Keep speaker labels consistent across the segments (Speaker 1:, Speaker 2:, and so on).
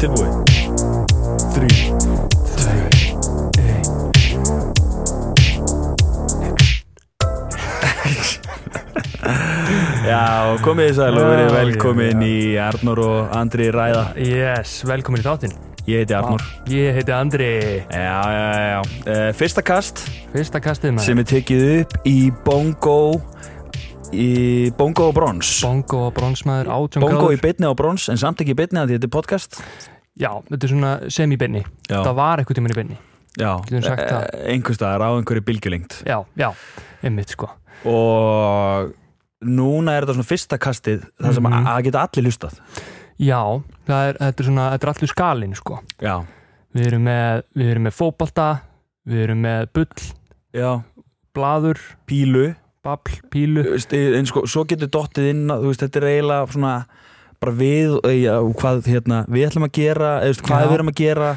Speaker 1: Tilbúið Þrý, tvei, ein Já, komið þið sæl og verið
Speaker 2: Já,
Speaker 1: velkomin
Speaker 2: já,
Speaker 1: í Arnur og Andri ræða
Speaker 2: Yes, velkomin í þáttinn
Speaker 1: Ég heiti Arnur
Speaker 2: Ég heiti Andri
Speaker 1: Já, já, já, já Eh, Fyrsta kast
Speaker 2: Fyrsta kastið maður
Speaker 1: sem er tekið upp í Bongo í Bongo og Brons
Speaker 2: Bongo og bronsmaður átjón
Speaker 1: Bongo í beinni og Brons en samt ekki í beinni að þetta er podcast
Speaker 2: Já, þetta er svona semi-benni
Speaker 1: Já.
Speaker 2: Það var eitthvað tímann í benni
Speaker 1: Já,
Speaker 2: Getum sagt það.
Speaker 1: einhverstaðar á einhverju bylgjulengt
Speaker 2: Já, já, einmitt sko
Speaker 1: og núna er þetta svona fyrsta kastið þar sem mm
Speaker 2: Mhm.
Speaker 1: að geta allir hlustað
Speaker 2: Já, það er, þetta er svona, þetta er allir skalinn sko
Speaker 1: já,
Speaker 2: Við erum með, við erum með fótbalta Við erum með bull,
Speaker 1: já,
Speaker 2: blaður,
Speaker 1: pílu
Speaker 2: babl, pílu
Speaker 1: Þú veist, en sko, svo getur dottið inn að, þú veist, þetta er eiginlega svona bara við, eh, já, hvað hérna, við ætlum að gera, eða, þú veist, hvað
Speaker 2: Já.
Speaker 1: við erum að gera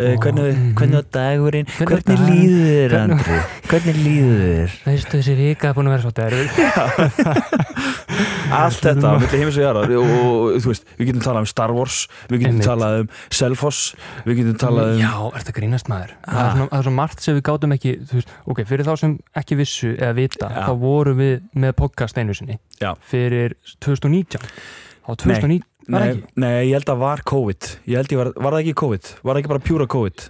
Speaker 1: eh,
Speaker 2: Ó,
Speaker 1: hvernig,
Speaker 2: mhm.
Speaker 1: hvernig var dagurinn
Speaker 2: Hvernig var
Speaker 1: hvernig, hvernig
Speaker 2: dagurinn?
Speaker 1: líður þér,
Speaker 2: Hvernig-
Speaker 1: Andri hvernig líður þér
Speaker 2: Veistu þessi vika er búin að vera svo derfið
Speaker 1: allt þetta, milli heimis og jarðar og, og, og þú veist, við getum talað um Star Wars við getum
Speaker 2: Einmitt.
Speaker 1: talað um Selfoss við getum talað um
Speaker 2: Já, er þetta grínast maður það
Speaker 1: Ah.
Speaker 2: er, svona, það er svona margt sem við gátum ekki þú veist, Ok, fyrir þá sem ekki vissu eða vita
Speaker 1: Já.
Speaker 2: þá vorum við með podcast einu sinni
Speaker 1: Já.
Speaker 2: fyrir 2019 Á 2019, var
Speaker 1: Nei,
Speaker 2: ekki?
Speaker 1: nei, ég held að var COVID Ég held ég var, var það ekki COVID? Var það ekki bara pjúra COVID?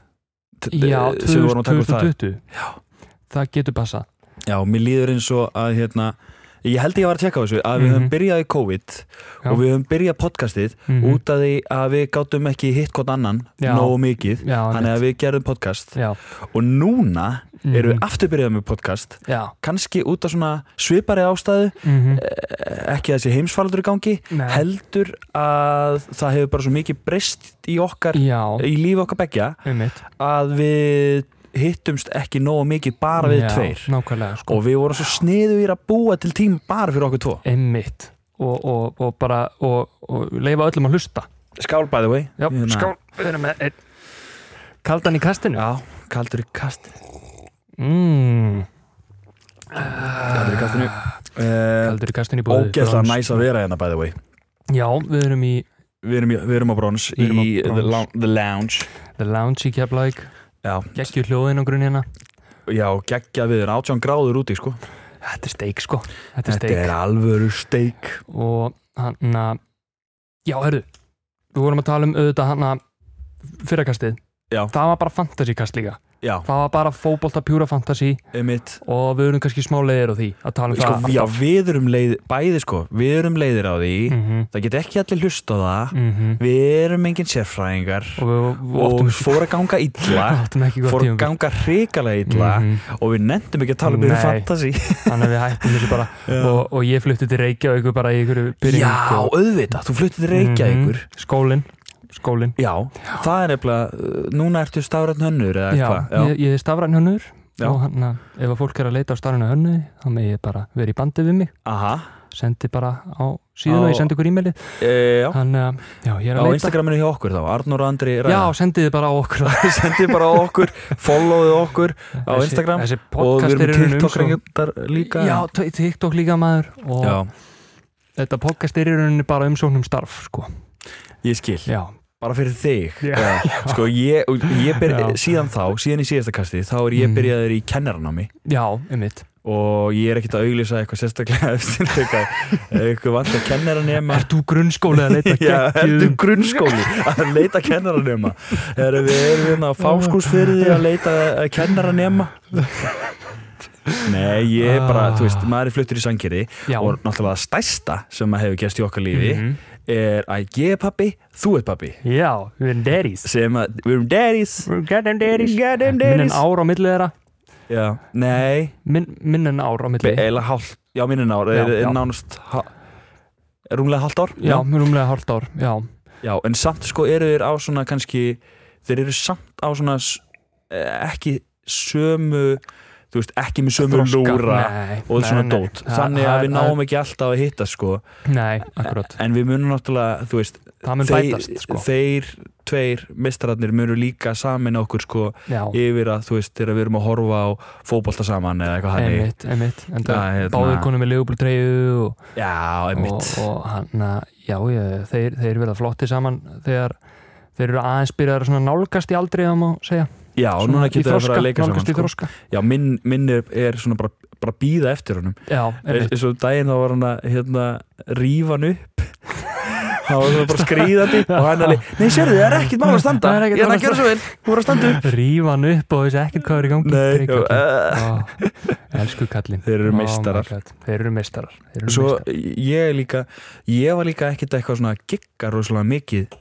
Speaker 1: T-
Speaker 2: Já,
Speaker 1: eh, sem við vorum að taka úr það?
Speaker 2: 2020 Já Það getur passað
Speaker 1: Já, mér líður eins og að hérna Ég held ég var að tjekka á þessu að við
Speaker 2: Mhm.
Speaker 1: höfum byrjað í COVID
Speaker 2: Já.
Speaker 1: og við höfum byrjað podcastið
Speaker 2: Mhm.
Speaker 1: út af því að við gátum ekki hitt hvort annan
Speaker 2: Já.
Speaker 1: nógu mikið
Speaker 2: Já,
Speaker 1: þannig að við gerðum podcast
Speaker 2: Já,
Speaker 1: og núna erum við
Speaker 2: Mhm.
Speaker 1: aftur byrjað með podcast
Speaker 2: já
Speaker 1: kannski út af svona svipari ástæðu
Speaker 2: mm
Speaker 1: ekki þessi heimsfaraldur í gangi
Speaker 2: Nei.
Speaker 1: heldur að það hefur bara svo mikið breyst í okkar
Speaker 2: Já,
Speaker 1: í lífi okkar begja
Speaker 2: einmitt
Speaker 1: að við hittumst ekki nógu mikið bara við
Speaker 2: Já,
Speaker 1: tveir
Speaker 2: Nákvæmlega, sko
Speaker 1: og við vorum svo sniðugir að búa til tíma bara fyrir okkur tvo
Speaker 2: Einmitt Og, og, og bara, og, og leifa öllum að hlusta
Speaker 1: Skál by the way
Speaker 2: Já,
Speaker 1: Hérna.
Speaker 2: skál, við erum með einn Kaldan í kastinu
Speaker 1: Já, kaldur í kastinu
Speaker 2: mm.
Speaker 1: Kaldur í kastinu uh,
Speaker 2: Ah, Kaldur í kastinu í bóði
Speaker 1: Ógeðslega næs að vera hérna by the way
Speaker 2: Já, við erum í
Speaker 1: Við erum, í- við erum á brons í
Speaker 2: Við erum á
Speaker 1: The,
Speaker 2: Brons.
Speaker 1: lou- the Lounge
Speaker 2: The Lounge í Keflavík
Speaker 1: Já,
Speaker 2: Gekkju hljóðin á grunn hérna
Speaker 1: já geggja við erum 18 gráður úti sko
Speaker 2: Þetta er steik sko Þetta er
Speaker 1: Þetta
Speaker 2: steik
Speaker 1: er alvöru steik
Speaker 2: Og hann að Já, herru Við vorum að tala um auðvitað hann að Fyrrakastið
Speaker 1: Já.
Speaker 2: Það var bara fantasykast líka
Speaker 1: Já,
Speaker 2: Það var bara fótbolta pjúra fantasy
Speaker 1: emitt
Speaker 2: Og við erum kannski smá leiðir á því Að tala um
Speaker 1: sko,
Speaker 2: það
Speaker 1: Já, við erum leið, bæði sko Við erum leiðir á því
Speaker 2: mm -hmm,
Speaker 1: Það get ekki allir hlust á það Við erum engin sérfræðingar
Speaker 2: mhm. Og við, við
Speaker 1: og
Speaker 2: áttum,
Speaker 1: fór að ganga illa
Speaker 2: áttum ekki gott
Speaker 1: fór að
Speaker 2: tímabil.
Speaker 1: ganga hrikalega illa
Speaker 2: Mhm.
Speaker 1: og við nefndum ekki að tala um byrju
Speaker 2: Nei.
Speaker 1: fantasi
Speaker 2: þannig að við hættum þessu bara og, og ég flutti til Reykjavík bara í sko. ykkur byrjum
Speaker 1: Já, auðvitað, þú fluttir til Reykjavíkur
Speaker 2: Mhm. skólin, skólin.
Speaker 1: Já, það er nefnilega uh, núna ertu stafrætt hönnur eða
Speaker 2: Já,
Speaker 1: eitthvað Já,
Speaker 2: Ég, ég er stafræn hönnur
Speaker 1: Já.
Speaker 2: og hann að ef að fólk er að leita á stafrænu hönnu þá með ég bara verið í bandi við mig
Speaker 1: aha
Speaker 2: sendi bara á síðan
Speaker 1: Á-
Speaker 2: og ég sendi ykkur e-mailið
Speaker 1: e, Já,
Speaker 2: þannig að já, ég er
Speaker 1: á
Speaker 2: að leita
Speaker 1: Instagraminu hjá okkur þá Arnur og Andri
Speaker 2: já,
Speaker 1: ræða
Speaker 2: sendið þið bara á okkur á
Speaker 1: Sendið bara á okkur, followðu okkur á Instagram
Speaker 2: þessi
Speaker 1: og við
Speaker 2: podcast er
Speaker 1: erum
Speaker 2: um
Speaker 1: TikTok reyndar líka
Speaker 2: já, t- TikTok líka maður og
Speaker 1: Já,
Speaker 2: þetta podcast er í rauninni bara umsóknum starf sko.
Speaker 1: ég skil
Speaker 2: já,
Speaker 1: bara fyrir þig
Speaker 2: Já.
Speaker 1: Sko, ég, og ég byrja,
Speaker 2: Já.
Speaker 1: síðan þá, síðan í síðasta kasti þá er ég
Speaker 2: Mhm.
Speaker 1: byrjaður í kennaranámi
Speaker 2: já, einmitt
Speaker 1: og ég er ekkert að auglýsa eitthvað sérstaklega eftir eitthvað, eitthvað vant að kennara nema
Speaker 2: Er þú grunnskóli að leita
Speaker 1: Já, heldur
Speaker 2: geggjum?
Speaker 1: grunnskóli að leita kennara nema Erum við erum hérna á fáskúsfyrði að leita að kennara nema Nei, ég er bara,
Speaker 2: Ah.
Speaker 1: þú veist, maður er fluttur í sangeri
Speaker 2: Já.
Speaker 1: og náttúrulega það stærsta sem maður hefur gæst í okkar lífi
Speaker 2: Mhm.
Speaker 1: er að ég er pappi, þú ert pappi
Speaker 2: Já, við erum daddies
Speaker 1: sem að, við erum daddies
Speaker 2: We're goddamn daddies
Speaker 1: Goddamn
Speaker 2: Minn
Speaker 1: daddies
Speaker 2: en ár á milli þeirra
Speaker 1: Já, nei,
Speaker 2: Minn, minn en ár á milli
Speaker 1: eiginlega hálft Já, minn en ár,
Speaker 2: Já,
Speaker 1: er, er
Speaker 2: já.
Speaker 1: nánast ha- Rúmlega hálft ár
Speaker 2: Já, rúmlega hálft ár Já,
Speaker 1: Já, en samt sko eru þeir á svona kannski þeir eru samt á svona s- eh, ekki sömu þú veist, ekki með sömu
Speaker 2: Þroska.
Speaker 1: lúra
Speaker 2: Nei,
Speaker 1: og
Speaker 2: nei,
Speaker 1: svona
Speaker 2: nei.
Speaker 1: dót
Speaker 2: Það-
Speaker 1: þannig
Speaker 2: það
Speaker 1: að
Speaker 2: er-
Speaker 1: við náum ekki alltaf að hitta sko
Speaker 2: Nei, akkurat,
Speaker 1: en við munum náttúrulega, þú veist
Speaker 2: það mun
Speaker 1: þeir,
Speaker 2: bætast sko.
Speaker 1: þeir tveir mistrarnir munum líka samin okkur sko
Speaker 2: Já,
Speaker 1: yfir að þú veist, þegar við erum að horfa á fótbolta saman eða eitthvað hannig
Speaker 2: einmitt, einmitt en
Speaker 1: Já,
Speaker 2: það
Speaker 1: hérna.
Speaker 2: báður konum með Leopold treyju og,
Speaker 1: Já,
Speaker 2: og,
Speaker 1: einmitt
Speaker 2: og hann, já, ég, þeir, þeir verða flottir saman þegar þeir eru aðeins byrjar að svona nálgast í aldrei það má segja,
Speaker 1: Já,
Speaker 2: Svona
Speaker 1: núna
Speaker 2: í
Speaker 1: getur það að
Speaker 2: þroska,
Speaker 1: fara að leika
Speaker 2: nálgast
Speaker 1: saman
Speaker 2: í
Speaker 1: sko.
Speaker 2: þroska.
Speaker 1: Já, minn, minn er, er svona bara, bara býða eftir honum
Speaker 2: Já, einmitt,
Speaker 1: eins og um daginn þá var hann að hérna, rífa hann upp þá var hann bara skrýðandi og hann alveg, nei sérðu, það er ekkert mál að standa
Speaker 2: Það er ekkert
Speaker 1: ég er
Speaker 2: mál að
Speaker 1: að gera svo vel, þú er að standa upp
Speaker 2: rífa hann upp og þessi ekkert hvað er í gangi
Speaker 1: nei,
Speaker 2: Drykk allir.
Speaker 1: uh,
Speaker 2: Ó, Elsku kallinn
Speaker 1: þeir eru
Speaker 2: Oh my
Speaker 1: meistarar
Speaker 2: God, Þeir eru meistarar Þeir eru
Speaker 1: svo
Speaker 2: meistarar.
Speaker 1: ég líka ég var líka ekkert eitthvað svona að gigga rosalega mikið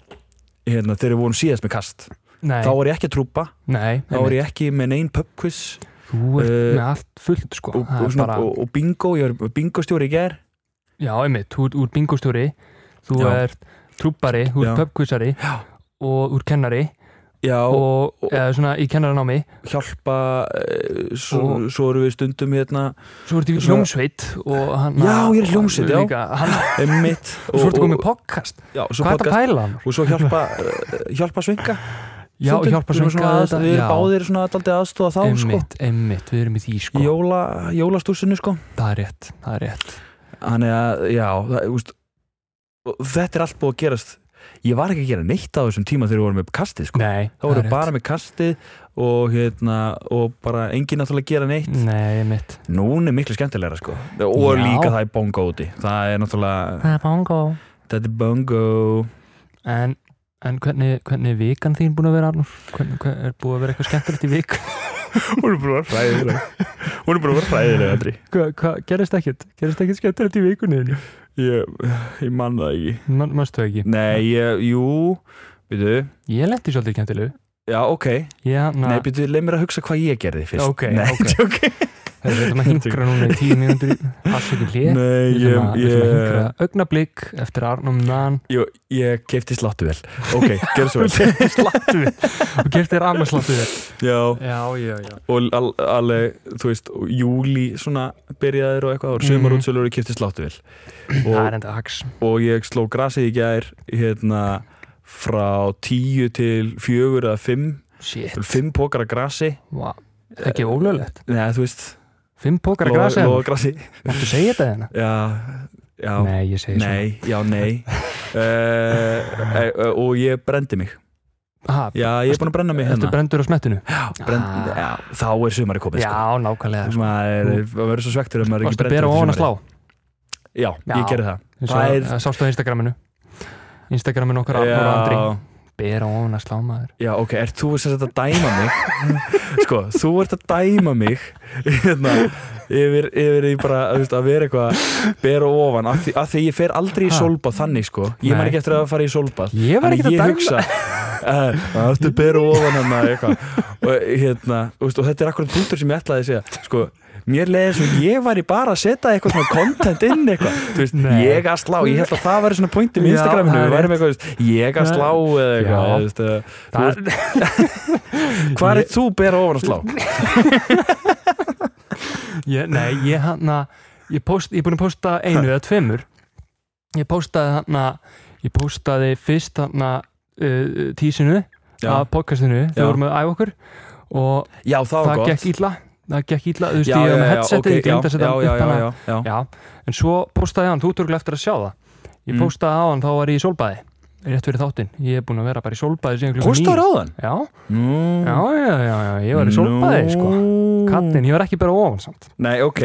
Speaker 1: hérna, þegar við vorum síðast með kast
Speaker 2: Nei,
Speaker 1: þá var ég ekki að trúpa,
Speaker 2: nei,
Speaker 1: þá var ég ekki með neinn pubquiz
Speaker 2: Þú ert
Speaker 1: eh,
Speaker 2: með allt fullt sko
Speaker 1: og,
Speaker 2: Það
Speaker 1: og,
Speaker 2: er
Speaker 1: svona,
Speaker 2: bara,
Speaker 1: og, og bingo, ég var bingostjóri í ger
Speaker 2: Já, einmitt, þú ert úr bingostjóri Þú
Speaker 1: Já.
Speaker 2: ert trúbari, þú ert
Speaker 1: Já.
Speaker 2: pubquizari
Speaker 1: Já.
Speaker 2: og úr kennari
Speaker 1: já,
Speaker 2: og,
Speaker 1: og-
Speaker 2: eða svona í kennaranámi
Speaker 1: hjálpa eh, svo,
Speaker 2: Og-
Speaker 1: svo erum við stundum hérna
Speaker 2: Svo ert í
Speaker 1: Svona-
Speaker 2: hljómsveit og hann
Speaker 1: Já, ég er í hljómsveit,
Speaker 2: og
Speaker 1: já.
Speaker 2: líka, hann,
Speaker 1: Emmitt
Speaker 2: Svo ertu komið með podcast
Speaker 1: já, svo
Speaker 2: Hvað er þetta
Speaker 1: podcast,
Speaker 2: pæla hann?
Speaker 1: Og svo hjálpa, uh, hjálpa svinga
Speaker 2: Já,
Speaker 1: Stundum.
Speaker 2: hjálpa
Speaker 1: Við erum svona
Speaker 2: svenga
Speaker 1: aðeins- Við erum báðir svona daldið aðstóða þá sko,
Speaker 2: Einmitt, einmitt, við erum í því
Speaker 1: í
Speaker 2: sko
Speaker 1: jóla, jólastúsinu sko
Speaker 2: Það er rétt, það er rétt
Speaker 1: Þannig að, já, það, úst, Þetta er allt búið að gerast Ég var ekki að gera neitt á þessum tíma þegar við vorum með kastið sko
Speaker 2: Nei,
Speaker 1: Þá vorum við bara með kastið og, hérna, og bara enginn náttúrulega að gera neitt
Speaker 2: Nei, einmitt
Speaker 1: Núna er miklu skemmtilegra sko Og
Speaker 2: Já.
Speaker 1: líka það er bongo úti Það er náttúrulega,
Speaker 2: Það er bongo
Speaker 1: þetta er bongo
Speaker 2: En, en hvernig, hvernig er vikan þín búin að vera Arnur? Hvernig, hver, er búin að vera eitthvað skemmtilegt í vik?
Speaker 1: Hún er bara fræðilega Hún er bara fræðilega, Andri
Speaker 2: Hvað, hva, gerist ekkert? Gerist ekkert skemmtilegt í vikunni?
Speaker 1: Ég, ég man það ekki
Speaker 2: Man, Manstu ekki?
Speaker 1: Nei, ég, jú Býtu,
Speaker 2: Ég lendi svolítið í skemmtilegu
Speaker 1: já, ok
Speaker 2: Já, na,
Speaker 1: Nei, býtu, leið mér að hugsa hvað ég gerði fyrst
Speaker 2: Ok,
Speaker 1: Nei,
Speaker 2: ok.
Speaker 1: ok
Speaker 2: við erum að hingra núna í tíu mínútur Afsökun hlið
Speaker 1: Nei,
Speaker 2: Við
Speaker 1: ég,
Speaker 2: ætlum að- við ætlum að hingra
Speaker 1: ég,
Speaker 2: augnablík eftir um Arnum Nann
Speaker 1: ég, ég kefti sláttu vel Ok, gerð svo vel
Speaker 2: Slattu við og gert þér annars slattu við
Speaker 1: Já,
Speaker 2: Já, já, já
Speaker 1: og al- alveg, þú veist, og júli svona byrjaðir og eitthvað og
Speaker 2: Mhm.
Speaker 1: sömur útsölur og ég kefti sláttu vel
Speaker 2: Það
Speaker 1: og,
Speaker 2: er enda hax
Speaker 1: og ég sló grasið í gær hérna frá tíu til fjögur eða fimm
Speaker 2: Shit
Speaker 1: fimm pókar að grasi
Speaker 2: Vá, Ekki ólöglegt
Speaker 1: Nei, þú veist,
Speaker 2: Fimm pókar að grasa
Speaker 1: lofa grasi
Speaker 2: Máttu segja þetta hérna?
Speaker 1: Já, já, nei,
Speaker 2: Nei, ég segi svona
Speaker 1: já, nei uh, uh, Og ég brendi mig
Speaker 2: Ha,
Speaker 1: Já, ég er búin að brenna mig
Speaker 2: Ertu
Speaker 1: hérna
Speaker 2: brendur á smettinu?
Speaker 1: Brend, já, Þá er sumari komið sko.
Speaker 2: Já, nákvæmlega sko.
Speaker 1: Maður er- maður verður svo svektur ef maður er ekki
Speaker 2: Varstu
Speaker 1: brendur
Speaker 2: að bera
Speaker 1: eftir
Speaker 2: ofan að slá?
Speaker 1: sumarið. Já,
Speaker 2: Já.
Speaker 1: ég gerði það
Speaker 2: Eins
Speaker 1: Það
Speaker 2: og-
Speaker 1: er-
Speaker 2: það Sástu á Instagraminu Instagraminu okkar Arnur og Andri
Speaker 1: já,
Speaker 2: Bera ofan að slá maður
Speaker 1: já, ok, er þú sem sagt að dæma mig Sko, þú ert að dæma mig Hérna Yfir, yfir í bara þú veist, að vera eitthvað bera ofan, af því, af því ég fer aldrei í
Speaker 2: Ha.
Speaker 1: sólbað þannig sko, ég
Speaker 2: Nei.
Speaker 1: man ekki eftir að fara í sólbað
Speaker 2: Ég var ekkert að
Speaker 1: Þannig
Speaker 2: dæma
Speaker 1: ég hugsa eh, Það ertu beru ofan hann eitthvað og, hérna, þú veist, og þetta er akkurat punktur sem ég ætlaði að segja sko, Mér leiði eins og ég væri bara að setja eitthvað svona content inn eitthvað Þú veist,
Speaker 2: Nei.
Speaker 1: Ég að slá, ég held að það væri svona pointum í
Speaker 2: Já,
Speaker 1: Instagraminu
Speaker 2: það er
Speaker 1: Við værum eitthvað, þú veist, ég að
Speaker 2: Nei.
Speaker 1: slá eða eitthvað
Speaker 2: Já.
Speaker 1: þú veist, eða, þú
Speaker 2: Það
Speaker 1: veist, Hvað er þú bera ofan að slá?
Speaker 2: ég, Nei, ég hann Ég post- ég er búin að posta einu eða tveimur Ég postaði hann Ég postaði fyrst hann uh, Tísinu
Speaker 1: Já,
Speaker 2: Af podcastinu
Speaker 1: Já.
Speaker 2: Þegar vorum við æfa okkur Og
Speaker 1: já það var
Speaker 2: það
Speaker 1: gott
Speaker 2: gekk illa það gekk illa, þú veist,
Speaker 1: Já,
Speaker 2: ég
Speaker 1: já,
Speaker 2: var með
Speaker 1: já,
Speaker 2: headsetið
Speaker 1: ok,
Speaker 2: ég glemt að setja
Speaker 1: já,
Speaker 2: upp
Speaker 1: já, já,
Speaker 2: hana
Speaker 1: já, já.
Speaker 2: já, en svo postaði ég hann, þú törgulega eftir að sjá það ég
Speaker 1: Mm.
Speaker 2: postaði á hann, þá var ég í solbæði rétt fyrir þáttinn, ég er búin að vera bara í solbæði síðan klukkan
Speaker 1: Kostaður á þann?
Speaker 2: já, já, já, já, já, ég var í solbæði sko, kallinn, ég var ekki bara ofan samt,
Speaker 1: Nei, ok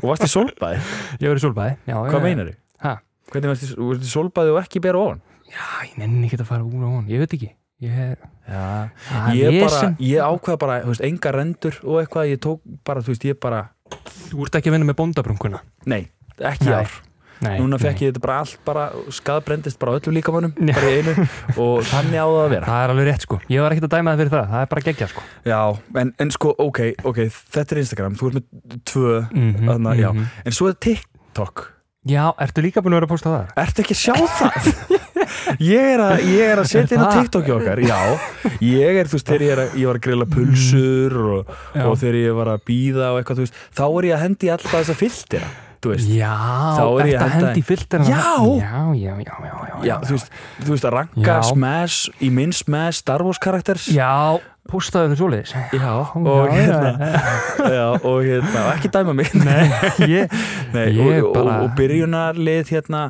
Speaker 1: Og varst í sólbæði?
Speaker 2: ég var í solbæði já,
Speaker 1: Hvað meinar þið?
Speaker 2: Ha?
Speaker 1: Hvernig varst þið sólbæði og ekki bera ofan?
Speaker 2: já, ég nenni ekki að fara úr ofan, ég veit ekki ég er,
Speaker 1: Já,
Speaker 2: það er
Speaker 1: ég, bara,
Speaker 2: vesen.
Speaker 1: ég ákveða bara, þú veist, enga rendur og eitthvað, ég tók bara, þú veist, ég bara,
Speaker 2: þú ert ekki að vinna með bóndabrunkuna
Speaker 1: nei, ekki
Speaker 2: Nei,
Speaker 1: nei, ár. Núna fekk ég þetta bara allt, bara skadbrendist bara á öllum líkamannum,
Speaker 2: Já.
Speaker 1: bara í einu og þannig á það að vera.
Speaker 2: það er alveg rétt sko, ég var ekki að dæma það fyrir það það er bara geggja sko
Speaker 1: Já, en, en sko, ok, ok, þetta er Instagram, þú ert með tvö,
Speaker 2: Mhm,
Speaker 1: Þarna, já.
Speaker 2: mhm.
Speaker 1: en svo er TikTok.
Speaker 2: já, ertu líka búin að vera að posta það?
Speaker 1: Ertu ekki að sjá það? ég er að, ég er að setja inn á
Speaker 2: það?
Speaker 1: TikTok hjá okkar já, ég er, þú veist, þegar ég, er að, ég var að grilla pulsur og,
Speaker 2: Mm. Já.
Speaker 1: og þegar ég var að býða og eitthvað, þú veist, þá er ég að hendi alltaf þessa filtera, þú veist
Speaker 2: Já,
Speaker 1: Þá er ég
Speaker 2: þetta
Speaker 1: að henda
Speaker 2: hendi
Speaker 1: í-
Speaker 2: filterna
Speaker 1: Já!
Speaker 2: já, já, já, já, já,
Speaker 1: Já, þú veist, þú veist að ranka
Speaker 2: Já.
Speaker 1: Smash, í minn Smash, Star Wars karakters
Speaker 2: Já, postaðu þau svoleiðis
Speaker 1: Já, og
Speaker 2: já,
Speaker 1: hérna, já, og hérna, og ekki dæma mig
Speaker 2: Nei, ég,
Speaker 1: Nei,
Speaker 2: Ég
Speaker 1: og,
Speaker 2: bara-
Speaker 1: og, og byrjunarlið hérna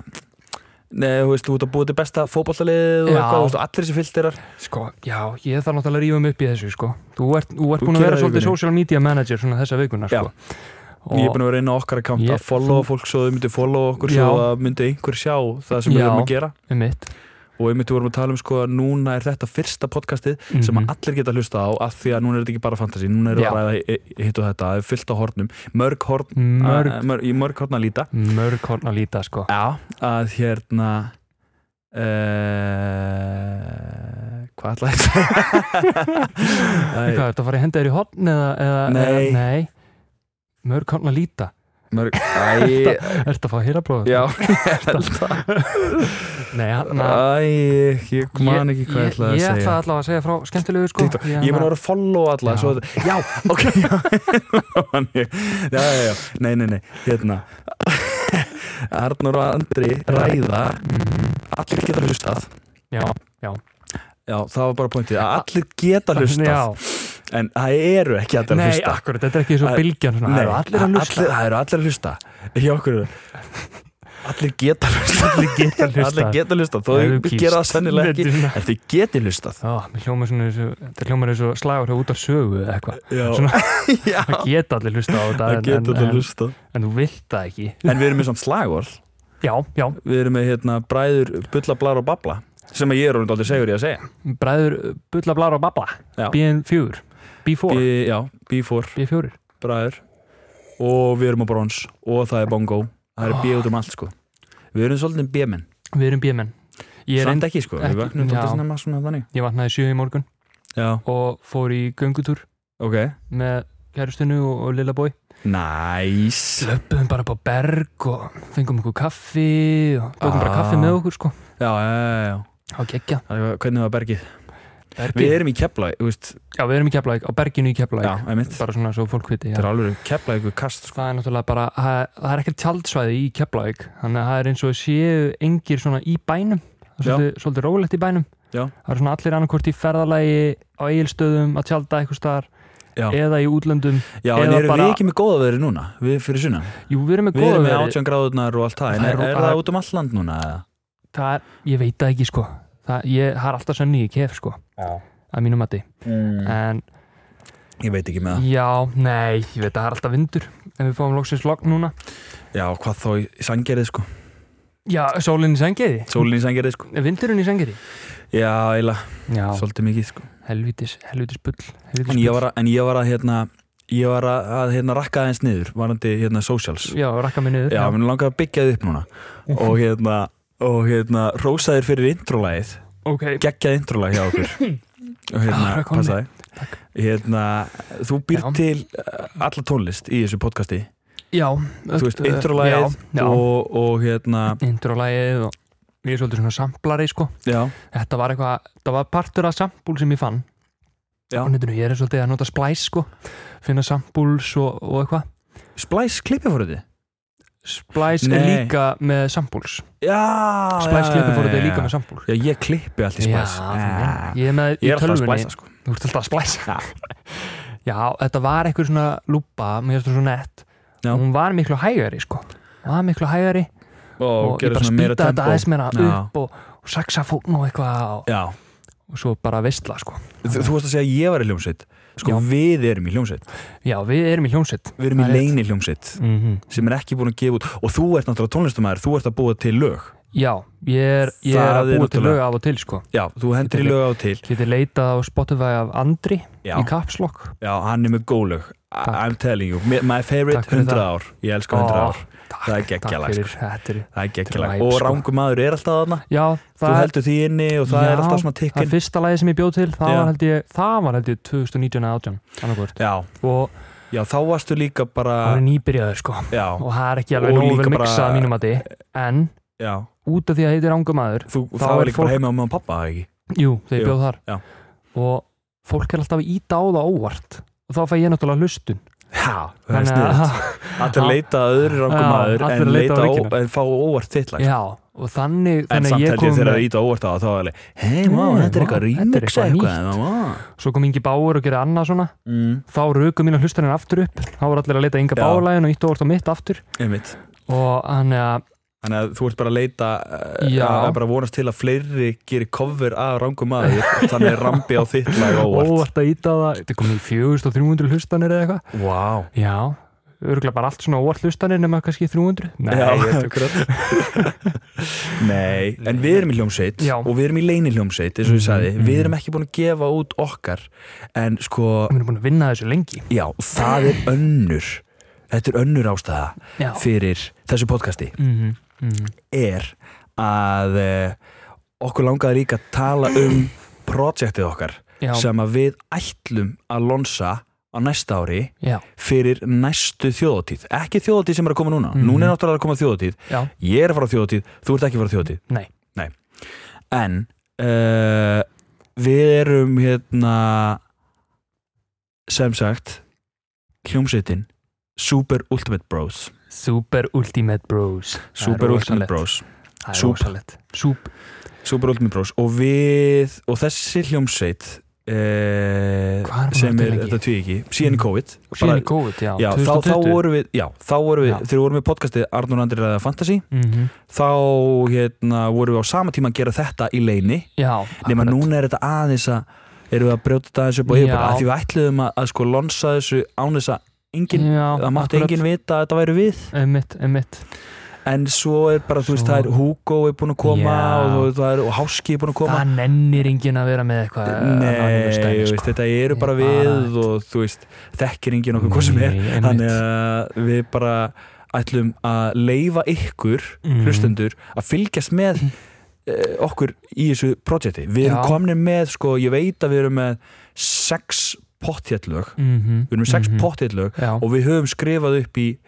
Speaker 1: Nei, þú veist, þú ert að búa til besta fótballaliðið og
Speaker 2: Já.
Speaker 1: eitthvað, þú veist, og allir þessi filterar
Speaker 2: sko, já, ég þarf náttúrulega að rífa mig upp í þessu, sko Þú ert, þú ert
Speaker 1: Þú
Speaker 2: búin að vera
Speaker 1: keraði
Speaker 2: svolítið
Speaker 1: vikunni.
Speaker 2: social media manager svona þessa vikuna,
Speaker 1: Já.
Speaker 2: sko
Speaker 1: Ég er búin að vera inn á okkar account
Speaker 2: Ég-
Speaker 1: að followa fólk svo þau myndu followa okkur
Speaker 2: Já.
Speaker 1: svo að myndu einhver sjá það sem við
Speaker 2: Já.
Speaker 1: erum að gera
Speaker 2: um mitt
Speaker 1: og við myndum vorum að tala um sko að núna er þetta fyrsta podcastið sem
Speaker 2: Mhm.
Speaker 1: að allir geta hlusta á af því að núna er þetta ekki bara fantasy núna erum við
Speaker 2: Já.
Speaker 1: að ræða hi- hitt og þetta, það er fyllt á hornum mörg horn,
Speaker 2: Mhm. Mörg,
Speaker 1: að- mörg, í mörg horn að líta
Speaker 2: mörg horn að líta, sko
Speaker 1: Já, að hérna Uh, hvað ætlaði ég að segja?
Speaker 2: Hvað,
Speaker 1: Æ,
Speaker 2: ertu að fara að henda þér í horn eða, eða
Speaker 1: Nei.
Speaker 2: eða, nei. Mörg horn að líta
Speaker 1: mörg, æ,
Speaker 2: Ertu að fá að hýra bróður?
Speaker 1: já, ég held það
Speaker 2: Nei, hann
Speaker 1: Æ, ég man ekki hvað ég ætlaði að
Speaker 2: Ég
Speaker 1: segja
Speaker 2: ætlaði allavega að segja frá skemmtilegu, sko
Speaker 1: TikTok. Ég mun að vera að followa alla
Speaker 2: Já.
Speaker 1: svo, að- Já, ok já. já, já, já, nei, nei, nei Hérna Arnur og Andri ræða Allir geta hlustað
Speaker 2: Já, já
Speaker 1: Já, það var bara pointið að Allir geta hlustað
Speaker 2: Já,
Speaker 1: En það eru ekki allir að
Speaker 2: nei,
Speaker 1: hlusta
Speaker 2: akkurat, þetta er ekki svo
Speaker 1: Að-
Speaker 2: bylgjan svona, það eru allir að hlusta
Speaker 1: allir- Það eru allir að hlusta Hjá okkur eru- Allir geta hlusta Allir geta
Speaker 2: hlustað.
Speaker 1: Allir geta hlusta Þó
Speaker 2: Það
Speaker 1: þau
Speaker 2: eru kýst.
Speaker 1: gera það sennilega ekki
Speaker 2: Þetta er-
Speaker 1: En þau geti hlustað
Speaker 2: Já, mér hljómar svona eins og, þetta hljómar eins og slagur út af sögu eða eitthvað.
Speaker 1: Já,
Speaker 2: Svona-
Speaker 1: já
Speaker 2: Það geta allir hlusta á þetta,
Speaker 1: Það
Speaker 2: en,
Speaker 1: geta
Speaker 2: en,
Speaker 1: allir
Speaker 2: en,
Speaker 1: hlustað
Speaker 2: en þú vilt það ekki.
Speaker 1: En við erum með samt slagorð
Speaker 2: Já, já,
Speaker 1: Við erum með hérna bræður Bulla, blar og babla Sem að ég er orðin aldrei segur ég að segja
Speaker 2: bræður uh, bulla, blara og babla,
Speaker 1: Já.
Speaker 2: BN4, B4,
Speaker 1: B, Já, B4
Speaker 2: B4.
Speaker 1: bræður Og við erum á brons Og það er bongo Það er B út um allt sko Við erum svolítið B-menn
Speaker 2: Við erum B-menn. Ég,
Speaker 1: Samt
Speaker 2: reynd,
Speaker 1: ekki sko
Speaker 2: ekki-
Speaker 1: Við vaknum
Speaker 2: já.
Speaker 1: svolítið snemma svona þannig
Speaker 2: ég vatnaði sjö í morgun
Speaker 1: Já,
Speaker 2: og fór í göngutúr
Speaker 1: ok
Speaker 2: með kærustinu og, og lilla bói.
Speaker 1: Næs
Speaker 2: Löpum bara upp á berg og fengum okkur kaffi og tókum bara
Speaker 1: Ah.
Speaker 2: kaffi með okkur sko.
Speaker 1: Já, já, já, já
Speaker 2: Á geggja.
Speaker 1: Það er- Hvernig var bergið? Við
Speaker 2: Bergi.
Speaker 1: erum í kepla, þú veist
Speaker 2: Já, við erum í Keflæk, á berginu í
Speaker 1: Já,
Speaker 2: Keflæk.
Speaker 1: einmitt
Speaker 2: Bara svona svo fólk viti. já.
Speaker 1: Þetta er alveg kepla ykkur kast sko
Speaker 2: það er náttúrulega bara, það það er ekkert tjaldsvæði í Keflavík, þannig að það er eins og séu engir svona í bænum það er
Speaker 1: Já.
Speaker 2: svolítið, svolítið rólegt í bænum
Speaker 1: Já.
Speaker 2: það er svona allir annarkvort í ferðalagi á eigilstöðum að tjalda eitthvað staðar
Speaker 1: Já,
Speaker 2: eða í útlöndum,
Speaker 1: já en
Speaker 2: eða
Speaker 1: erum við
Speaker 2: bara-
Speaker 1: ekki með góða veðri núna? Við fyrir sunna
Speaker 2: jú við erum með
Speaker 1: Við erum með
Speaker 2: góða
Speaker 1: 18 gráðurnar og allt það En
Speaker 2: Það er
Speaker 1: er,
Speaker 2: rú-
Speaker 1: er
Speaker 2: það-
Speaker 1: það út um all land núna? eða?
Speaker 2: það er, ég veit það ekki sko það, ég, það er alltaf sönni í kef sko að mínu mati,
Speaker 1: Mm.
Speaker 2: en
Speaker 1: Ég veit ekki með það
Speaker 2: já, nei ég veit að það er alltaf vindur, en við fáum loksins lokn núna,
Speaker 1: Já, hvað þá í í sangerið sko
Speaker 2: já, sólinn í sengiði
Speaker 1: Sólinn í sangerið sko
Speaker 2: vindurinn í sengiði,
Speaker 1: Já, eiginlega,
Speaker 2: já,
Speaker 1: svolítið mikið sko
Speaker 2: helvitis helvitis bull, helvitis
Speaker 1: En ég var að, en ég var að hérna Ég var að, að hérna rakka aðeins niður Varandi hérna socials
Speaker 2: já, rakka mig niður
Speaker 1: Já, mér langar að byggja þið upp núna Og hérna, og hérna Rósaðir fyrir intro-lagið
Speaker 2: ok,
Speaker 1: Geggjað intro-lag hjá okkur Og hérna,
Speaker 2: Ah, það er komið.
Speaker 1: passaði Hérna, þú býr
Speaker 2: Já.
Speaker 1: til uh, alla tónlist í þessu podcasti
Speaker 2: Já
Speaker 1: Þú veist, intro-lagið
Speaker 2: og
Speaker 1: og, og hérna,
Speaker 2: Introlagið og ég er svolítið svona samplari sko
Speaker 1: já
Speaker 2: Þetta var eitthvað, það var partur af sampúl sem ég fann
Speaker 1: Já.
Speaker 2: Á netinu, ég er svolítið að nota splæs sko Finna sampúls og, og eitthvað
Speaker 1: Splice klippið fór þetta?
Speaker 2: Splæs er
Speaker 1: Nei.
Speaker 2: líka með sampúls
Speaker 1: Já
Speaker 2: Splæs
Speaker 1: já,
Speaker 2: klippi fór
Speaker 1: já, já,
Speaker 2: þetta
Speaker 1: já.
Speaker 2: líka með sampúl
Speaker 1: Já, ég klippi allt í splæs
Speaker 2: Já, ég er með
Speaker 1: Ég
Speaker 2: í
Speaker 1: er alltaf að
Speaker 2: tölvunni
Speaker 1: splæsa sko
Speaker 2: Þú ert alltaf að splæsa Já, þetta var eitthvað svona lúpa Mér finnst það svo nett
Speaker 1: Já.
Speaker 2: Hún var miklu hægari sko Hún var miklu hægari og, ég bara spýta þetta aðeins meira
Speaker 1: Já.
Speaker 2: upp og, og saxafón og eitthvað og,
Speaker 1: Já,
Speaker 2: og svo bara veistla sko
Speaker 1: þú, þú varst að segja að ég var í hljómsveit Sko,
Speaker 2: Já.
Speaker 1: við erum í hljómsveit
Speaker 2: já við erum í hljómsveit
Speaker 1: Við erum í
Speaker 2: Það er rétt.
Speaker 1: leini hljómsveit
Speaker 2: mm
Speaker 1: sem er ekki búin að gefa út og þú ert náttúrulega tónlistumæður, þú ert að búa til lög
Speaker 2: já ég er, ég er
Speaker 1: Það
Speaker 2: að
Speaker 1: er
Speaker 2: búa til
Speaker 1: náttúrulega-
Speaker 2: lög af og til sko
Speaker 1: Já, þú hendur í lög á til
Speaker 2: getið leitað á Spotify af Andri
Speaker 1: Já,
Speaker 2: í Kapslokk
Speaker 1: já hann er með góð lög I-
Speaker 2: Takk.
Speaker 1: I'm telling you, my- my favorite
Speaker 2: Takk fyrir
Speaker 1: 100
Speaker 2: það.
Speaker 1: ár Ég elska 100 ár, Það er sko.
Speaker 2: takk
Speaker 1: geggjalag,
Speaker 2: fyrir þetta er,
Speaker 1: það er
Speaker 2: Þetta
Speaker 1: geggjalag
Speaker 2: er væp,
Speaker 1: Og
Speaker 2: sko.
Speaker 1: rangu maður er alltaf þarna
Speaker 2: já
Speaker 1: Þú
Speaker 2: það er
Speaker 1: heldur því inni og það
Speaker 2: Já,
Speaker 1: er alltaf svona
Speaker 2: það
Speaker 1: tikkin
Speaker 2: fyrsta lagi sem ég bjóð til það
Speaker 1: Já.
Speaker 2: var held ég það var held ég 2019 eða 18 annarkvort
Speaker 1: Já,
Speaker 2: og
Speaker 1: já, þá varstu líka bara
Speaker 2: það var nýbyrjaður sko
Speaker 1: Já,
Speaker 2: og það er ekki alveg
Speaker 1: Og
Speaker 2: nógu
Speaker 1: líka
Speaker 2: vel
Speaker 1: bara-
Speaker 2: miksað að mínum að en
Speaker 1: já,
Speaker 2: út af því að heitir ánga maður
Speaker 1: þú,
Speaker 2: Þá
Speaker 1: það
Speaker 2: er
Speaker 1: var líka bara
Speaker 2: fólk-
Speaker 1: heima á meðan pappa ekki
Speaker 2: Jú, þegar ég
Speaker 1: Jú,
Speaker 2: bjóð þar
Speaker 1: já.
Speaker 2: og fólk er alltaf að íta á það óvart og þá fæ ég náttúrulega hlustun
Speaker 1: Já, það er
Speaker 2: að,
Speaker 1: sniðt Allir leita að öðru rangum
Speaker 2: Já,
Speaker 1: maður
Speaker 2: allir
Speaker 1: en,
Speaker 2: leita
Speaker 1: leita
Speaker 2: á
Speaker 1: ó,
Speaker 2: ríkinu.
Speaker 1: en fá óvart titla
Speaker 2: já, og þannig,
Speaker 1: En
Speaker 2: þannig
Speaker 1: samt
Speaker 2: að ég
Speaker 1: held ég
Speaker 2: kom
Speaker 1: þegar
Speaker 2: með,
Speaker 1: það ít á óvart á þá er alveg Hei, má, þetta
Speaker 2: Nei,
Speaker 1: er eitthvað
Speaker 2: vá, þetta er
Speaker 1: remix
Speaker 2: eitthvað
Speaker 1: eitthvað vá."
Speaker 2: svo kom Ingi Báur og gerði annað svona
Speaker 1: Mm,
Speaker 2: þá röku mína hlustuninn aftur upp þá voru allir að leita Inga
Speaker 1: Já.
Speaker 2: Báurlægin og íta óvart á mitt aftur
Speaker 1: einmitt
Speaker 2: og þannig að
Speaker 1: Þannig að þú ert bara að leita eh,
Speaker 2: Já.
Speaker 1: að að bara vonast til að fleiri gerir cover af rangum maður þannig er rambi á þitt lag óvart
Speaker 2: óvart að íta á það þetta kom í 4300 hlustanir eða eitthvað
Speaker 1: Vá
Speaker 2: já, örgulega bara allt svona óvart hlustanir nema kannski 300 nei,
Speaker 1: Já,
Speaker 2: ég tök-
Speaker 1: akkurat Nei, en við erum í hljómsveit
Speaker 2: Já.
Speaker 1: og við erum í leini hljómsveit eins og ég sagði,
Speaker 2: Mhm,
Speaker 1: við erum ekki búin að gefa út okkar en sko,
Speaker 2: við erum búin að vinna þessu lengi
Speaker 1: já, það er önnur þetta er önnur ástæða
Speaker 2: já,
Speaker 1: fyrir þessu podcasti
Speaker 2: mm -hmm, mm -hmm.
Speaker 1: er að eh, okkur langaði líka að tala um projektið okkar
Speaker 2: já,
Speaker 1: sem að við ætlum að lonsa á næsta ári
Speaker 2: já,
Speaker 1: fyrir næstu þjóðatíð ekki þjóðatíð sem er að koma núna,
Speaker 2: Mhm.
Speaker 1: núna er náttúrulega að koma þjóðatíð
Speaker 2: já,
Speaker 1: ég er að fara á þjóðatíð, þú ert ekki að fara á þjóðatíð
Speaker 2: nei
Speaker 1: en uh, við erum hérna sem sagt hljómsveitin Super Ultimate Bros
Speaker 2: Super Ultimate Bros Það er
Speaker 1: Super Ultimate
Speaker 2: rosalegt.
Speaker 1: Bros
Speaker 2: Það er
Speaker 1: Sup.
Speaker 2: rosalegt Súp
Speaker 1: Super Ultimate Bros og við og þessi hljómsveit uh,
Speaker 2: Hvað er maður
Speaker 1: sem
Speaker 2: til
Speaker 1: er,
Speaker 2: lengi?
Speaker 1: þetta tvið ekki síðan í COVID,
Speaker 2: Og síðan í COVID, já,
Speaker 1: já, þá, þá vorum við, já, þá vorum við
Speaker 2: Já.
Speaker 1: þegar við vorum við podcastið Arnur Andri ræða Fantasy
Speaker 2: mm -hmm.
Speaker 1: þá hérna, vorum við á sama tíma að gera þetta í leini
Speaker 2: Já,
Speaker 1: nema
Speaker 2: akkurat.
Speaker 1: núna er þetta aðeins að erum við að brjóta þetta aðeins upp á yfirbara
Speaker 2: Já.
Speaker 1: því við ætluðum að, að sko lonsa þessu án þess að engin,
Speaker 2: já,
Speaker 1: það mátti
Speaker 2: akkurat.
Speaker 1: engin vita að þetta væri við
Speaker 2: Einmitt, einmitt
Speaker 1: en svo er bara, þú veist,
Speaker 2: Svo-
Speaker 1: það er Hugo er búin að koma
Speaker 2: Já.
Speaker 1: og, og, það er, og Háski er búin að koma
Speaker 2: Það nennir enginn að vera með eitthvað
Speaker 1: Nei,
Speaker 2: anonymous dæmi, sko.
Speaker 1: veist, þetta eru bara
Speaker 2: Ég bara-
Speaker 1: við og þú veist, þekkir engin okkur hvað sem er
Speaker 2: Nei, einmitt.
Speaker 1: þannig að við bara ætlum að leifa ykkur
Speaker 2: Mhm.
Speaker 1: hlustendur að fylgjast með eh, okkur í þessu projekti við erum
Speaker 2: Já.
Speaker 1: komin með, sko, ég veit að við erum með sex potthjallög
Speaker 2: Mhm,
Speaker 1: við erum með sex mm
Speaker 2: mhm.
Speaker 1: -hmm. potthjallög
Speaker 2: Já,
Speaker 1: og við höfum skrifað upp í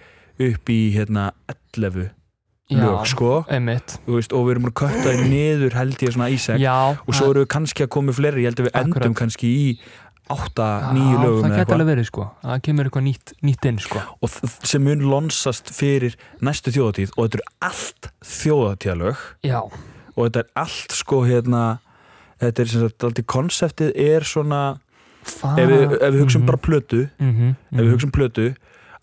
Speaker 1: upp í hérna 11
Speaker 2: já,
Speaker 1: lög, sko,
Speaker 2: einmitt
Speaker 1: þú veist, og við erum að kötta þær niður held ég svona í sex
Speaker 2: Já,
Speaker 1: og svo erum við kannski að koma með fleiri, ég held að við endum
Speaker 2: Akkurat.
Speaker 1: kannski í 8, 9 lögum eða
Speaker 2: Það geti
Speaker 1: eitthvað
Speaker 2: alveg verið, sko Það kemur eitthvað nýtt, nýtt inn, sko
Speaker 1: og þ- sem mun lonsast fyrir næstu þjóðatíð og þetta eru allt þjóðatíðalög
Speaker 2: Já,
Speaker 1: og þetta er allt sko hérna þetta er sem sagt alltaf konseptið er svona
Speaker 2: það
Speaker 1: ef við, ef við
Speaker 2: Mhm,
Speaker 1: hugsaum bara plötu
Speaker 2: mm
Speaker 1: ef við hugsaum plötu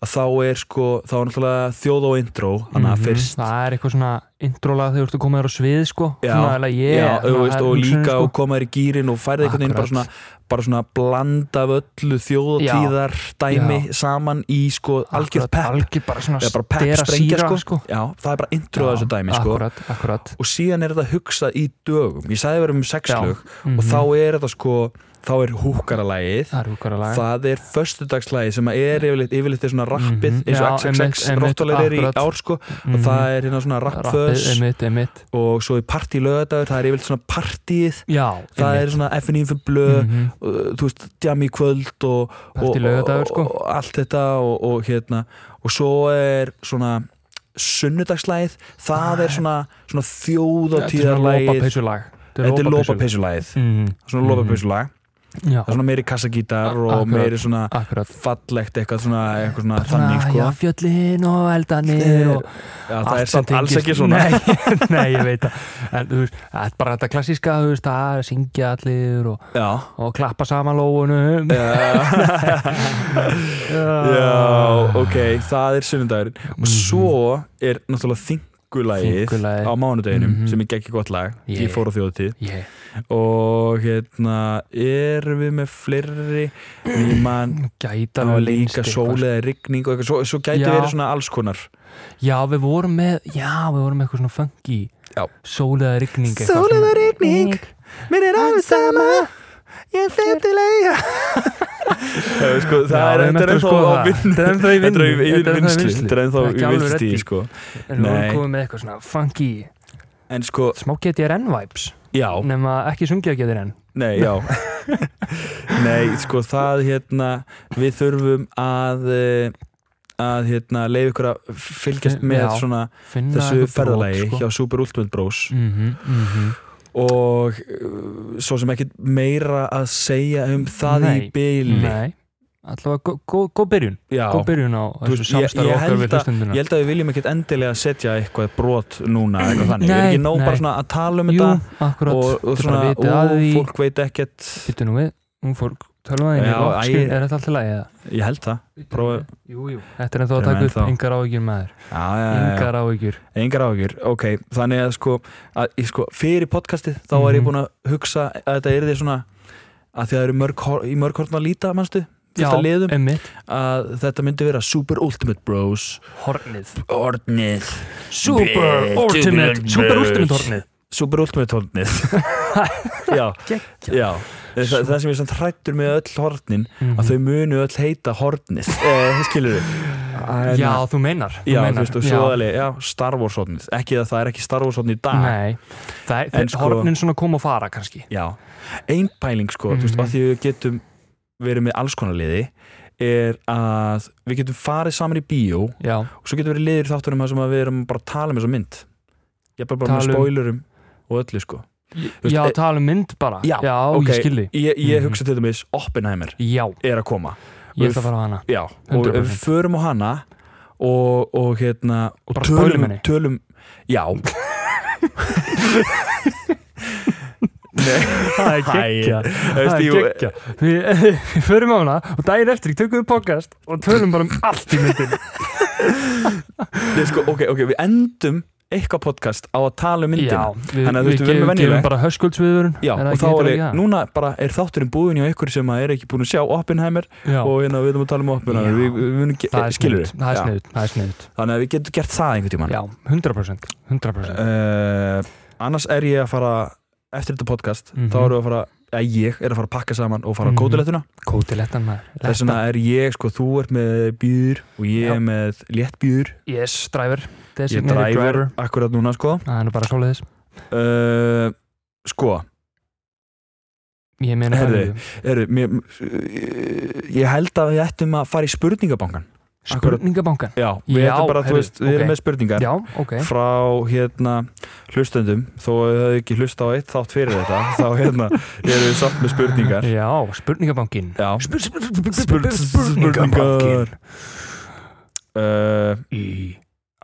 Speaker 1: að þá er sko þá er náttúrulega þjóð og intro þannig að fyrst
Speaker 2: Mhm. Það er eitthvað svona intrólag þegar þú ert að koma þér á svið, sko
Speaker 1: Já,
Speaker 2: svona, like, yeah,
Speaker 1: Já, þú
Speaker 2: svona,
Speaker 1: veist, og
Speaker 2: hugsunin,
Speaker 1: líka
Speaker 2: sko.
Speaker 1: og koma þér í gýrin og færði einhvern veginn bara svona,
Speaker 2: Akkurat.
Speaker 1: bara svona blanda af öllu þjóðatíðar dæmi saman í sko algjörð
Speaker 2: Akkurat,
Speaker 1: pepp
Speaker 2: algjör bara svona
Speaker 1: eða bara pepp
Speaker 2: stera
Speaker 1: sprengja
Speaker 2: síra,
Speaker 1: sko.
Speaker 2: sko.
Speaker 1: Já, það er bara intro að
Speaker 2: Já,
Speaker 1: þessu dæmi sko
Speaker 2: akkurat, akkurat.
Speaker 1: og síðan er þetta hugsað í dögum ég sagði verið um
Speaker 2: Já.
Speaker 1: sexlög
Speaker 2: Mm
Speaker 1: og þá er þetta sko þá er húkaralægið
Speaker 2: það er húkara lag
Speaker 1: það er föstudagslægið sem að er yfirleitt, yfirleitt er svona rappið
Speaker 2: Mhm.
Speaker 1: eins
Speaker 2: Já,
Speaker 1: og
Speaker 2: einmitt,
Speaker 1: XXX
Speaker 2: einmitt,
Speaker 1: róttulegur er í
Speaker 2: akkurat.
Speaker 1: ár sko
Speaker 2: Mhm.
Speaker 1: og það er hérna svona rappföss
Speaker 2: emitt, emitt
Speaker 1: og svo er partylögadagur, það er yfirleitt svona partíið
Speaker 2: já,
Speaker 1: það er
Speaker 2: einmitt.
Speaker 1: svona FNÍ fyrir blöð mm.
Speaker 2: Mhm.
Speaker 1: þú veist, djami kvöld og, og,
Speaker 2: Partylaugardagur, sko.
Speaker 1: og, og allt þetta og, og hérna og svo er svona sunnudagslægið það er svona, svona
Speaker 2: þetta er
Speaker 1: þjóðatíðarlægið
Speaker 2: lopapeysulag
Speaker 1: Þetta er lopapeysulæðið
Speaker 2: Mhm.
Speaker 1: Svona lopapeysulag
Speaker 2: já,
Speaker 1: Það er svona meiri kassagítar
Speaker 2: A-
Speaker 1: og
Speaker 2: akkurat.
Speaker 1: meiri svona
Speaker 2: akkurat
Speaker 1: fallegt eitthvað svona, eitthvað svona
Speaker 2: Svona,
Speaker 1: þannig sko
Speaker 2: já, fjöllin og eldanir og
Speaker 1: Já, það
Speaker 2: allt
Speaker 1: er samt
Speaker 2: sem
Speaker 1: alls
Speaker 2: tengist-
Speaker 1: ekki svona
Speaker 2: nei, nei, ég veit það en þú veist, það er bara þetta klassíska þú veist, það er að syngja allir og,
Speaker 1: Já
Speaker 2: og klappa saman lóunum
Speaker 1: Já, ok, það er sunnudagurinn
Speaker 2: Ah. Mhm.
Speaker 1: Og svo er náttúrulega þingulægið
Speaker 2: Þingulagið.
Speaker 1: á mánudeginum
Speaker 2: Mhm.
Speaker 1: sem er geggjur gott lag
Speaker 2: Yeah.
Speaker 1: Ég fór á þjóðutíð
Speaker 2: yeah.
Speaker 1: Og hérna, erum við með fleiri Nýmann
Speaker 2: gæta
Speaker 1: Það
Speaker 2: alveg
Speaker 1: var
Speaker 2: leynst
Speaker 1: líka
Speaker 2: eitthvað,
Speaker 1: sól eða rigning og eitthvað Svo, svo gæti
Speaker 2: Já.
Speaker 1: verið svona alls konar
Speaker 2: sko. já við vorum með já við vorum með eitthvað svona funky
Speaker 1: Já.
Speaker 2: sól eða rigning eitthvað
Speaker 1: Sól eða
Speaker 2: svona.
Speaker 1: rigning, Mér er alveg sama Ég fer til eiga sko,
Speaker 2: Já,
Speaker 1: Það
Speaker 2: við
Speaker 1: er
Speaker 2: erum
Speaker 1: ennþá
Speaker 2: eftir að skoða
Speaker 1: á
Speaker 2: það.
Speaker 1: vinn-
Speaker 2: Þetta er ennþá í
Speaker 1: Þetta er
Speaker 2: vinnu.
Speaker 1: í- í
Speaker 2: Þetta er ennþá í
Speaker 1: vinnslu
Speaker 2: vinnslu.
Speaker 1: Þetta er ennþá
Speaker 2: Það er
Speaker 1: í
Speaker 2: ekki alveg
Speaker 1: vinnslu
Speaker 2: ready.
Speaker 1: sko.
Speaker 2: en við
Speaker 1: Nei.
Speaker 2: vorum komið með eitthvað svona funky
Speaker 1: En sko,
Speaker 2: smá GTRN vibes
Speaker 1: já,
Speaker 2: nema ekki sungja GTRN
Speaker 1: nei, já Nei, sko, það hérna Við þurfum að eh, að hérna, leið ykkur að fylgjast með
Speaker 2: Já.
Speaker 1: svona,
Speaker 2: finna
Speaker 1: þessu
Speaker 2: eitthvað brot,
Speaker 1: ferðalagi
Speaker 2: sko.
Speaker 1: hjá Super Ultimate Bros
Speaker 2: Mhm, mhm.
Speaker 1: og uh, svo sem ekkit meira að segja um það í
Speaker 2: Nei,
Speaker 1: byli
Speaker 2: Nei, allavega gó- gó- góð byrjun
Speaker 1: Já,
Speaker 2: góð byrjun á
Speaker 1: Þú
Speaker 2: þessu
Speaker 1: veist, ég-
Speaker 2: samstarf
Speaker 1: ég
Speaker 2: okkar
Speaker 1: held
Speaker 2: við
Speaker 1: að-
Speaker 2: hlustunduna
Speaker 1: ég held að við viljum ekkit endilega setja eitthvað brot núna eitthvað þannig, ég er
Speaker 2: Nei,
Speaker 1: ekki nóg
Speaker 2: nei.
Speaker 1: bara svona að tala um
Speaker 2: Jú,
Speaker 1: þetta
Speaker 2: akkurat
Speaker 1: og, og
Speaker 2: Þið
Speaker 1: svona,
Speaker 2: bara vitið að
Speaker 1: og
Speaker 2: því
Speaker 1: fólk veit ekkert
Speaker 2: Býttu nú við, nú fór tölvaðin
Speaker 1: Já, æ,
Speaker 2: Er þetta alltaf lagið?
Speaker 1: ég held það, Prófa-
Speaker 2: Jú, jú, þetta er ennþá að
Speaker 1: Þetta er
Speaker 2: taka upp
Speaker 1: ennþá.
Speaker 2: yngar áhyggjur maður
Speaker 1: já, já, já,
Speaker 2: Yngar áhyggjur
Speaker 1: já. engar ágjur ok, þannig að sko, að, ég sko fyrir podcastið þá var ég
Speaker 2: Mhm.
Speaker 1: búin að hugsa að þetta er því svona að því að það eru mörg, hor- í mörg hortna að líta manstu, fullt að liðum
Speaker 2: emmitt
Speaker 1: að þetta myndi vera Super Ultimate Bros
Speaker 2: Hornið
Speaker 1: Hornið
Speaker 2: Super
Speaker 1: Bleh,
Speaker 2: Ultimate
Speaker 1: turbulent
Speaker 2: Super
Speaker 1: birds.
Speaker 2: Ultimate Hornið
Speaker 1: Super Ultimate Hornið Já, já. Þa, Það sem ég samt hrættur með öll hornin
Speaker 2: Mhm.
Speaker 1: að þau munu öll heita hornið eh, Skilur við
Speaker 2: Já, þú meinar þú
Speaker 1: Já, þú
Speaker 2: meinar.
Speaker 1: veist, og svo alveg, já, Star Wars hornið Ekki að það er ekki Star Wars hornið í dag
Speaker 2: Nei, það
Speaker 1: En
Speaker 2: er
Speaker 1: sko-
Speaker 2: hornin svona kom og fara kannski
Speaker 1: Já, ein pæling sko, þú veist,
Speaker 2: Mhm.
Speaker 1: að því við getum verið með alls konar liði er að við getum farið saman í bíó
Speaker 2: Já,
Speaker 1: og svo getur verið liður í þáttunum þar sem að við erum bara að tala um þessa mynd ég er bara, bara
Speaker 2: Tala
Speaker 1: með
Speaker 2: um-
Speaker 1: spoilerum og öllu sko veist,
Speaker 2: já
Speaker 1: eh,
Speaker 2: tala um mynd bara
Speaker 1: Já,
Speaker 2: ég
Speaker 1: ok.
Speaker 2: skilði
Speaker 1: ég, ég
Speaker 2: Mhm.
Speaker 1: hugsa til dæmis Oppenheimer
Speaker 2: Já,
Speaker 1: er að koma
Speaker 2: ég
Speaker 1: Og
Speaker 2: ætla að fara á hana
Speaker 1: já, og
Speaker 2: 100%.
Speaker 1: við förum á hana og, og hérna og
Speaker 2: Bara spoilum
Speaker 1: tölum,
Speaker 2: henni.
Speaker 1: tölum já Nei,
Speaker 2: Það er
Speaker 1: geggjað.
Speaker 2: Það er geggja Við við förum á hana og daginn eftir tökum við podcast og tölum bara um allt í myndinni
Speaker 1: Nei, sko, ok, ok, við endum eitthvað podcast á að tala um myndina
Speaker 2: Já, við,
Speaker 1: Þannig að þú
Speaker 2: við,
Speaker 1: veist, við verðum
Speaker 2: gefum,
Speaker 1: venjuleg.
Speaker 2: gefum bara höskuldsviðurinn
Speaker 1: Já, og þá er ég, núna bara er þátturinn búin hjá ykkur sem að er ekki búin að sjá Oppenheimer
Speaker 2: Já,
Speaker 1: og hérna við erum að tala um Oppenheimer
Speaker 2: Já.
Speaker 1: við, við, við, við,
Speaker 2: það er
Speaker 1: skilur
Speaker 2: sniðut Það er sniðut, það er sniðut
Speaker 1: þannig að við getum gert það einhvern tímann
Speaker 2: Já, 100% 100%
Speaker 1: uh, annars er ég að fara eftir þetta podcast,
Speaker 2: Mhm.
Speaker 1: þá erum við að fara eða ég er að fara að pakka saman og fara á
Speaker 2: Mhm.
Speaker 1: kótulettuna
Speaker 2: Kóti lettan maður
Speaker 1: þess vegna er ég, sko, þú ert með bjúr og ég
Speaker 2: Já.
Speaker 1: er með létt bjúr
Speaker 2: Yes, driver
Speaker 1: ég
Speaker 2: Designated
Speaker 1: dræfur akkurat núna, sko
Speaker 2: Það er nú bara svoleiðis
Speaker 1: uh, sko,
Speaker 2: Ég meina
Speaker 1: Heyrðu,
Speaker 2: það.
Speaker 1: eru mér, eh, ég held að við ættum að fara í spurningabankan akkurat-
Speaker 2: Spurningabankan
Speaker 1: já, við
Speaker 2: Já,
Speaker 1: ættum bara, þú
Speaker 2: heyrðu,
Speaker 1: veist, við erum
Speaker 2: ok.
Speaker 1: með spurningar
Speaker 2: Já, ok
Speaker 1: frá hérna hlustendum þó að þau hefðu ekki hlusta á eitt þátt fyrir þetta þá hérna erum við samt með spurningar
Speaker 2: Já, spurningabankin
Speaker 1: Já.
Speaker 2: Spur- spur- spur- spur-
Speaker 1: Spurn-
Speaker 2: Spurningabankin
Speaker 1: uh,
Speaker 2: í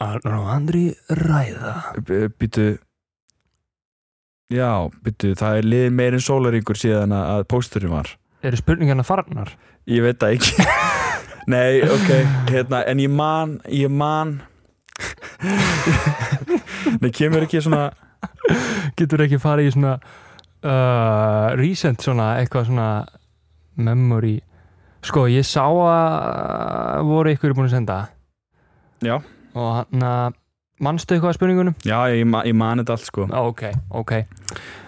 Speaker 2: Arnar og Andri ræða
Speaker 1: býtu já, býtu það er liðin meirinn sólaringur síðan að- að pósturinn var
Speaker 2: eru spurningarna farnar
Speaker 1: ég veit það ekki nei, ok, hérna en ég man, ég man nei, kemur ekki svona
Speaker 2: getur ekki farið í svona uh, recent svona eitthvað svona memory sko ég sá að voru ykkur búin að senda
Speaker 1: Já.
Speaker 2: og hann að mannstu eitthvað að spurningunum
Speaker 1: já, ég, ma- ég man þetta allt sko
Speaker 2: Ó, ok, ok,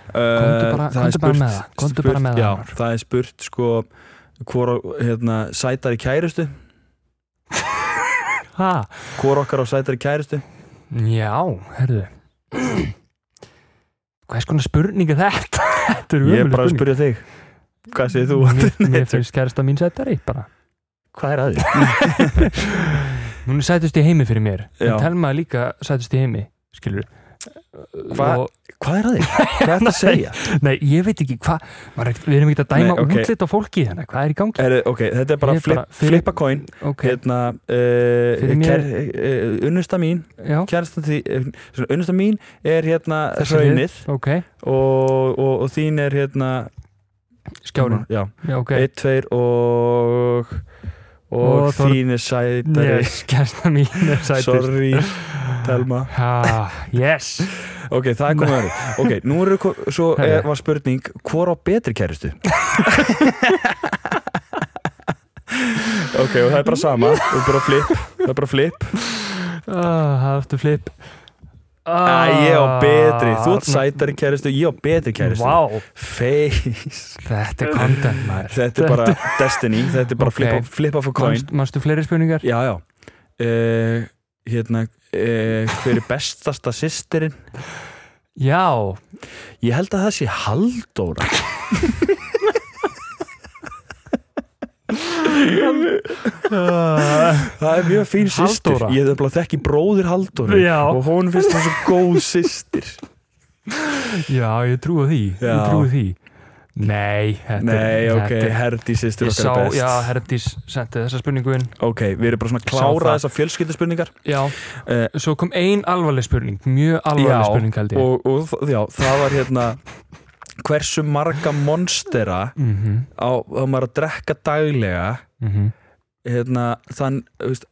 Speaker 1: Uh,
Speaker 2: bara-
Speaker 1: það er
Speaker 2: komdu bara
Speaker 1: spurt-
Speaker 2: með það, komdu
Speaker 1: spurt-
Speaker 2: bara með það,
Speaker 1: já,
Speaker 2: Arnar.
Speaker 1: það er spurt sko hvor á- hérna, sætar í kærustu
Speaker 2: ha
Speaker 1: hvor okkar á sætar í kærustu
Speaker 2: já, herðu hvers konar spurning er þetta þetta
Speaker 1: ég er
Speaker 2: er ömurleg
Speaker 1: bara að
Speaker 2: spurning.
Speaker 1: spyrja þig hvað segir þú?
Speaker 2: mér, mér finnst kærasta mín sættari bara
Speaker 1: hvað er að því?
Speaker 2: Hún er sætust í heimi fyrir mér
Speaker 1: Já.
Speaker 2: En Telma er líka sætust í heimi Skilur
Speaker 1: Hva- hvað er að því? hvað er það að segja?
Speaker 2: Nei, ég veit ekki hvað maður er- Við erum ekki að dæma
Speaker 1: Nei, ok.
Speaker 2: útlit á fólki hérna Hvað er í gangi?
Speaker 1: Er, ok, þetta er bara
Speaker 2: Ég er
Speaker 1: flip,
Speaker 2: bara- fyrir-
Speaker 1: flip a coin
Speaker 2: Ok,
Speaker 1: hérna,
Speaker 2: Fyrir
Speaker 1: uh,
Speaker 2: mér-
Speaker 1: kær, uh, unnusta mín
Speaker 2: já,
Speaker 1: kærastan því, eh, svona, unnusta mín er hérna
Speaker 2: Þessi
Speaker 1: hraunið
Speaker 2: ok
Speaker 1: og, og, og þín er hérna
Speaker 2: Skjárin,
Speaker 1: já,
Speaker 2: já, ok
Speaker 1: okay. 1, 2 og og,
Speaker 2: Og Þor-
Speaker 1: þín er sætari
Speaker 2: Yes, kærasta mín er sætust
Speaker 1: sorry, Telma
Speaker 2: Ha, yes
Speaker 1: ok, það er komið aðri ok, nú eru, ko- svo
Speaker 2: Herri.
Speaker 1: er, var spurning hvor á betri kæristu? ok, og það er bara sama og bara flip, það er bara flip
Speaker 2: Ah, Það aftur flip
Speaker 1: Æ,
Speaker 2: ah,
Speaker 1: ég á betri, þú ert sætari kæristu ég á betri kæristu
Speaker 2: Vá,
Speaker 1: face,
Speaker 2: þetta er content maður
Speaker 1: þetta er bara destiny þetta er bara
Speaker 2: Ok.
Speaker 1: flip, of- flip of a coin
Speaker 2: Manst- Manstu fleiri spurningar?
Speaker 1: já, já uh,
Speaker 2: Eh,
Speaker 1: hérna uh, hver er bestasta sýstirinn?
Speaker 2: Já,
Speaker 1: Ég held að það sé Halldóra það er mjög fín systir
Speaker 2: Halldóra.
Speaker 1: ég hef bara þekki bróðir Halldóru
Speaker 2: Já.
Speaker 1: og hún finnst það svo góð systir
Speaker 2: já, ég trúi því
Speaker 1: Já.
Speaker 2: ég trúi því nei, þetta
Speaker 1: nei
Speaker 2: er,
Speaker 1: ok,
Speaker 2: þetta er
Speaker 1: Herdi systir
Speaker 2: Ég sá,
Speaker 1: okkar er best
Speaker 2: já, Herdís sendi þessa spurningu inn
Speaker 1: ok, við erum bara svona að
Speaker 2: Sá
Speaker 1: klára
Speaker 2: það.
Speaker 1: þessar fjölskylduspurningar
Speaker 2: Já,
Speaker 1: Eh.
Speaker 2: svo kom ein alvarleg spurning Mjög alvarleg
Speaker 1: Já,
Speaker 2: spurning held ég
Speaker 1: Eh, og, og þ- já, það var hérna hversu marga monstera
Speaker 2: Mhm,
Speaker 1: á, á maður að drekka daglega
Speaker 2: mhm.
Speaker 1: hérna, þann, þú veist,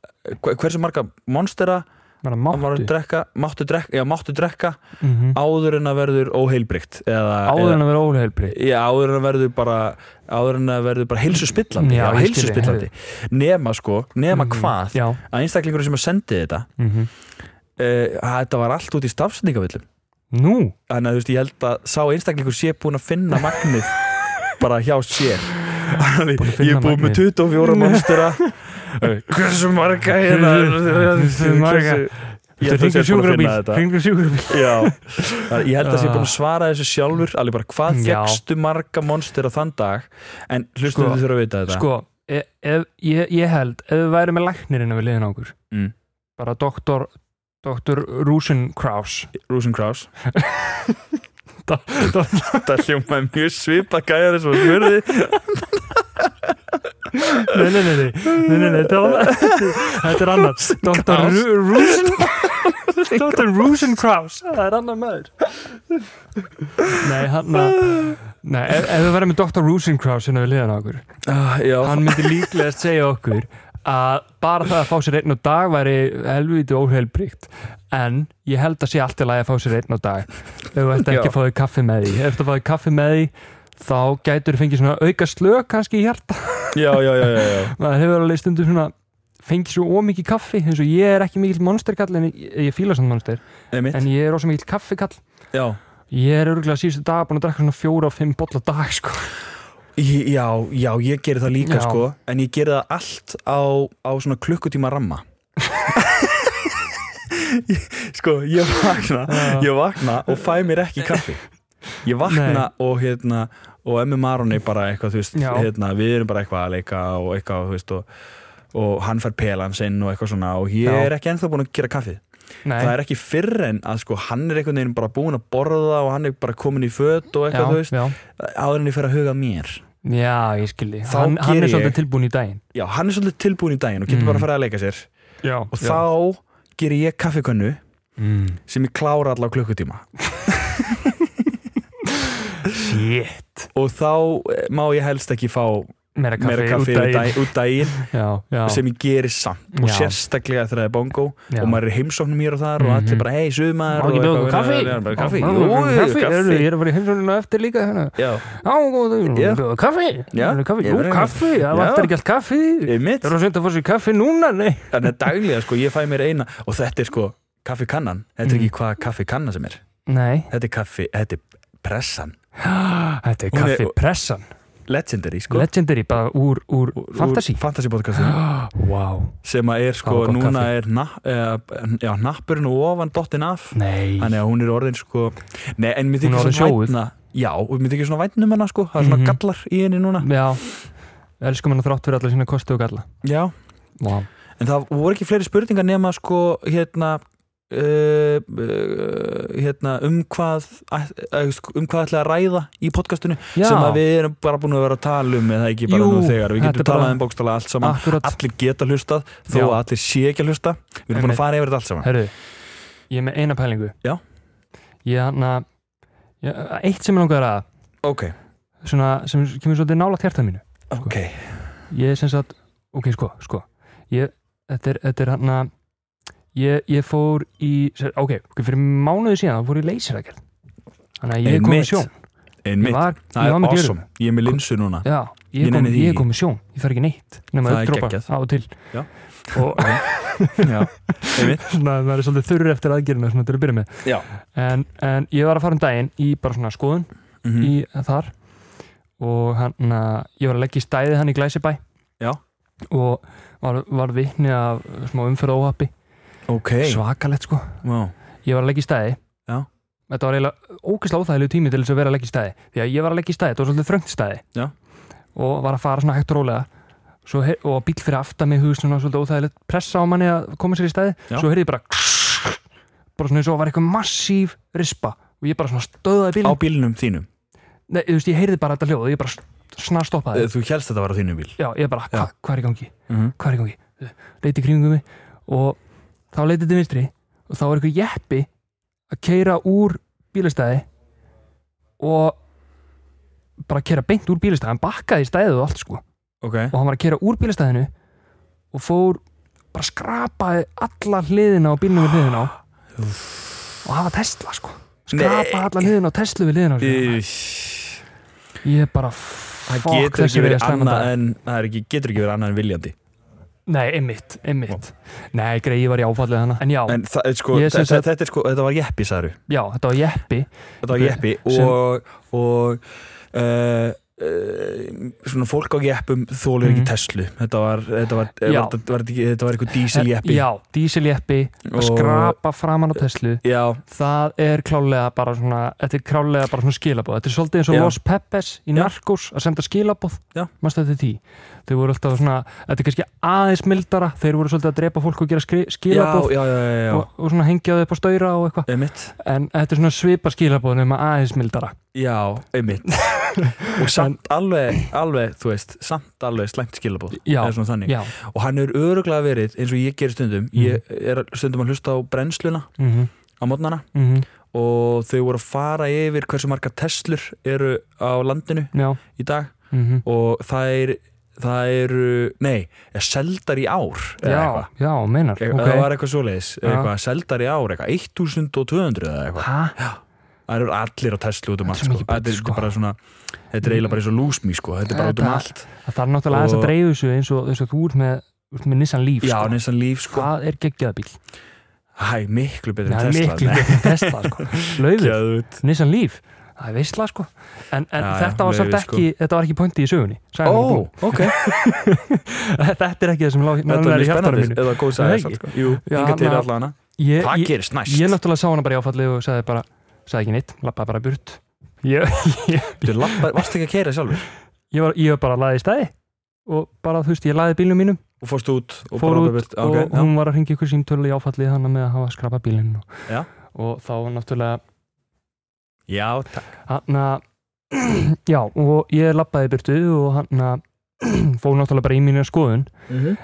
Speaker 1: hver- hversu marga monstera
Speaker 2: Var
Speaker 1: á
Speaker 2: það
Speaker 1: maður að
Speaker 2: máttu
Speaker 1: drekka, máttu drekka, já, máttu drekka
Speaker 2: Mhm.
Speaker 1: áður en að verður óheilbrygt eða,
Speaker 2: Áður en að vera óheilbri
Speaker 1: eða já, áður en að verður bara áður en að verður bara heilsuspillandi
Speaker 2: Já,
Speaker 1: já,
Speaker 2: ég skil þig,
Speaker 1: heilsuspillandi, nema sko nema
Speaker 2: Mhm.
Speaker 1: hvað,
Speaker 2: Já,
Speaker 1: að einstaklingur sem að sendi þetta
Speaker 2: mhm.
Speaker 1: uh, þetta var allt út í stafsendingavillum
Speaker 2: nú
Speaker 1: þannig að þú veist, ég held að sá einstaklingur sé búin að finna magnið bara hjá sér Þannig,
Speaker 2: Búinn að finna
Speaker 1: ég er búin með 24 monstera hversu marga hérna
Speaker 2: Hversu marga?
Speaker 1: ég held að sé
Speaker 2: Hringdu
Speaker 1: búin að
Speaker 2: sjúkrabíl,
Speaker 1: finna þetta
Speaker 2: hringdu sjúkrabíl
Speaker 1: Já, Þannig að ég held að sé búin að svara þessu sjálfur alveg bara hvað
Speaker 2: Ah. Já.
Speaker 1: fegstu marga monster á þann dag en hlustum
Speaker 2: Sko,
Speaker 1: þið þurfa að vita þetta
Speaker 2: Sko, e- ef, ég, ég held Ef við væri með læknirinn við liðin á okkur
Speaker 1: Mm.
Speaker 2: Bara doktor Doktor Rosenkraus
Speaker 1: Rosenkraus
Speaker 2: Da- da-
Speaker 1: Það hljómaði mjög svipa gæjar eins og smurði
Speaker 2: Nei, nei, nei, nei, nei, nei, nei þetta var- Þetta er annar Dr. Ru- Rusen Dr. Rusenkraus Það er annar maður Nei, hann að Nei, ef, ef við verðum með Dr. Rusenkraus hérna við liðan á okkur
Speaker 1: Já,
Speaker 2: Hann myndi líklegast segja okkur að bara það að fá sér einn og dag væri helviti óheilbríkt en ég held að sé allt í lagi að fá sér einn og dag ef þú ert ekki
Speaker 1: Já.
Speaker 2: að fá þig kaffi með því ef þú ert að fá þig kaffi með því þá gætur þú fengið svona auka slög kannski í hjarta
Speaker 1: já, já, já, já, já.
Speaker 2: maður hefur alveg stundum svona fengið svo ómikið kaffi eins og ég er ekki mikill monsterkall en ég, ég fíla samt monster
Speaker 1: Einmitt,
Speaker 2: en ég er ósum mikill kaffikall
Speaker 1: já
Speaker 2: ég er örgulega síðustu dag búin að drekka svona fjóra og fimm bolla á dag sko
Speaker 1: Í- Já, já, ég geri það líka
Speaker 2: Já.
Speaker 1: sko en ég geri það allt á, á svona klukkutíma ramma Ég- Sko, ég vakna
Speaker 2: Já.
Speaker 1: ég vakna og fæ mér ekki kaffi Ég vakna og hérna og emmi Maroni bara eitthvað þú veist,
Speaker 2: Já.
Speaker 1: hérna, við erum bara eitthvað að leika og eitthvað, þú veist, og, og hann fær pelan sinn og eitthvað svona og ég
Speaker 2: Já.
Speaker 1: er ekki ennþá búin að gera kaffið
Speaker 2: Nei,
Speaker 1: það er ekki fyrr en að sko hann er einhvern veginn bara búin að borða og hann er bara komin í föt og eitthvað, þú veist,
Speaker 2: já,
Speaker 1: áður en ég fer að huga að mér
Speaker 2: já, já, ég skildi
Speaker 1: Þá
Speaker 2: hann, hann
Speaker 1: geri
Speaker 2: er
Speaker 1: ég-
Speaker 2: svolítið tilbúin í daginn
Speaker 1: já, hann er svolítið tilbúin í daginn og getur
Speaker 2: Mm.
Speaker 1: bara að fara að leika sér
Speaker 2: já,
Speaker 1: og þá ger ég kaffikönnu
Speaker 2: mm.
Speaker 1: sem ég klára allar á klukkutíma
Speaker 2: shit,
Speaker 1: og þá eh, má ég helst ekki fá
Speaker 2: meira kaffi,
Speaker 1: meira kaffi út
Speaker 2: út daginn
Speaker 1: daginn, út daginn
Speaker 2: já, já,
Speaker 1: sem ég gerir samt og
Speaker 2: Já.
Speaker 1: sérstaklega þegar það er bongo
Speaker 2: já.
Speaker 1: og maður er í heimsóknum hér og þar og
Speaker 2: Mhm.
Speaker 1: allir bara hei sumar
Speaker 2: Má
Speaker 1: og
Speaker 2: ekki bjóða
Speaker 1: eitthvað,
Speaker 2: okkur kaffi?
Speaker 1: já, bara, kaffi, jú,
Speaker 2: Já, kaffi, heyrðu,
Speaker 1: kaffi
Speaker 2: Ég er að fara í heimsóknuna eftir líka hérna.
Speaker 1: já,
Speaker 2: Já, góðu,
Speaker 1: Já.
Speaker 2: bjóðu kaffi
Speaker 1: Já,
Speaker 2: Bjóðu kaffi,
Speaker 1: ég
Speaker 2: Jú,
Speaker 1: verð-
Speaker 2: kaffi, það
Speaker 1: Já.
Speaker 2: vantar ekki allt kaffi
Speaker 1: ég mitt
Speaker 2: Það er að senda að fá sér kaffi núna, nei
Speaker 1: þannig að daglega sko ég fæ mér eina og þetta er sko kaffikannan þetta er
Speaker 2: Mm.
Speaker 1: ekki hvað kaffikanna sem er
Speaker 2: Nei
Speaker 1: þetta er kaffi, þetta er pressan
Speaker 2: Þetta er
Speaker 1: Hún er-
Speaker 2: kaffipressan
Speaker 1: legendary sko
Speaker 2: Legendary bara úr, úr fantasy
Speaker 1: fantasy podcastin
Speaker 2: Wow
Speaker 1: sem að er sko
Speaker 2: Það var gott
Speaker 1: núna
Speaker 2: kaffi.
Speaker 1: er na, uh, já, nappurinn og ofan dottin af
Speaker 2: Nei
Speaker 1: þannig að hún er orðin sko nei, en mér
Speaker 2: Hún er
Speaker 1: þykir
Speaker 2: orðin
Speaker 1: svona
Speaker 2: sjóuð.
Speaker 1: vætna já, og mér þykir svona vætnum hennar sko það er svona
Speaker 2: Mhm.
Speaker 1: gallar í henni núna
Speaker 2: Já Elskum hennar þrátt fyrir alla sína kosti og galla
Speaker 1: já,
Speaker 2: Wow
Speaker 1: en það voru ekki fleiri spurningar nema sko hérna Uh, uh, hérna um hvað uh, um hvað ætla að ræða í podcastinu
Speaker 2: Já
Speaker 1: sem að við erum bara búin að vera að tala um eða ekki bara
Speaker 2: Jú,
Speaker 1: nú þegar, við
Speaker 2: þetta
Speaker 1: getum
Speaker 2: er bara-
Speaker 1: talað um bókstala allt saman,
Speaker 2: Akkurat
Speaker 1: allir geta hlustað þó
Speaker 2: Já.
Speaker 1: að allir sé ekki að hlusta við erum búin
Speaker 2: Einmitt.
Speaker 1: að fara yfir þetta allt saman
Speaker 2: Herðu Ég er með eina pælingu
Speaker 1: Hérna. Já.
Speaker 2: Ég hann að ég- Eitt sem er langar að
Speaker 1: ok,
Speaker 2: Svona sem kemur svolítið nála tjartað mínu
Speaker 1: ok,
Speaker 2: Ég er sem sagt Ok, sko, sko Ég Þetta er, þetta er hann að Ég, ég fór í, ok, fyrir mánuði síðan þá fór ég leysiragerð Þannig að ég kom í
Speaker 1: Einmitt.
Speaker 2: sjón Ég
Speaker 1: einmitt,
Speaker 2: var, ég
Speaker 1: það
Speaker 2: var
Speaker 1: er
Speaker 2: með gleru
Speaker 1: awesome ég er með linsu núna
Speaker 2: Já, ég,
Speaker 1: Ég
Speaker 2: kom,
Speaker 1: nenni því
Speaker 2: ég
Speaker 1: ekki.
Speaker 2: kom með sjón Ég fær ekki neitt nema
Speaker 1: Það er
Speaker 2: augnadropa
Speaker 1: geggjað.
Speaker 2: Á og til
Speaker 1: Já.
Speaker 2: Og
Speaker 1: já, einmitt,
Speaker 2: svona, maður er svolítið þurr eftir aðgerðina Svona til að byrja með
Speaker 1: Já.
Speaker 2: en, en ég var að fara um daginn í bara svona skoðun
Speaker 1: mm
Speaker 2: í þar Og hann, að- ég var að leggja í stæði hann í Glæsibæ
Speaker 1: Já.
Speaker 2: Og var, var vitni af smá umfyrða óhappi
Speaker 1: ok
Speaker 2: Svakalegt sko
Speaker 1: wow.
Speaker 2: Ég var að leggja í stæði
Speaker 1: Já.
Speaker 2: Þetta var eiginlega ógeðslega óþægilegu tími til þess að vera að leggja í stæði Því að ég var að leggja í stæði, þetta var svolítið þröngt stæði
Speaker 1: Já.
Speaker 2: Og var að fara svona hægt og rólega svo, hey- og bíl fyrir aftan mig hugst svona svolítið óþægilegt pressa á manni að koma sér í stæði
Speaker 1: Já.
Speaker 2: svo heyrði ég bara bara svona eins og var eitthvað massíf rispa og ég bara svona stöðaði
Speaker 1: á
Speaker 2: bílinn
Speaker 1: bílinum þínum
Speaker 2: Nei, þú veist, ég heyrði bara þetta hljóð og ég bara snar stoppaði
Speaker 1: þú helst þetta var á þínum bíl
Speaker 2: já, ég bara, hva, hvað er í gangi
Speaker 1: Mhm.
Speaker 2: hvað er í gangi, leiti kringum mig og þá leiti til vinstri og þá er eitthvað jeppi að keira úr bílastæði og bara keira beint úr bílastæði hann bakkaði í stæðið og allt sko
Speaker 1: ok,
Speaker 2: og hann var að keira úr bílastæðinu og fór bara skrapaði alla hliðina á bílnum við hliðina á og það var Tesla sko skrapaði alla hliðina á Tesla við hliðina á sér.
Speaker 1: Í-
Speaker 2: ég bara
Speaker 1: það
Speaker 2: fuck,
Speaker 1: getur
Speaker 2: þessi
Speaker 1: ekki
Speaker 2: er
Speaker 1: verið
Speaker 2: slæman
Speaker 1: annað
Speaker 2: dagur.
Speaker 1: en það er ekki, getur ekki verið annað en viljandi
Speaker 2: nei, einmitt, einmitt nei, grei, ég var í áfallið hana en já,
Speaker 1: en það, er sko,
Speaker 2: Ég sem
Speaker 1: þetta,
Speaker 2: sagt-
Speaker 1: þetta, er sko, þetta var jeppi sagður
Speaker 2: já, þetta var jeppi
Speaker 1: þetta var jeppi
Speaker 2: Sem-
Speaker 1: og, og uh, uh, svona fólk á jeppum þólur ekki
Speaker 2: Mhm.
Speaker 1: Tesla þetta var, þetta var,
Speaker 2: Já.
Speaker 1: var, var, var, ekki- þetta var eitthvað diesel jeppi
Speaker 2: já, dísiljeppi að
Speaker 1: Og-
Speaker 2: skrapa framan á Tesla
Speaker 1: já,
Speaker 2: það er klálega bara svona þetta er klálega bara svona skilabóð þetta er svolítið eins og
Speaker 1: Já.
Speaker 2: Los Pepes í
Speaker 1: Já.
Speaker 2: Narcos að senda skilabóð
Speaker 1: Já.
Speaker 2: mannstu þetta tí þau voru alltaf svona þetta er kannski aðeins mildara þeir voru svolítið að drepa fólk og gera skri-
Speaker 1: já,
Speaker 2: skilabóð
Speaker 1: já, já, já, já.
Speaker 2: og, og svona hengja þau upp á stöyra og eitthvað
Speaker 1: Einmitt.
Speaker 2: en þetta er svona svipa skilabóð nema aðeins mildara
Speaker 1: Já, einmitt Og samt alveg, alveg, þú veist Samt alveg slæmt skilabóð
Speaker 2: Já,
Speaker 1: eða svona þannig.
Speaker 2: já
Speaker 1: Og hann hefur öruglega verið eins og ég gerir stundum Ég er stundum að hlusta á brennsluna
Speaker 2: mm -hmm,
Speaker 1: á mótnana
Speaker 2: mhm,
Speaker 1: og þau voru að fara yfir hversu margar Teslur eru á landinu
Speaker 2: já
Speaker 1: í dag
Speaker 2: mm
Speaker 1: og það er það eru, nei, er seldar í ár eða
Speaker 2: já,
Speaker 1: eitthvað
Speaker 2: já, meinar
Speaker 1: Eitthvað-
Speaker 2: ok.
Speaker 1: Það var eitthvað svoleiðis,
Speaker 2: Já.
Speaker 1: eitthvað, seldar í ár, eitthvað, 1200 eða eitthvað
Speaker 2: ha?
Speaker 1: Það eru allir á Tesla út um
Speaker 2: Þetta er
Speaker 1: allt
Speaker 2: svo
Speaker 1: sko.
Speaker 2: mikið bull,
Speaker 1: Þetta er
Speaker 2: sko.
Speaker 1: bara svona Þetta er eiginlega bara eins og lúsmi sko. Þetta er bara út um
Speaker 2: Þetta-
Speaker 1: allt
Speaker 2: það er náttúrulega aðeins að
Speaker 1: Og-
Speaker 2: dreifu þessu eins og, eins og þú ert með, þú ert með Nissan Leaf
Speaker 1: Já,
Speaker 2: sko.
Speaker 1: nesan líf sko
Speaker 2: það er geggjaða bíl
Speaker 1: Hæ, miklu betur
Speaker 2: Það
Speaker 1: en
Speaker 2: er
Speaker 1: Tesla
Speaker 2: miklu
Speaker 1: Nei,
Speaker 2: betur en Tesla sko. Laufið,
Speaker 1: geðveikt.
Speaker 2: Nissan Leaf Það er veistla sko En, en
Speaker 1: Já, já,
Speaker 2: þetta var
Speaker 1: laufið,
Speaker 2: samt
Speaker 1: sko.
Speaker 2: ekki, þetta var ekki pointi í sögunni sagði hann
Speaker 1: Ó,
Speaker 2: í
Speaker 1: ok
Speaker 2: búinn. Þetta er ekki það sem lá
Speaker 1: Þetta
Speaker 2: nálega
Speaker 1: er
Speaker 2: í hjartanum
Speaker 1: spennandi
Speaker 2: mínu
Speaker 1: Eða góð
Speaker 2: Nei,
Speaker 1: sagði samt, sko. Jú,
Speaker 2: Já,
Speaker 1: inga til
Speaker 2: na-
Speaker 1: alla hana
Speaker 2: Ég,
Speaker 1: Hvað
Speaker 2: ég,
Speaker 1: gerist næst?
Speaker 2: ég náttúrulega sá hana bara í áfalli og sagði bara sagði ekki neitt, lappaði bara burt Ég, ég,
Speaker 1: Þú lappar, varst ekki að keira sjálfur
Speaker 2: ég, var, ég var bara að laði í stæði og bara þú veist, ég laði bílnum mínum
Speaker 1: Og fórst út og
Speaker 2: fór
Speaker 1: bara-
Speaker 2: út
Speaker 1: Já, ok,
Speaker 2: og hún var að ringa ykkur símtölu í áfalli þannig með að hafa skrapa bílinn og,
Speaker 1: Já.
Speaker 2: og þá var náttúrulega
Speaker 1: Já, já takk
Speaker 2: hann já og ég lappaði í burtu og hann að fór náttúrulega bara í mínu skoðun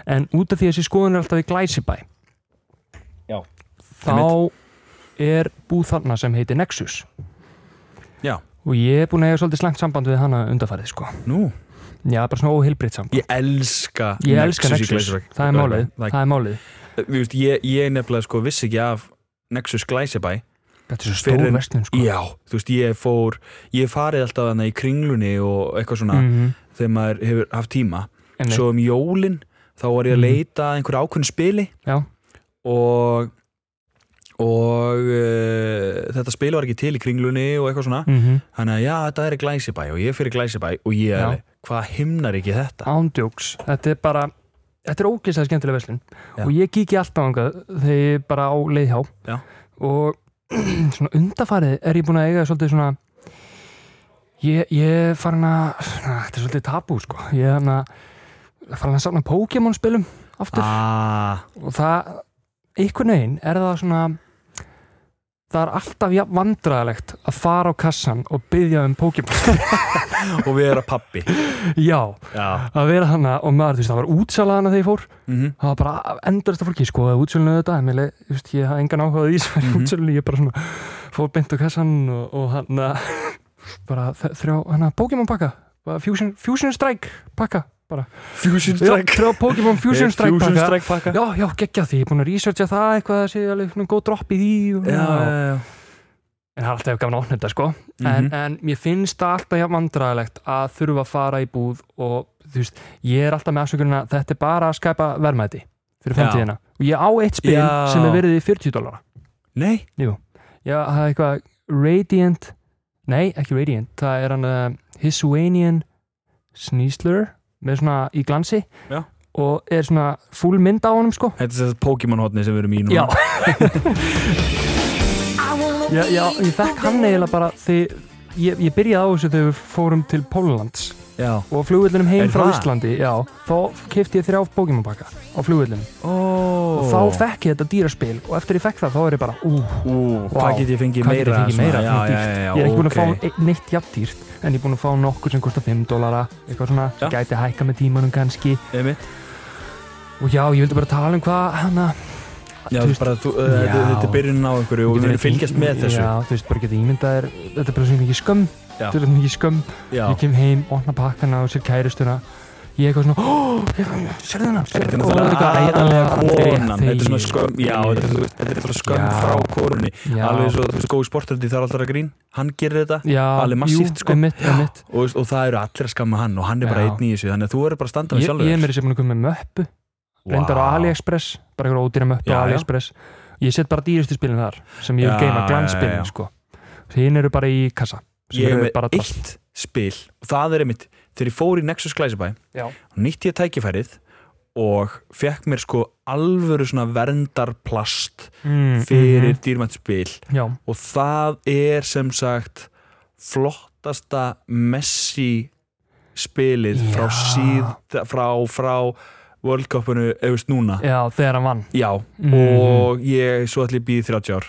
Speaker 2: en út af því að þessi skoðun er alltaf í glæsibæ
Speaker 1: Já.
Speaker 2: þá er búð þarna sem heitir Nexus
Speaker 1: Já.
Speaker 2: og ég er búin að eiga svolítið slengt samband við hana undarfærið sko
Speaker 1: Nú,
Speaker 2: já bara svona óheilbritt samband
Speaker 1: ég elska
Speaker 2: ég elska
Speaker 1: í
Speaker 2: Nexus,
Speaker 1: Glæsibæ.
Speaker 2: það er málið það er málið,
Speaker 1: Þú veist, ég, ég nefnilega sko vissi ekki af Nexus Glæsibæ
Speaker 2: þetta er svo
Speaker 1: Fyrir
Speaker 2: stór
Speaker 1: en-
Speaker 2: verslun sko
Speaker 1: Já, þú veist, ég fór ég hef farið alltaf hana í kringlunni og eitthvað svona
Speaker 2: Mhm,
Speaker 1: þegar maður hefur haft tíma
Speaker 2: einmitt.
Speaker 1: svo um jólin þá var ég að
Speaker 2: Mhm.
Speaker 1: leita að einhverju ákveðin spili
Speaker 2: Já.
Speaker 1: og og uh, þetta spil var ekki til í kringlunni og eitthvað svona
Speaker 2: Mhm,
Speaker 1: þannig að já, þetta er í glæsibæ og ég fyrir glæsibæ og ég
Speaker 2: Já.
Speaker 1: er, alveg, hvað himnar ekki þetta
Speaker 2: ándjóks, þetta er bara þetta er ógeðslega skemmtileg verslun
Speaker 1: Já.
Speaker 2: og ég kíki alltaf angað þegar ég er bara á leið hjá
Speaker 1: Já.
Speaker 2: og svona undarfarið er ég búin að eiga svolítið svona ég, ég er farin að svona, þetta er svolítið tabú sko ég er hann að farin að safna Pokémon spilum aftur
Speaker 1: ah,
Speaker 2: og það, einhvern veginn er það svona það er alltaf jafn vandræðalegt að fara á kassan og byggja um Pokémon
Speaker 1: og við erum að pappi
Speaker 2: já,
Speaker 1: já,
Speaker 2: að vera hana og maður, þú veist, það var útsalaðana þegar ég fór
Speaker 1: mm
Speaker 2: það var bara endurist af fólki, sko, að útsölinu þetta en ég, veist, ég hafði engan áhuga á því sem var í
Speaker 1: Mhm.
Speaker 2: útsölinu, ég bara svona fór beint á kassan og, og hann að bara þ- þrjá, hann að Pokémon pakka bara Fusion, Fusion Strike pakka bara,
Speaker 1: Fusion
Speaker 2: já,
Speaker 1: Strike
Speaker 2: þrjá Pokémon Fusion Strike
Speaker 1: Fusion
Speaker 2: pakka
Speaker 1: Strike pakka
Speaker 2: já, já, geggja því, ég er búin að researcha það eitthvað að sé alveg svona góð dropp í því og,
Speaker 1: já,
Speaker 2: en það er alltaf gafna opnir þetta, sko
Speaker 1: Mhm.
Speaker 2: en, en mér finnst það alltaf jafn vandræðilegt að þurfa að fara í búð og þú veist, ég er alltaf með afsökunina þetta er bara að skæpa verðmæti fyrir
Speaker 1: Já.
Speaker 2: framtíðina og ég á eitt spil
Speaker 1: Já.
Speaker 2: sem er verið í 40 dólara
Speaker 1: nei,
Speaker 2: já, það er eitthvað Radiant nei, ekki Radiant, það er hann uh, Hisuanian Sneasler með svona í glansi
Speaker 1: Já.
Speaker 2: og er svona full mynd á honum sko
Speaker 1: þetta er þetta Pokémon hotni sem við erum í núna
Speaker 2: já, já, já, ég fekk hann eiginlega bara því ég, ég byrjaði á þessu þegar við fórum til Pólunds
Speaker 1: já,
Speaker 2: og flugvöllunum heim
Speaker 1: Er
Speaker 2: frá
Speaker 1: það?
Speaker 2: Íslandi já, þá kefti ég þrjá Pokémon pakka á flugvöllunum
Speaker 1: ó
Speaker 2: og þá fekk ég þetta dýraspil og eftir ég fekk það þá er ég bara ú,
Speaker 1: Ú,
Speaker 2: Vá,
Speaker 1: hvað get ég fengið
Speaker 2: hvað get
Speaker 1: meira?
Speaker 2: ég fengið meira
Speaker 1: svona? já,
Speaker 2: svona
Speaker 1: já, já,
Speaker 2: dýrt?
Speaker 1: já,
Speaker 2: ég er ekki búin
Speaker 1: ok.
Speaker 2: að fá eitt- neitt jafn dýrt en ég er búin að fá nokkur sem kostar 5 dólara eitthvað svona,
Speaker 1: Já.
Speaker 2: gæti hækka með tímanum kannski
Speaker 1: Einmitt.
Speaker 2: og já, ég vildi bara tala um hvað hana
Speaker 1: Já,
Speaker 2: Þú veist-
Speaker 1: bara þú, uh,
Speaker 2: Já.
Speaker 1: þetta er byrjunin á einhverju og við verðum fylgjast með þessu
Speaker 2: já, þú veist, bara getið ímyndaðir þetta er bara svo mikið skömm
Speaker 1: Já.
Speaker 2: þetta er svo mikið skömm
Speaker 1: Já,
Speaker 2: ég kem heim, opna pakkana og sér kæristuna ég eitthvað svona oh, sérðu hennar
Speaker 1: þetta er náttúrulega aðalega konan Þetta er svona skömm, já, þetta er- þú veist, þetta er bara skömm
Speaker 2: Já.
Speaker 1: frá konunni
Speaker 2: já,
Speaker 1: Alveg svo, þú veist, góð sportandi þarf alltaf að grín Hann gerir þetta
Speaker 2: já,
Speaker 1: alveg massíft, sko.
Speaker 2: jú, einmitt, einmitt.
Speaker 1: og, og það eru allir að skamma hann og hann er bara
Speaker 2: Já.
Speaker 1: einn í þessu þannig að þú verður bara að standa með
Speaker 2: Ég,
Speaker 1: sjálfur
Speaker 2: ég er mér sem búin að koma með möppu reyndar á AliExpress, bara einhver ódýra möppu
Speaker 1: Já, já.
Speaker 2: á AliExpress ég set bara dýrustu spilin þar sem ég
Speaker 1: Já,
Speaker 2: vil
Speaker 1: já,
Speaker 2: geima
Speaker 1: já, já.
Speaker 2: glanspilin sko. hinn eru bara í kassa sem
Speaker 1: ég er
Speaker 2: eru
Speaker 1: með
Speaker 2: bara drast.
Speaker 1: eitt spil og það er einmitt þegar ég fór í Nexus Glæsibæ
Speaker 2: Já.
Speaker 1: nýtti ég tækifærið og fekk mér sko alvöru svona verndarplast
Speaker 2: Mm,
Speaker 1: fyrir
Speaker 2: mhm,
Speaker 1: dýrmætt spil
Speaker 2: já,
Speaker 1: og það er sem sagt flottasta Messi spilið
Speaker 2: Já.
Speaker 1: frá síð frá, frá World Cupinu efust núna
Speaker 2: já, þegar hann vann
Speaker 1: já
Speaker 2: Mhm.
Speaker 1: og ég svo allir býði 30 ár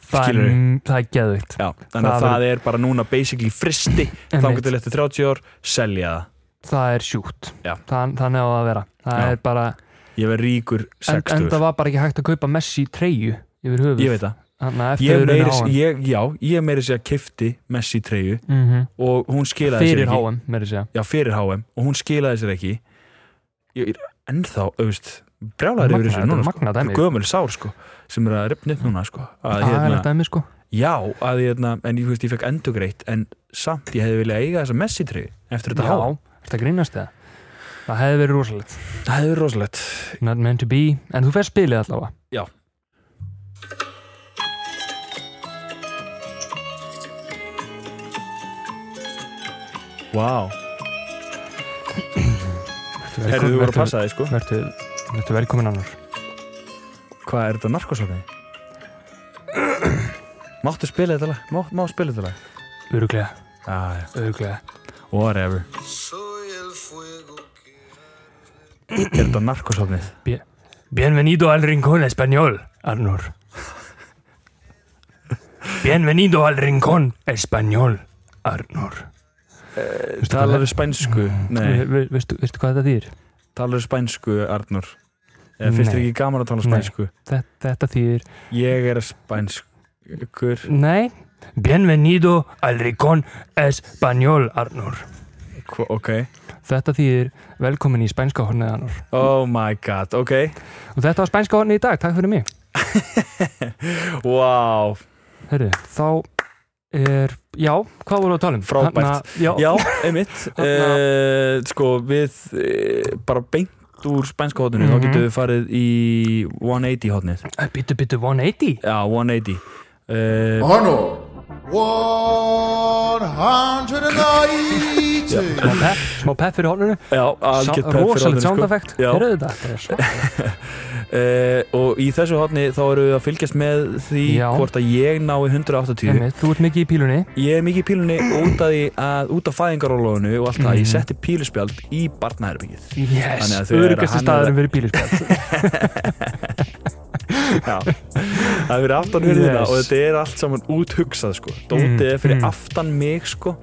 Speaker 2: það er,
Speaker 1: skilurðu?
Speaker 2: það er geðvikt
Speaker 1: Já, þannig
Speaker 2: Það
Speaker 1: að það er bara núna basically fristi þá getur þetta 30 ár, selja
Speaker 2: það er sjúkt
Speaker 1: Já.
Speaker 2: Þann, þannig á það að vera það
Speaker 1: Já.
Speaker 2: er bara,
Speaker 1: það ég verð ríkur
Speaker 2: en,
Speaker 1: 60
Speaker 2: en það var bara ekki hægt að kaupa Messi treyju yfir höfuð
Speaker 1: ég veit það
Speaker 2: þannig að
Speaker 1: ég
Speaker 2: eftir
Speaker 1: meiri,
Speaker 2: meiri, ég,
Speaker 1: ég, já, ég meiri sér að kifti Messi treyju
Speaker 2: mm
Speaker 1: og hún skilaði sér
Speaker 2: fyrir
Speaker 1: ekki
Speaker 2: háum meiri segja
Speaker 1: já, fyrir HM og hún skilaði sér ekki ég er ennþá, auðvist brjálæður yfir þessu núna sko.
Speaker 2: magna dæmi
Speaker 1: gömul sár sko sem er að ripna upp núna sko að,
Speaker 2: aðeins
Speaker 1: hérna,
Speaker 2: dæmi sko
Speaker 1: já, að hérna en ég, þú veist, ég fekk endugreitt en samt ég hefði viljað eiga þessa Messi treyju eftir þetta HM
Speaker 2: já, þetta grínast eða það hefði verið rosalegt
Speaker 1: það hefur rosalegt
Speaker 2: not meant to be en þú fer spilið allavega
Speaker 1: Já. Vá, herrðu þú voru að passa þig sko
Speaker 2: verðu verðu velkomin annar
Speaker 1: Hvað er þetta narkosafni? Máttu spila þetta lag? Má, má spila þetta lag?
Speaker 2: öruglega
Speaker 1: Ah, já,
Speaker 2: öruglega
Speaker 1: whatever
Speaker 3: Soy el fuego que...
Speaker 1: Er þetta narkosafnið?
Speaker 2: bienvenido al rincón español Arnur bienvenido al rincón español Arnur Veistu hvað
Speaker 1: Talarðu spænsku? Mm. Nei,
Speaker 2: Ve- ve- veistu, veistu hvað þetta þýr
Speaker 1: talarðu spænsku, Arnur Eða finnst þér
Speaker 2: Nei.
Speaker 1: ekki gaman að tala
Speaker 2: Nei.
Speaker 1: spænsku?
Speaker 2: þetta, þetta þýr
Speaker 1: Ég er spænskur
Speaker 2: Nei. Bienvenido al Rincón Español, Arnur.
Speaker 1: Hva- Ok
Speaker 2: Þetta þýðir velkomin í spænska hornið, Arnur.
Speaker 1: Oh my god, ok
Speaker 2: Og þetta var spænska hornið í dag, takk fyrir mig.
Speaker 1: Wow
Speaker 2: Herru, þá er, já, hvað voru að tala um?
Speaker 1: Frábært.
Speaker 2: Þarna- já,
Speaker 1: Já, einmitt uh, Sko, við uh, bara beint úr spænska hotninu
Speaker 2: Mhm.
Speaker 1: þá getum við farið í 180 hotnið
Speaker 2: já. Bittu, bittu, 180.
Speaker 1: Já, 180 uh,
Speaker 3: Honor! 190!
Speaker 2: Smá pepp, smá pepp fyrir horninu.
Speaker 1: Já, algjört pepp fyrir hotninu,
Speaker 2: Rósalegt
Speaker 1: sko.
Speaker 2: soundeffekt.
Speaker 1: Já.
Speaker 2: Herru þetta, þetta er svona.
Speaker 1: Eh, og í þessu hotni þá eru við að fylgjast með því
Speaker 2: Já.
Speaker 1: hvort að ég nái 180
Speaker 2: Einmitt, Þú ert mikið í pílunni.
Speaker 1: ég er mikið í pílunni út af, því að, út af fæðingarólóðinu og allt það
Speaker 2: Mhm.
Speaker 1: ég setti píluspjald í barnaherbyggið
Speaker 2: Yes,
Speaker 1: Þannig að þau eru að
Speaker 2: örugasti
Speaker 1: hanna
Speaker 2: staðurinn fyrir
Speaker 1: sko.
Speaker 2: píluspjall.
Speaker 1: Já. það er fyrir aftan hurðina
Speaker 2: Yes.
Speaker 1: og þetta er allt saman út hugsað sko. Dótið er fyrir
Speaker 2: mm.
Speaker 1: aftan mig sko.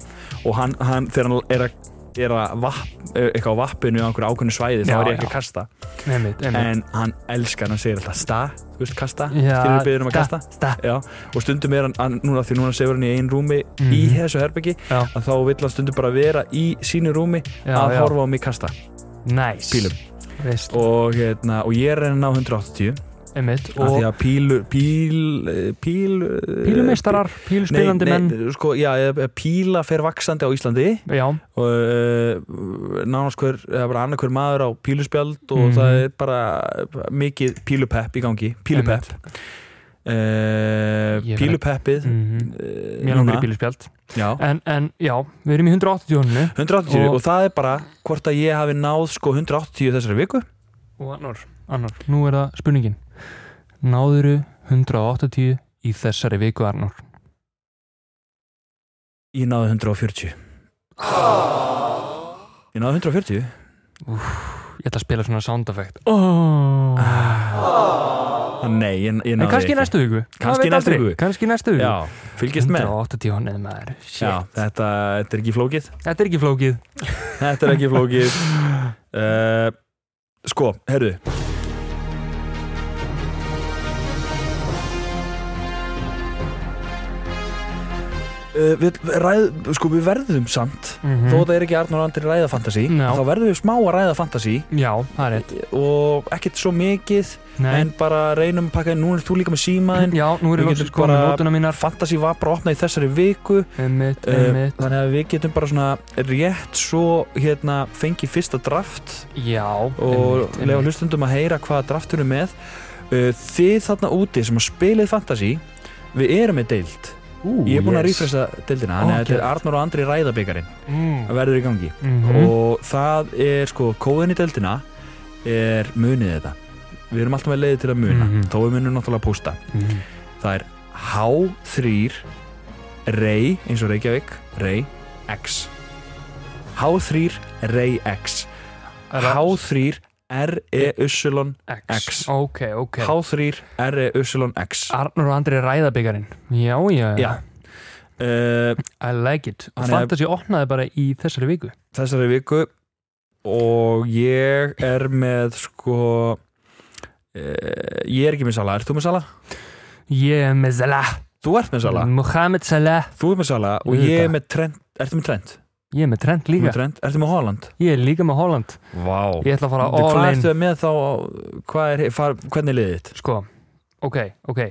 Speaker 1: og hann, hann þegar hann er að er að vapp, er eitthvað á vappinu á einhverju ákveðnu svæði þá
Speaker 2: Já,
Speaker 1: er ég ekki
Speaker 2: já.
Speaker 1: að kasta
Speaker 2: Einmitt, einmitt.
Speaker 1: en hann elskar, hann segir alltaf sta, þú veist kasta,
Speaker 2: Já,
Speaker 1: skilur við byrðum að
Speaker 2: sta,
Speaker 1: kasta
Speaker 2: sta.
Speaker 1: Já, og stundum er hann, hann núna því núna sefur hann í einn rúmi í
Speaker 2: Mhm.
Speaker 1: þessu herbyggi
Speaker 2: Já.
Speaker 1: að þá vill hann stundum bara vera í sínu rúmi
Speaker 2: Já,
Speaker 1: að
Speaker 2: já.
Speaker 1: horfa á mig kasta
Speaker 2: Nice.
Speaker 1: pílum
Speaker 2: Veist,
Speaker 1: og, hérna, og ég er enn á 180
Speaker 2: einmitt.
Speaker 1: og af því
Speaker 2: Og
Speaker 1: að pílu píl, eh, píl, eh,
Speaker 2: pílumeistarar, píluspilandi
Speaker 1: nei,
Speaker 2: menn.
Speaker 1: nei, sko, já, eða píla fer vaksandi á Íslandi
Speaker 2: Já,
Speaker 1: og uh, nánast hver eða bara annað hver maður á píluspjald og
Speaker 2: Mhm.
Speaker 1: það er bara mikið pílupepp í gangi, pílupepp uh,
Speaker 2: Ég verð-
Speaker 1: pílupeppið
Speaker 2: mm
Speaker 1: uh,
Speaker 2: Mér langar í bíluspjald
Speaker 1: já,
Speaker 2: en, en já, við erum í 180 húnni
Speaker 1: 180
Speaker 2: Og-
Speaker 1: og, það er bara hvort að ég hafi náð sko 180 þessari viku
Speaker 2: Og annar, annar, nú er það spurningin Náðuru 180 í þessari viku Arnór
Speaker 1: ég náði 140 Ég náði 140
Speaker 2: Ég ætla að spila svona sound effect oh.
Speaker 1: Ah, Nei, ég, ég náði
Speaker 2: En kannski í
Speaker 1: ekki.
Speaker 2: næstu viku
Speaker 1: Kannski í næstu viku.
Speaker 2: Kannski í næstu viku
Speaker 1: Já, fylgjast með
Speaker 2: 180 honnið maður Shit.
Speaker 1: Já, þetta, þetta er ekki flókið
Speaker 2: Þetta er ekki flókið
Speaker 1: Þetta er ekki flókið uh, Sko, herðu Uh, við, ræð, sko, við verðum samt
Speaker 2: Mhm.
Speaker 1: þó það er ekki Arnur Andri ræða fantasy
Speaker 2: Já.
Speaker 1: þá verðum við smá að ræða fantasy
Speaker 2: Já, það er rétt
Speaker 1: og ekkert svo mikið
Speaker 2: Nei.
Speaker 1: en bara reynum að pakka nú er þú líka með símaðin
Speaker 2: Já, nú er
Speaker 1: Við
Speaker 2: ég lóksins
Speaker 1: getum
Speaker 2: komin með
Speaker 1: bara-
Speaker 2: nótuna mínar
Speaker 1: fantasy var bara opnað í þessari viku
Speaker 2: Einmitt,
Speaker 1: Eh,
Speaker 2: einmitt
Speaker 1: þannig að við getum bara svona rétt svo hérna fengið fyrsta draft
Speaker 2: Já,
Speaker 1: og
Speaker 2: einmitt,
Speaker 1: lefa
Speaker 2: einmitt.
Speaker 1: hlustundum að heyra hvað draftur er með Uh, þið þarna úti sem að spilið fantasy við erum með deild
Speaker 2: Ú,
Speaker 1: ég er búinn að
Speaker 2: yes.
Speaker 1: rifresta deildina þannig að
Speaker 2: Ó,
Speaker 1: þetta er
Speaker 2: geðveikt.
Speaker 1: Arnur og Andri ræðabikarin
Speaker 2: mm.
Speaker 1: það verður í gangi
Speaker 2: Mhm.
Speaker 1: og það er sko kóðin í deildina er munið þetta við erum alltaf með leiði til að muna
Speaker 2: Mhm.
Speaker 1: þó við munum náttúrulega að posta
Speaker 2: Mm.
Speaker 1: það er H3 Rey, eins og Reykjavík Rey X H3 Rey X H3 E R-E-Y X.
Speaker 2: X Ok, ok
Speaker 1: H3 R-E-Y-X
Speaker 2: Arnur og Andri ræðabikarin Já, já,
Speaker 1: Já. uh,
Speaker 2: I like it Og
Speaker 1: Þannig að-
Speaker 2: Fantasí opnaði bara í þessari viku
Speaker 1: Þessari viku og ég er með sko uh, ég er ekki með Sala, ert þú með Sala?
Speaker 2: Ég er með Salah
Speaker 1: Þú ert með Sala,
Speaker 2: Mohamed Salah
Speaker 1: þú ert með Sala og
Speaker 2: Auðvitað.
Speaker 1: Mm-hmm. ég er með Trent Ertu með Trent?
Speaker 2: Ég er með Trent
Speaker 1: Þú ert
Speaker 2: líka
Speaker 1: með Trent? Ertu með Holland?
Speaker 2: Ég er líka með Holland
Speaker 1: Vá
Speaker 2: Ég ætla að fara
Speaker 1: Bíddu,
Speaker 2: all
Speaker 1: Hvað
Speaker 2: in
Speaker 1: ertu með þá, hvað er, far, hvernig er liðið þitt?
Speaker 2: Sko, ok, ok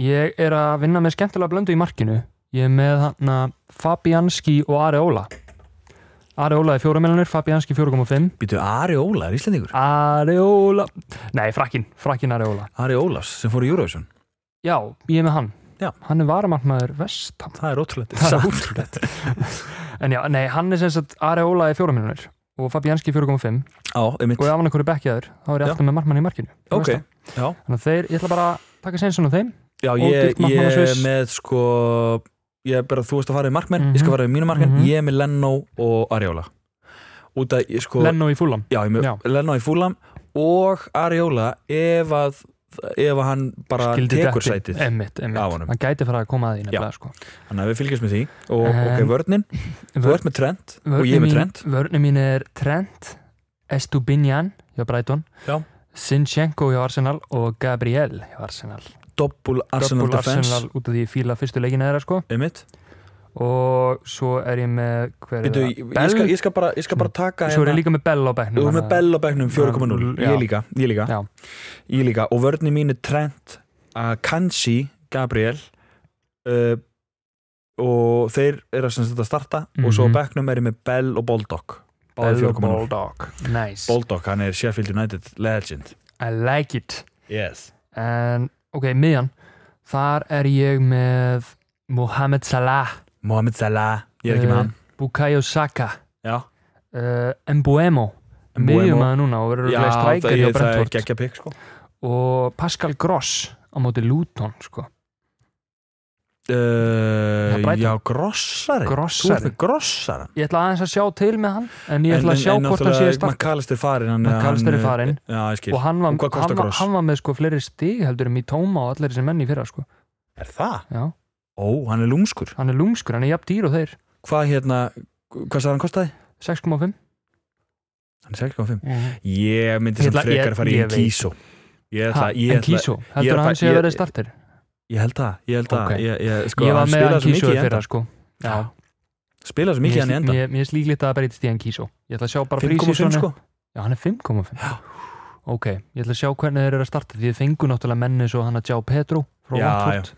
Speaker 2: Ég er að vinna með skemmtilega blöndu í markinu Ég er með hann að Fabianski og Areola Areola er fjóramelanur, Fabianski 4,5
Speaker 1: Býtu, Ari Óla er íslendingur
Speaker 2: Areola Nei, frakkin, frakkin Areola
Speaker 1: Ari Ólas sem fór í Eurovision
Speaker 2: Já, ég er með hann
Speaker 1: Já.
Speaker 2: Hann er varamarkmaður vestam
Speaker 1: Það er ótrúlegt
Speaker 2: Það er
Speaker 1: ótrúlegt
Speaker 2: En já, nei, hann er sem sagt Areola er fjóramelanur og Fabianski 4,5
Speaker 1: Já, einmitt
Speaker 2: og ef hann er hverju bekkjaður, þá er ég
Speaker 1: Já.
Speaker 2: alltaf með markmann í markinu
Speaker 1: Ok,
Speaker 2: Vestam.
Speaker 1: já
Speaker 2: Þannig að þeir, ég ætla bara að taka sensun á þeim
Speaker 1: Já,
Speaker 2: Ódýrt
Speaker 1: ég, ég
Speaker 2: markmann á
Speaker 1: er
Speaker 2: Sviss.
Speaker 1: með sko ég er bara, þú veist að fara í markmenn, ég skal
Speaker 2: Mhm.
Speaker 1: fara í mínu markmenn
Speaker 2: Mhm.
Speaker 1: ég er með Lennó og Ariola út að, ég sko
Speaker 2: Leno í fúlam
Speaker 1: já, ég er með
Speaker 2: Já.
Speaker 1: Lennó í Fúlam og Ariola ef að ef að hann bara tekur sætið
Speaker 2: Emmitt,
Speaker 1: Á honum.
Speaker 2: emmitt Hann gæti fara að koma að því nefnilega sko
Speaker 1: þannig að við fylgjast með því og
Speaker 2: En-
Speaker 1: ok, vörnin, þú ert með Trent og ég er með Trent
Speaker 2: Vörnum mín er Trent Estubinjan hjá Brighton
Speaker 1: Já.
Speaker 2: Sinchenko hjá Arsenal og Gabriel hjá Arsenal
Speaker 1: Doppul Arsenal
Speaker 2: Double
Speaker 1: Defense
Speaker 2: Arsenal út af því ég fíla fyrstu leikina þeirra sko
Speaker 1: einmitt
Speaker 2: og svo er ég með hver
Speaker 1: Bíddu,
Speaker 2: er
Speaker 1: ég,
Speaker 2: það?
Speaker 1: ég, skal, ég, skal bara, ég skal bara taka
Speaker 2: Svo er
Speaker 1: hérna-
Speaker 2: ég líka með Bell á
Speaker 1: Þú
Speaker 2: bekknum
Speaker 1: erum með
Speaker 2: þannig að-
Speaker 1: Bell á bekknum 4.0
Speaker 2: Já.
Speaker 1: Ég líka, ég líka,
Speaker 2: Já.
Speaker 1: ég líka Og vörni mín er Trent uh, Kansi, Gabriel uh, Og þeir eru að, sem sagt að starta Og svo á
Speaker 2: Mhm.
Speaker 1: bekknum er ég með Bell og Baldock Báði
Speaker 2: Bell
Speaker 1: 4.0
Speaker 2: og Bulldog Nice
Speaker 1: Baldock, hann er Sheffield United legend
Speaker 2: I like it
Speaker 1: Yes
Speaker 2: en ok, miðjan þar er ég með Mohamed Salah
Speaker 1: Mohamed Salah, ég er ekki
Speaker 2: Eh,
Speaker 1: með hann
Speaker 2: Bukayo Saka
Speaker 1: Já,
Speaker 2: uh, Mbuemo miðjum að núna og verður
Speaker 1: Já,
Speaker 2: örugglega
Speaker 1: það
Speaker 2: strækari hjá
Speaker 1: er, það er
Speaker 2: Brentford
Speaker 1: geggja pikk sko
Speaker 2: og Pascal Gross á móti Luton sko. Já,
Speaker 1: uh,
Speaker 2: Brighton.
Speaker 1: Já, grossari Þú ert
Speaker 2: Grossari
Speaker 1: með grossari
Speaker 2: ég ætla aðeins að sjá til með hann en ég ætla að sjá hvort hann sé start
Speaker 1: McAllister farin hann-
Speaker 2: McAllister er
Speaker 1: hann,
Speaker 2: farinn.
Speaker 1: eh, Já, ég skil
Speaker 2: og hann var,
Speaker 1: Og hvað kostar
Speaker 2: hann, var,
Speaker 1: Gross?
Speaker 2: hann var með sko fleiri stig heldur en í tóma og allir þessi menn í fyrra sko.
Speaker 1: Er það?
Speaker 2: Já,
Speaker 1: Ó, hann er lúmskur
Speaker 2: hann er lúmskur, hann er jafn dýr og þeir
Speaker 1: Hvað hérna, hvað sagði hann kostaði?
Speaker 2: 6,5
Speaker 1: Hann er 6,5 Ég myndi
Speaker 2: Ég
Speaker 1: sem
Speaker 2: ætla-
Speaker 1: frekar
Speaker 2: ég-
Speaker 1: að fara í
Speaker 2: ég
Speaker 1: en
Speaker 2: veit.
Speaker 1: kísó Ég
Speaker 2: Ha,
Speaker 1: ætla, ég
Speaker 2: en
Speaker 1: ætla
Speaker 2: Kísó,
Speaker 1: ég er
Speaker 2: heldur að
Speaker 1: bara-
Speaker 2: hann sé að
Speaker 1: ég-
Speaker 2: vera startir
Speaker 1: Ég held það, ég held það
Speaker 2: Ok.
Speaker 1: Ég, ég, sko,
Speaker 2: ég var
Speaker 1: hann
Speaker 2: með
Speaker 1: spilaði
Speaker 2: hann
Speaker 1: svo
Speaker 2: Kísó
Speaker 1: mikið í
Speaker 2: í fyrra
Speaker 1: endan
Speaker 2: sko Já,
Speaker 1: Já. Spilaði svo mikið hann í
Speaker 2: Mér-
Speaker 1: endan
Speaker 2: mér- Mér er slíklítið að breytist í hann Kísó Ég ætla að sjá bara
Speaker 1: 5,5
Speaker 2: prísísonu
Speaker 1: sko
Speaker 2: Já, hann er 5,5 Ok, ég ætla að sjá hvernig þeir eru að starta Því þeir fengu náttúrulega menni svo hann að Gjá Petru frá
Speaker 1: Já,
Speaker 2: Watford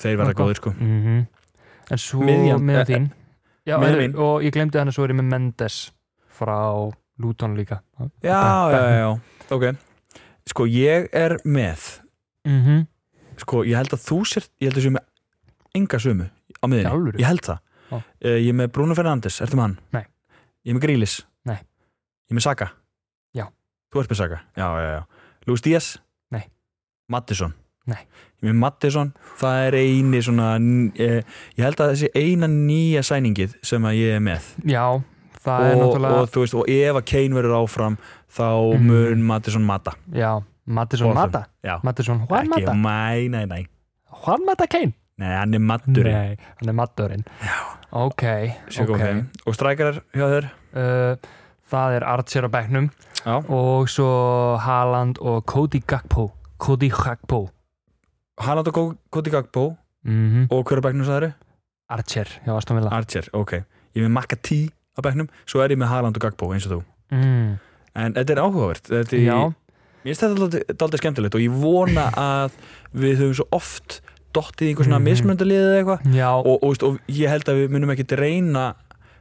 Speaker 1: Þeir verða
Speaker 2: Nákvæm.
Speaker 1: góðir sko
Speaker 2: mm En svo
Speaker 1: Miðjan,
Speaker 2: með
Speaker 1: eh,
Speaker 2: þín Já,
Speaker 1: miðjan
Speaker 2: heyrðu,
Speaker 1: mín.
Speaker 2: og ég glemdi hann að svo er ég með Mendes frá Luton líka
Speaker 1: Já, já, já, já, ok Sko, ég er með
Speaker 2: mm -hmm.
Speaker 1: Sko, ég held að þú sér Ég held að þú sér með enga sömu á
Speaker 2: Í alvöru?
Speaker 1: miðinni Ég held það
Speaker 2: Já.
Speaker 1: Eh, Ég er með Bruno Fernandes, ertu með hann?
Speaker 2: Nei.
Speaker 1: Ég er með Grílis
Speaker 2: Nei.
Speaker 1: Ég er með Saka
Speaker 2: Já.
Speaker 1: Þú ert með Saka, já, já, já Lúis Díaz
Speaker 2: Nei.
Speaker 1: Mattisson
Speaker 2: Nei.
Speaker 1: Ég er með Mattisson, það er eini svona eh, Ég held að þessi eina nýja sæningið sem að ég er með
Speaker 2: Já, það er
Speaker 1: og,
Speaker 2: náttúrulega
Speaker 1: og, þú veist, og ef að Kane verður áfram þá
Speaker 2: Mhm.
Speaker 1: mun Mattisson mata
Speaker 2: já, Mattisson
Speaker 1: Awesome.
Speaker 2: Mata
Speaker 1: Já.
Speaker 2: Mattisson Juan
Speaker 1: ekki, um-
Speaker 2: Mata
Speaker 1: mæ, nei, nei
Speaker 2: Juan Mata Kane
Speaker 1: Nei, hann er matturinn
Speaker 2: nei, hann er Matturinn ok,
Speaker 1: Sjö
Speaker 2: ok
Speaker 1: góðum. Og strækarar hjá þér
Speaker 2: uh, það er Archer á bekknum
Speaker 1: Já.
Speaker 2: og svo Haaland og Cody Gakpo Cody Gakpo
Speaker 1: Haaland og Kó- Koti Gagbo
Speaker 2: mm
Speaker 1: Og hverju bekknum það eru?
Speaker 2: Archer, já, Aston Villa
Speaker 1: Mhm. Archer, ok Ég er með Maka T á bekknum Svo er ég með Haaland og Gagbo eins og þú
Speaker 2: mm,
Speaker 1: En þetta er áhugavert þetta er,
Speaker 2: já,
Speaker 1: Mér finnst þetta dálítið- dálítið skemmtilegt Og ég vona að við höfum svo oft Dottið í einhver svona
Speaker 2: Mhm.
Speaker 1: mm eða eitthvað
Speaker 2: já,
Speaker 1: og, og, veist, og ég held að við munum ekkit reyna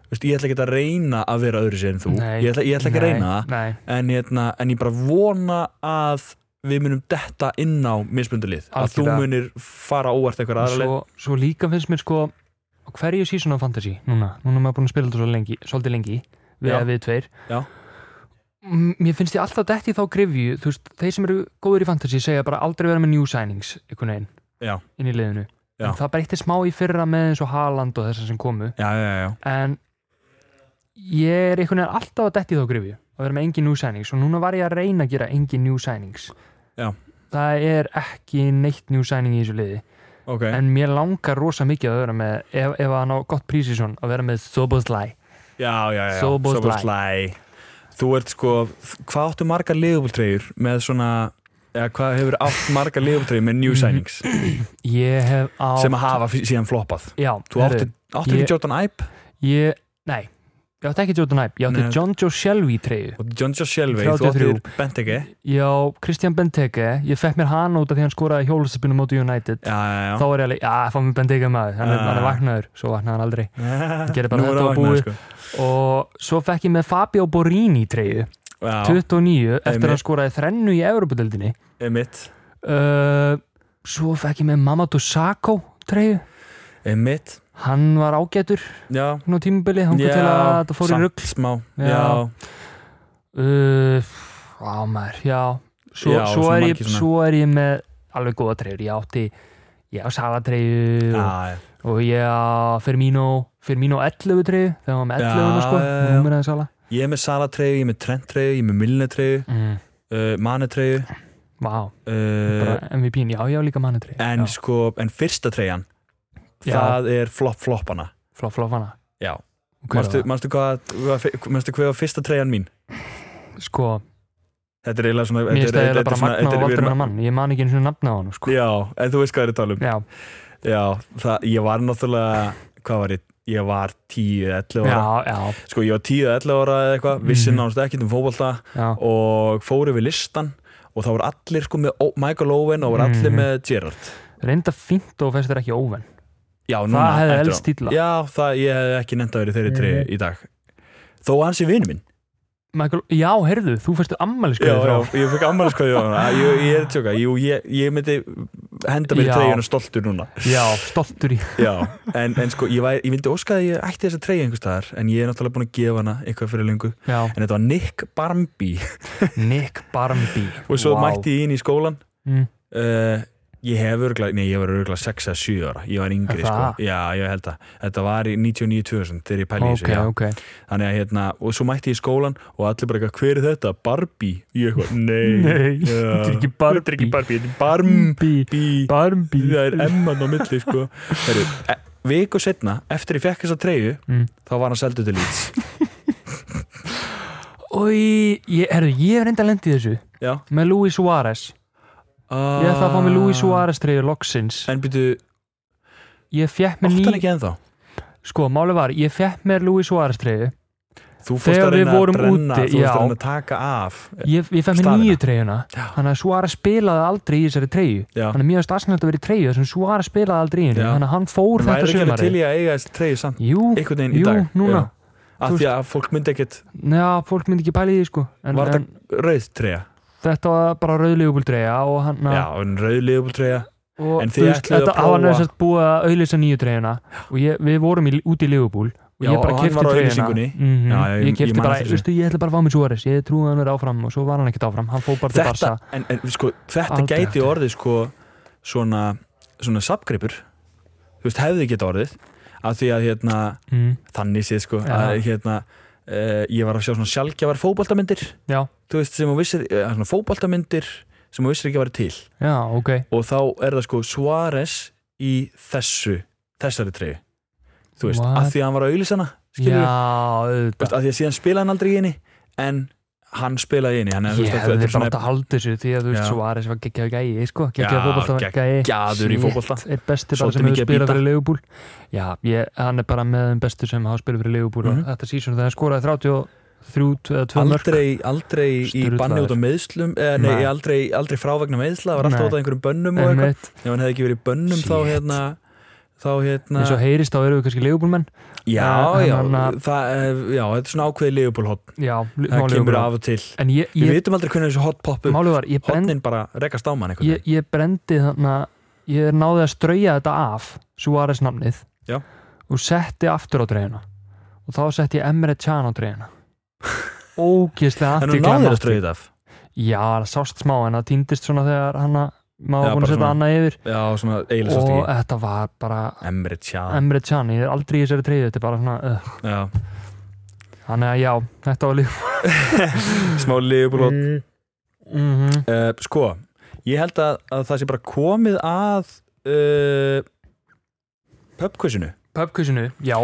Speaker 1: veist, Ég ætla ekki að reyna að vera öðru sér en þú
Speaker 2: Nei.
Speaker 1: Ég ætla, ég ætla ekki að
Speaker 2: nei,
Speaker 1: reyna það
Speaker 2: nei,
Speaker 1: en, hérna, en ég bara vona að við munum detta inn á mismundulið að þú
Speaker 2: Algjörlega.
Speaker 1: munir fara óvart eitthvað aðra leið
Speaker 2: svo, svo líka finnst mér sko á hverju season of fantasy núna, núna er maður búin að spila þetta svo lengi, svolítið lengi við,
Speaker 1: Já.
Speaker 2: við tveir
Speaker 1: Já.
Speaker 2: M- mér finnst ég alltaf detti í þá grifju þú veist, þeir sem eru góður í fantasy segja bara aldrei vera með new signings einhvern veginn
Speaker 1: Já.
Speaker 2: inn í liðinu
Speaker 1: Já.
Speaker 2: en það breytti smá í fyrra með eins og Haaland og þessar sem komu
Speaker 1: já, já, já,
Speaker 2: en ég er einhvern veginn alltaf að detti í þá grifju að vera með engin new signings og núna var ég að reyna að gera engin new signings
Speaker 1: Já.
Speaker 2: það er ekki neitt new signing í þessu liði
Speaker 1: ok
Speaker 2: en mér langar rosa mikið að vera með ef, ef hann á gott prísi svona að vera með Soboslæ
Speaker 1: já, já, já,
Speaker 2: Sobos Lai.
Speaker 1: slæ þú ert sko, hvað áttu margar liðbúltreyjur með svona eða hvað hefur átt margar liðbúltreyjur með
Speaker 2: Mhm.
Speaker 1: new signings
Speaker 2: ég hef á
Speaker 1: sem að hafa fí- síðan floppað
Speaker 2: já,
Speaker 1: þú áttu, áttu
Speaker 2: ég-
Speaker 1: ekki Jordan Ibe
Speaker 2: ég, nei, ég átti ekki Jordan Ibe ég átti
Speaker 1: Nei.
Speaker 2: John Joe Shelby treyju
Speaker 1: og John Josh Shelvey, þú
Speaker 2: 33.
Speaker 1: áttir Benteke
Speaker 2: já, Christian Benteke, ég fekk mér hann út af því hann skoraði hjólusabinu móti United
Speaker 1: já, já, já
Speaker 2: þá er ég alveg, já, fá mér Benteke maður hann, er
Speaker 1: Já.
Speaker 2: hann er vaknaður, svo vaknaði hann aldrei
Speaker 1: Ég
Speaker 2: gerði bara þetta og búið.
Speaker 1: sko.
Speaker 2: og svo fekk ég með Fabio Borini treyju
Speaker 1: Já,
Speaker 2: 29, eftir að
Speaker 1: Einmitt.
Speaker 2: hann skoraði þrennu í Evropadeldinni
Speaker 1: emitt
Speaker 2: uh, svo fekk ég með Mamadou Sakho treyju
Speaker 1: Emitt,
Speaker 2: hann var ágætur
Speaker 1: já
Speaker 2: nú tímubili, hann kom til að þetta fór í
Speaker 1: samt
Speaker 2: rugg
Speaker 1: smá,
Speaker 2: Já.
Speaker 1: já.
Speaker 2: uh, á maður, já svo,
Speaker 1: Já,
Speaker 2: svo,
Speaker 1: svona
Speaker 2: er ég,
Speaker 1: margir svona.
Speaker 2: svo er ég með alveg góða treyjur, ég átti ég á salatreyu ja.
Speaker 1: Já, já.
Speaker 2: og ég á Firmino Firmino 11 treyju, þegar hann var með
Speaker 1: Já,
Speaker 2: 11 ja, sko,
Speaker 1: já, já.
Speaker 2: númer aðeins sala
Speaker 1: Ég er með Sala-treyju, ég er með Trent-treyju, ég er með Milne-treyju,
Speaker 2: mm.
Speaker 1: uh, Mane-treyju
Speaker 2: Vá,
Speaker 1: uh,
Speaker 2: bara MVP-n, já, ég á líka manni treyju
Speaker 1: en sko, en fyrsta treyjan
Speaker 2: Já.
Speaker 1: það er flop-floppana
Speaker 2: flop, flop hana
Speaker 1: Já,
Speaker 2: Hver var
Speaker 1: manstu,
Speaker 2: það?
Speaker 1: manstu hvað hvað- manstu hvað var fyrsta treyjan mín?
Speaker 2: sko,
Speaker 1: Þetta er eiginlega svona
Speaker 2: mér
Speaker 1: þetta er-
Speaker 2: stæði
Speaker 1: þetta er
Speaker 2: bara
Speaker 1: svona-
Speaker 2: magna
Speaker 1: þetta er-
Speaker 2: og
Speaker 1: við
Speaker 2: valdur
Speaker 1: erum-
Speaker 2: hennar mann ég man ekki einu sinni nafna á hann, sko
Speaker 1: Já, en þú veist hvað er að tala um
Speaker 2: já,
Speaker 1: Já, það, ég var náttúrulega hvað var ég, ég var 10-11
Speaker 2: já,
Speaker 1: ára
Speaker 2: já,
Speaker 1: Sko, ég var 10-11 ára eða eitthvað, vissi
Speaker 2: Mhm.
Speaker 1: nánast ekkert um fótbolta
Speaker 2: já.
Speaker 1: og fóru við listan og þá voru allir sko með Ó- Michael Owen og voru allir
Speaker 2: Mhm.
Speaker 1: með Gerrard
Speaker 2: reynda fínt og festir ekki óven
Speaker 1: Já, núna,
Speaker 2: það hefði
Speaker 1: eftir á.
Speaker 2: elst dýla
Speaker 1: Já, það, ég hefði ekki nefnt að vera í þeirri tri í dag Þó að hans er vinur minn
Speaker 2: Michael, já, heyrðu, þú fyrstu ammæli
Speaker 1: Já,
Speaker 2: skriði
Speaker 1: já,
Speaker 2: frá
Speaker 1: ég fekk ammælis hvað ég var hana Ég, ég er að tjóka, jú, ég, ég myndi henda mér í
Speaker 2: Já.
Speaker 1: treyjuna stoltur núna
Speaker 2: Já, stoltur í
Speaker 1: Já, en, en sko, ég, var, ég myndi óska að ég ætti þessa treyja einhvers staðar En ég er náttúrulega búin að gefa hana eitthvað fyrir lengu
Speaker 2: já.
Speaker 1: En þetta var Nick Barmby
Speaker 2: Nick Barmby
Speaker 1: Og svo mætti ég inn í skólan
Speaker 2: Mm.
Speaker 1: uh, Ég hef örgulega, nei, ég var örgulega 6 eða 7 ára Ég var yngri,
Speaker 2: Er það?
Speaker 1: sko Já, ég held það, þetta var í 99-2000 Þegar ég pæli í
Speaker 2: Ok,
Speaker 1: þessu, já
Speaker 2: ok
Speaker 1: Þannig að hérna, og svo mætti ég í skólan og allir bara eitthvað, hver er þetta? Barbie? Ég eitthvað, nei.
Speaker 2: Nei,
Speaker 1: Já.
Speaker 2: þetta er ekki Barbie.
Speaker 1: Þetta er ekki Barbie, þetta er Barmbi.
Speaker 2: Barmby
Speaker 1: Það er emman á milli, sko. Heru, e viku setna, eftir ég fekk þessa treyju,
Speaker 2: Mm.
Speaker 1: þá var hann seldu til Leeds.
Speaker 2: Oi, ég, heyrðu, ég er reynda lendið þessu
Speaker 1: Já.
Speaker 2: Með Luis Suárez Ég ætla að fá með Luis Suárez treyju loksins
Speaker 1: En byrju,
Speaker 2: Ég fekk mér
Speaker 1: átt hann
Speaker 2: ný,
Speaker 1: ekki ennþá?
Speaker 2: sko, máli var Ég fekk mér Luis Suárez treyju
Speaker 1: Þú fórst
Speaker 2: Þegar
Speaker 1: að
Speaker 2: við
Speaker 1: reyna að
Speaker 2: vorum
Speaker 1: brenna,
Speaker 2: úti,
Speaker 1: þú fórst
Speaker 2: já.
Speaker 1: að reyna að taka af.
Speaker 2: Ég, ég fekk mér
Speaker 1: Stafina.
Speaker 2: nýju treyjuna
Speaker 1: Já.
Speaker 2: Þannig að Suárez spilaði aldrei í þessari treyju
Speaker 1: Já.
Speaker 2: Þannig að mér varst aðsynlega að vera í treyju þar sem Suárez spilaði aldrei í henni
Speaker 1: Já.
Speaker 2: Þannig að hann fór
Speaker 1: Það væri
Speaker 2: þetta
Speaker 1: ekki alveg til
Speaker 2: sumari
Speaker 1: í að eiga þessi treyju samt
Speaker 2: Jú,
Speaker 1: einhvern veginn í
Speaker 2: jú,
Speaker 1: dag.
Speaker 2: núna
Speaker 1: Já. Af
Speaker 2: Þú
Speaker 1: því að fólk myndi ekkit
Speaker 2: Já, fólk myndi ekki pæli í því sko en,
Speaker 1: Var
Speaker 2: en
Speaker 1: rauð treyja.
Speaker 2: þetta var bara rauðlegubildreja og hann
Speaker 1: Já, en rauð liðbúltreyja.
Speaker 2: og
Speaker 1: en
Speaker 2: þú
Speaker 1: þið
Speaker 2: veist,
Speaker 1: ætluðu að
Speaker 2: þetta hafa
Speaker 1: prófa-
Speaker 2: nefnst búið að auðlýsa nýju treyjuna og ég, við vorum í, út í Liverpool og
Speaker 1: Já,
Speaker 2: ég
Speaker 1: og
Speaker 2: bara
Speaker 1: hann
Speaker 2: kefti
Speaker 1: var á
Speaker 2: treyjuna
Speaker 1: auglýsingunni.
Speaker 2: mm
Speaker 1: Já, já, ég-
Speaker 2: ég
Speaker 1: ég
Speaker 2: kefti
Speaker 1: man
Speaker 2: bara,
Speaker 1: eftir þessu.
Speaker 2: veistu, ég ætla bara að fá mér Suárez ég trúið að hann verið áfram og svo var hann ekkert áfram hann fór bara til
Speaker 1: þetta,
Speaker 2: Barca
Speaker 1: en, en, sko, þetta
Speaker 2: Aldrei
Speaker 1: gæti
Speaker 2: aftur.
Speaker 1: orðið sko, svona, svona sapgripur þú veist, hefði geta orðið af því að hérna,
Speaker 2: mm,
Speaker 1: þannig séð sko,
Speaker 2: Já.
Speaker 1: að, hérna, uh, ég var að sjá svona sjálfgjafar fótboltamyndir
Speaker 2: Já,
Speaker 1: þú veist, sem hún vissir, eh, svona fótboltamyndir sem hún vissir ekki að vera til
Speaker 2: já, ok
Speaker 1: og þá er það sko Suárez í þessu þessari treyju þú veist,
Speaker 2: What?
Speaker 1: að því að hann var að auðlýsa hana skilur
Speaker 2: Já,
Speaker 1: við, Þú veist,
Speaker 2: auðvitað
Speaker 1: að því að síðan spilaði hann aldrei í henni en hann spilaði í henni þannig að þú
Speaker 2: Ég
Speaker 1: veist, þetta
Speaker 2: hefði bara
Speaker 1: er
Speaker 2: átt
Speaker 1: svona
Speaker 2: að halda þessu því að þú veist
Speaker 1: Já.
Speaker 2: svo aðeins var geggjaði gæi sko, geggjaði
Speaker 1: Já,
Speaker 2: fótbolta gæi
Speaker 1: geggjaður í
Speaker 2: Shit,
Speaker 1: fótbolta.
Speaker 2: Einn besti bara
Speaker 1: Svolítið
Speaker 2: sem
Speaker 1: mikið
Speaker 2: hefur
Speaker 1: að
Speaker 2: spilað
Speaker 1: bíta.
Speaker 2: fyrir Leifubúl Já, ég, hann er bara með þeim bestu sem hafa spilað fyrir Leifubúl mm
Speaker 1: Mhm.
Speaker 2: þetta sísón þegar hann skoraði 33 eða 2 mörg
Speaker 1: aldrei, aldrei í
Speaker 2: Sturlaður.
Speaker 1: banni út á meðslum eh, nei,
Speaker 2: Nei.
Speaker 1: aldrei, aldrei frávegna meðsla var alltaf
Speaker 2: Nei.
Speaker 1: út á einhverjum bönnum og eitthvað
Speaker 2: einmitt,
Speaker 1: ef hann hefði ekki verið í bönnum þá
Speaker 2: Shit.
Speaker 1: hérna þá hérna
Speaker 2: eins og heyrist þá eru við kannski Leifubúlmenn
Speaker 1: já,
Speaker 2: Eh,
Speaker 1: já,
Speaker 2: hann- hann-
Speaker 1: það, eh, já, þetta er svona ákveðið legubólhótt
Speaker 2: Já,
Speaker 1: það kemur
Speaker 2: Leifubúl
Speaker 1: af og til
Speaker 2: En ég,
Speaker 1: við
Speaker 2: ég,
Speaker 1: vitum aldrei hvernig þessu hot poppu
Speaker 2: málið var, ég bend
Speaker 1: hotnin bara rekast á mann einhvern
Speaker 2: ég,
Speaker 1: veginn
Speaker 2: ég brendi þannig að ég náði að strauja þetta af Suárez namnið
Speaker 1: Já.
Speaker 2: og setti aftur á dreifina og þá setti ég Emre Can á dreifina ógeðslega
Speaker 1: en hún
Speaker 2: athygli hann
Speaker 1: náði að
Speaker 2: átti.
Speaker 1: ströðið af
Speaker 2: já, það sást smá en það týndist svona þegar hann að- maður
Speaker 1: Já,
Speaker 2: var búin að
Speaker 1: bara
Speaker 2: setja
Speaker 1: svona-
Speaker 2: annað yfir
Speaker 1: já, svona eiginlega
Speaker 2: og
Speaker 1: sást ekki Ah.
Speaker 2: þetta var bara
Speaker 1: Emre Tjá
Speaker 2: Emre Can, ég er aldrei í þessari treyju þetta er bara svona, uh.
Speaker 1: Já.
Speaker 2: þannig að já þetta var líf
Speaker 1: smá legubólhótt
Speaker 2: mm -hmm.
Speaker 1: uh, sko, ég held að, að það sé bara komið að uh, pubquizinu
Speaker 2: Pöpkusinu, já,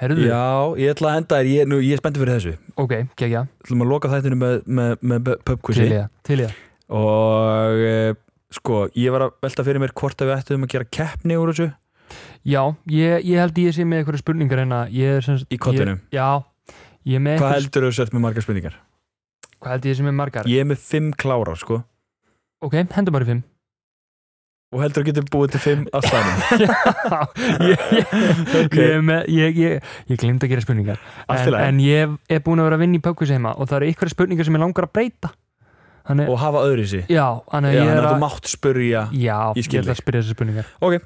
Speaker 2: herruðu
Speaker 1: já, ég ætla að enda þér ég, nú, ég er spenntið fyrir þessu
Speaker 2: ok, gegja,
Speaker 1: ætlum að loka þættinu með, með, með
Speaker 2: til
Speaker 1: pubquizi
Speaker 2: ég til ég,
Speaker 1: og eh, sko, ég var að velta fyrir mér hvort að við ættum að gera keppni úr þessu
Speaker 2: já, ég, ég held ég sé með einhverja spurningar hérna, ég er sem sagt-
Speaker 1: í kottinu
Speaker 2: Ég, já, ég er með
Speaker 1: hvað
Speaker 2: einhver-
Speaker 1: heldur þú sett með margar spurningar?
Speaker 2: hvað held ég sem er margar?
Speaker 1: ég er með fimm klárar sko
Speaker 2: Ok, hendur bara í fimm.
Speaker 1: og heldur þú getur búið til fimm að staðnum
Speaker 2: ég, ég,
Speaker 1: Ok.
Speaker 2: ég, er með- ég, ég, ég glemt að gera spurningar.
Speaker 1: Allt í
Speaker 2: En,
Speaker 1: lagi.
Speaker 2: en ég er búin að vera að vinna í pökkus heima og það eru einhverja spurningar sem ég langar að breyta. Þannig,
Speaker 1: og hafa öðru í sig
Speaker 2: já, þannig
Speaker 1: Já,
Speaker 2: að ég
Speaker 1: þannig
Speaker 2: er
Speaker 1: að þú
Speaker 2: að...
Speaker 1: mátt spurja
Speaker 2: Já,
Speaker 1: Ég
Speaker 2: ég,
Speaker 1: skil
Speaker 2: ætla að spyrja þessar spurningar.
Speaker 1: Ok,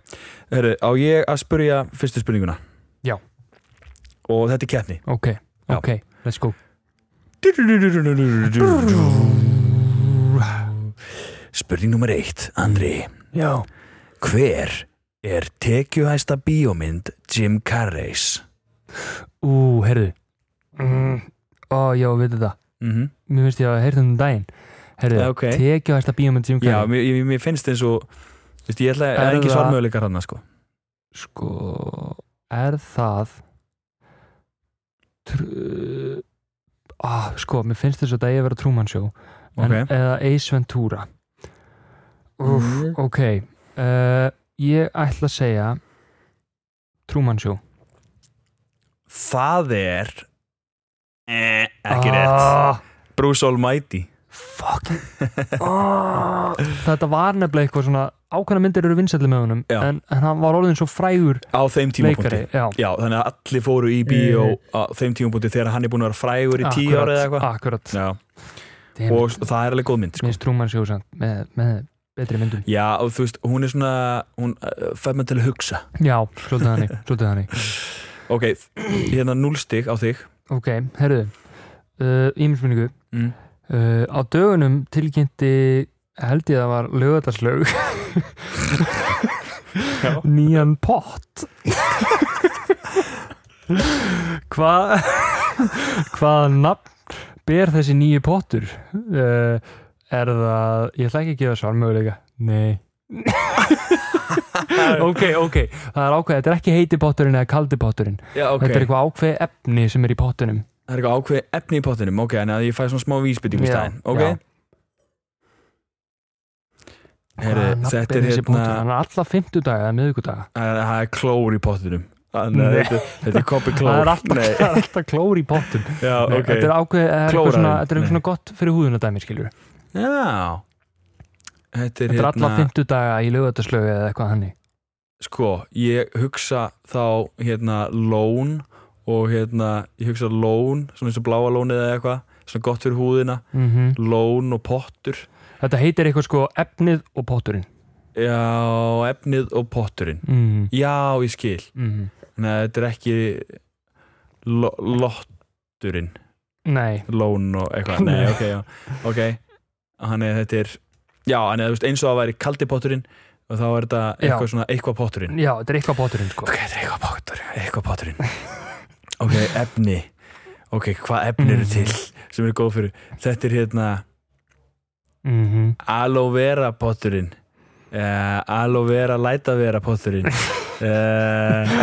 Speaker 1: Heru, á ég að spurja fyrstu spurninguna?
Speaker 2: Já.
Speaker 1: Og þetta er keppni
Speaker 2: Ok,
Speaker 1: Já.
Speaker 2: ok, let's go.
Speaker 1: Spurning nummer eitt, Andri
Speaker 2: Já.
Speaker 1: Hver er tekjuhæsta bíómynd Jim Carreys?
Speaker 2: Ú, herðu. Mm. Ó, já, veitu það.
Speaker 1: Mm -hmm.
Speaker 2: Mér finnst ég að heyrta um daginn. Herðu,
Speaker 1: Ok.
Speaker 2: tekið hægt að bíómynd sem
Speaker 1: Já, mér, mér- mér finnst eins og Vist, ég ætla að
Speaker 2: Er
Speaker 1: ekki
Speaker 2: það-
Speaker 1: svarmöðuleikar hann sko.
Speaker 2: sko er það tr, ah, sko, mér finnst þess að það eigi að vera Truman Show en,
Speaker 1: Ok.
Speaker 2: eða Ace Ventura Úf,
Speaker 1: Mm.
Speaker 2: ok uh, ég ætla að segja Truman Show
Speaker 1: Það er eh, Ekki rétt
Speaker 2: ah,
Speaker 1: Bruce Almighty
Speaker 2: fucking ah, þetta var nefnilega eitthvað svona ákveðna myndir eru vinsætli með honum
Speaker 1: Já.
Speaker 2: en, en hann var orðin svo frægur
Speaker 1: Á þeim tímapunkti
Speaker 2: leikari já,
Speaker 1: Já, þannig að allir fóru í bíó á þeim tímapunkti þegar hann er búin að vera frægur í tíu ára eða
Speaker 2: Mhm. akkurat,
Speaker 1: eitthvað
Speaker 2: akkurat.
Speaker 1: Já,
Speaker 2: Damn it.
Speaker 1: og það er alveg góð mynd
Speaker 2: Mér
Speaker 1: sko.
Speaker 2: finnst Truman Show samt með, með betri myndum
Speaker 1: Já, og þú veist, hún er svona hún uh, fær maður til að hugsa
Speaker 2: Já, svolítið þannig, svolítið þannig
Speaker 1: Ok, hérna núlstig á þig
Speaker 2: Ok, herruðu uh, Ímisminningu
Speaker 1: Mm.
Speaker 2: uh, Á dögunum tilkynnti held ég að það var lögataslaug
Speaker 1: Já.
Speaker 2: Nýjan pott Hvað Hvaða nafn ber þessi nýju pottur uh, Er það Ég ætla ekki að gefa svar möguleika Nei ok, ok, það er ákveð þetta er ekki heiti potturinn eða kaldi potturinn
Speaker 1: Já, ok,
Speaker 2: þetta er eitthvað ákveð efni sem er í pottunum
Speaker 1: það er eitthvað ákveð efni í pottinum Ok, en að ég fæ svona smá vísbytting í
Speaker 2: Já,
Speaker 1: stæðin Ok
Speaker 2: já.
Speaker 1: Heyrðu,
Speaker 2: Hvaða nafn
Speaker 1: þetta
Speaker 2: ber
Speaker 1: er
Speaker 2: þessi
Speaker 1: hérna-
Speaker 2: pottur? hann er alla fimmtudaga eða miðvikudaga
Speaker 1: Það er- það er klór í pottinum Þannig að
Speaker 2: Nei.
Speaker 1: Þetta þetta er koppi klór
Speaker 2: það er alltaf,
Speaker 1: Nei,
Speaker 2: það er alltaf klór í pottum
Speaker 1: já,
Speaker 2: Nei,
Speaker 1: ok
Speaker 2: þetta er ákveð, það er eitthvað
Speaker 1: Klórarinn,
Speaker 2: svona, þetta er eitthvað
Speaker 1: nei.
Speaker 2: svona gott fyrir húðuna dæmi skilur
Speaker 1: Já Þetta er
Speaker 2: þetta er alla
Speaker 1: hérna
Speaker 2: fimmtudaga í lögataslögu eða eitthvað hannig
Speaker 1: Sko, ég hugsa þá hérna lón og hérna, ég hugsa lón svona eins og bláa lónið eða eitthvað svona gott fyrir húðina,
Speaker 2: mm
Speaker 1: lón og pottur
Speaker 2: þetta heitir eitthvað sko efnið og potturinn
Speaker 1: Já, efnið og potturinn
Speaker 2: mm
Speaker 1: Já, ég skil
Speaker 2: -hmm.
Speaker 1: Nei, þetta er ekki lo lotturinn
Speaker 2: nei,
Speaker 1: lón og eitthvað, nei,
Speaker 2: Nei.
Speaker 1: ok, já ok, hann er, þetta er já, hann er, þú veist, eins og það væri kaldi potturinn og þá er þetta eitthvað
Speaker 2: Já.
Speaker 1: svona eitthvað potturinn
Speaker 2: já, þetta er eitthvað potturinn sko
Speaker 1: ok, þetta er eitthvað potturinn, eitthvað potturinn ok, efni ok, hvað efni eru til sem eru góð fyrir, þetta er hérna
Speaker 2: Mhm.
Speaker 1: aloe vera potturinn uh, aloe vera læta vera potturinn uh,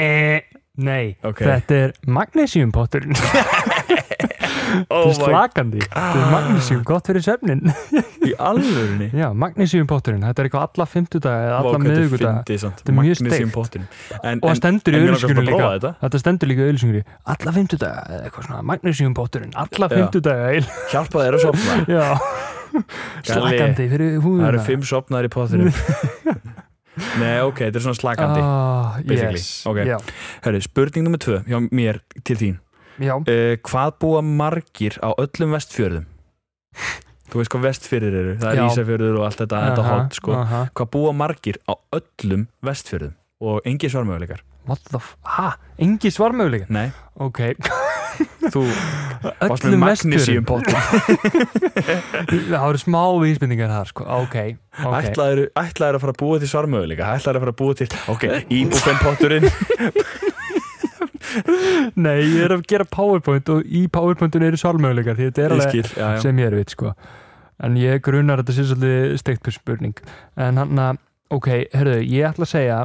Speaker 2: Eh, Nei,
Speaker 1: Ok.
Speaker 2: þetta er magnesiumpotturinn Þetta
Speaker 1: oh
Speaker 2: er slakandi Þetta er magnesium, gott fyrir söfnin
Speaker 1: í alvörunni
Speaker 2: Já, magnesiumpotturinn, þetta er eitthvað alla fimmtudaga eða alla miðugudaga
Speaker 1: þetta
Speaker 2: Þetta er mjög steikt.
Speaker 1: potturinn en,
Speaker 2: og það stendur í
Speaker 1: en mig langar bara
Speaker 2: auðlýsingunni
Speaker 1: að
Speaker 2: líka
Speaker 1: prófa
Speaker 2: þetta.
Speaker 1: þetta.
Speaker 2: stendur líka í auðlýsingunni alla fimmtudaga eða eitthvað svona magnesiumpotturinn alla
Speaker 1: Já.
Speaker 2: fimmtudaga eil-
Speaker 1: hjálpa þér að sopna
Speaker 2: já
Speaker 1: Galli,
Speaker 2: slakandi fyrir
Speaker 1: það
Speaker 2: húðuna
Speaker 1: eru fimm sopnar í potturinn nei, ok, þetta er svona slakandi uh,
Speaker 2: Ah,
Speaker 1: basically.
Speaker 2: yes.
Speaker 1: Ok.
Speaker 2: já,
Speaker 1: Hörru, spurning nummer tvö hjá mér til þín
Speaker 2: já.
Speaker 1: uh, hvað búa margir á öllum vestfjörðum? þú veist hvað vestfjörðir eru það er
Speaker 2: Já.
Speaker 1: Ísafjörður og allt þetta, þetta
Speaker 2: Aha,
Speaker 1: hot sko.
Speaker 2: aha.
Speaker 1: hvað búa margir á öllum vestfjörðum og engi svarmöguleikar
Speaker 2: what the f ha, engi svarmöguleika
Speaker 1: nei,
Speaker 2: ok,
Speaker 1: þú varst með
Speaker 2: öllum
Speaker 1: magnísíum
Speaker 2: vesturum
Speaker 1: pottur
Speaker 2: það eru smá vísbendingar þar sko. ok, ok
Speaker 1: ætlaðir ætlaðir að fara að búa til svarmöguleika ætlaðir að fara að búa til, ok, íbúfen potturinn
Speaker 2: nei, ég er að gera powerpoint og í powerpointun eru svarmöguleikar því þetta er
Speaker 1: ég
Speaker 2: alveg
Speaker 1: skil, já, já.
Speaker 2: sem ég er veit sko en ég grunar að þetta sé svolítið steikt spurning en hann að, ok, herðu, ég ætla að segja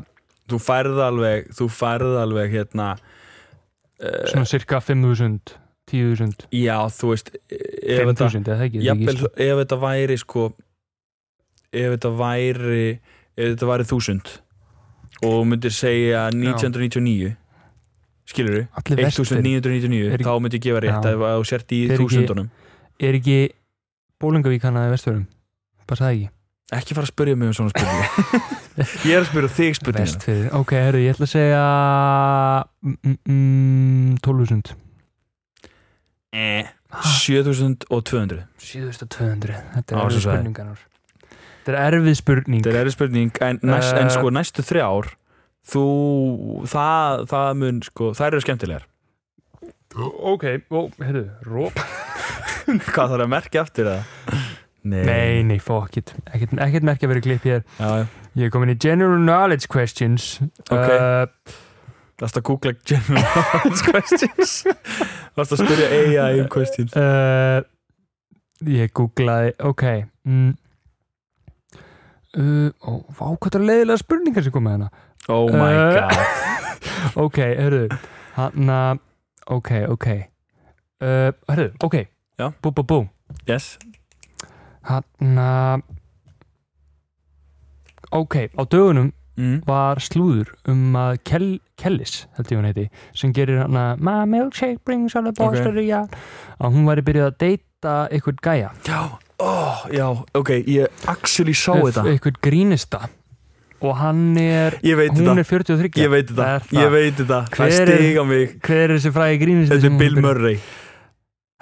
Speaker 1: þú færð alveg þú færð alveg hérna uh,
Speaker 2: svona cirka 5.000 10.000,
Speaker 1: já, þú veist eh, ef þetta
Speaker 2: 5.000 eða það ekki, sko. ég
Speaker 1: jafnvel,
Speaker 2: ekki
Speaker 1: ef þetta væri sko ef þetta væri ef þetta væri þúsund og þú myndir segja 1999 skilur við
Speaker 2: allir vestfyrir,
Speaker 1: 1999,
Speaker 2: Er-
Speaker 1: þá myndi ég gefa rétt
Speaker 2: Já.
Speaker 1: ef þú sért í
Speaker 2: Er ekki-
Speaker 1: þúsundunum
Speaker 2: er ekki Bólingavík hana eða vestfyrum passaði
Speaker 1: ekki fara að spyrja mig um svona spurningu ég er að spyrja þig
Speaker 2: ekki,
Speaker 1: spurningu
Speaker 2: vestfyrir ok, herðu, ég ætla að segja mm, mm, mm, 12.000
Speaker 1: Eh,
Speaker 2: Ha,
Speaker 1: 7200
Speaker 2: 7.200 þetta
Speaker 1: Á,
Speaker 2: er
Speaker 1: þessu svæði.
Speaker 2: erfið spurningar þetta er erfið spurning
Speaker 1: þetta er spurning en, næst, en
Speaker 2: Eh.
Speaker 1: sko næstu þrjár þú, það, það mun sko, þær eru skemmtilegar
Speaker 2: ok, ó, herðu, róp
Speaker 1: hvað þarf að merkja aftur það?
Speaker 2: Nei, nei, fuck it Ekkert, ekkert merkja verið klipp hér
Speaker 1: Já, já.
Speaker 2: Ég er komin í general knowledge questions
Speaker 1: Ok.
Speaker 2: uh,
Speaker 1: Lasta að googla general knowledge questions Lasta að spyrja AI um questions
Speaker 2: uh, Ég googlaði Ok mm, uh, ó, Vá, hvað það er leiðilega spurningar sem koma hérna
Speaker 1: Oh my
Speaker 2: Eh.
Speaker 1: god
Speaker 2: Ok, hörðu Hanna, ok, ok uh, Hörðu, ok
Speaker 1: Já.
Speaker 2: Bú, bú, bú
Speaker 1: Yes
Speaker 2: Hanna Ok, á dögunum
Speaker 1: mm.
Speaker 2: var slúður um að Kel, Kellis, held ég hún heiti sem gerir hann að My milkshake brings all the boys
Speaker 1: Ok.
Speaker 2: to the yard að hún væri byrjuð að deyta eitthvað gæja
Speaker 1: Já, oh, já, ok Ég actually sá þetta
Speaker 2: eitthvað grínista og hann er,
Speaker 1: Ég veit
Speaker 2: hún
Speaker 1: þetta
Speaker 2: er 43
Speaker 1: Ég veit
Speaker 2: Það er
Speaker 1: þetta
Speaker 2: það.
Speaker 1: Ég veit þetta
Speaker 2: Hver
Speaker 1: Það
Speaker 2: er-
Speaker 1: stig á mig
Speaker 2: hver er þessi fræði grínista
Speaker 1: Þetta
Speaker 2: sem
Speaker 1: er
Speaker 2: hún
Speaker 1: Bill
Speaker 2: byrjuð-
Speaker 1: Murray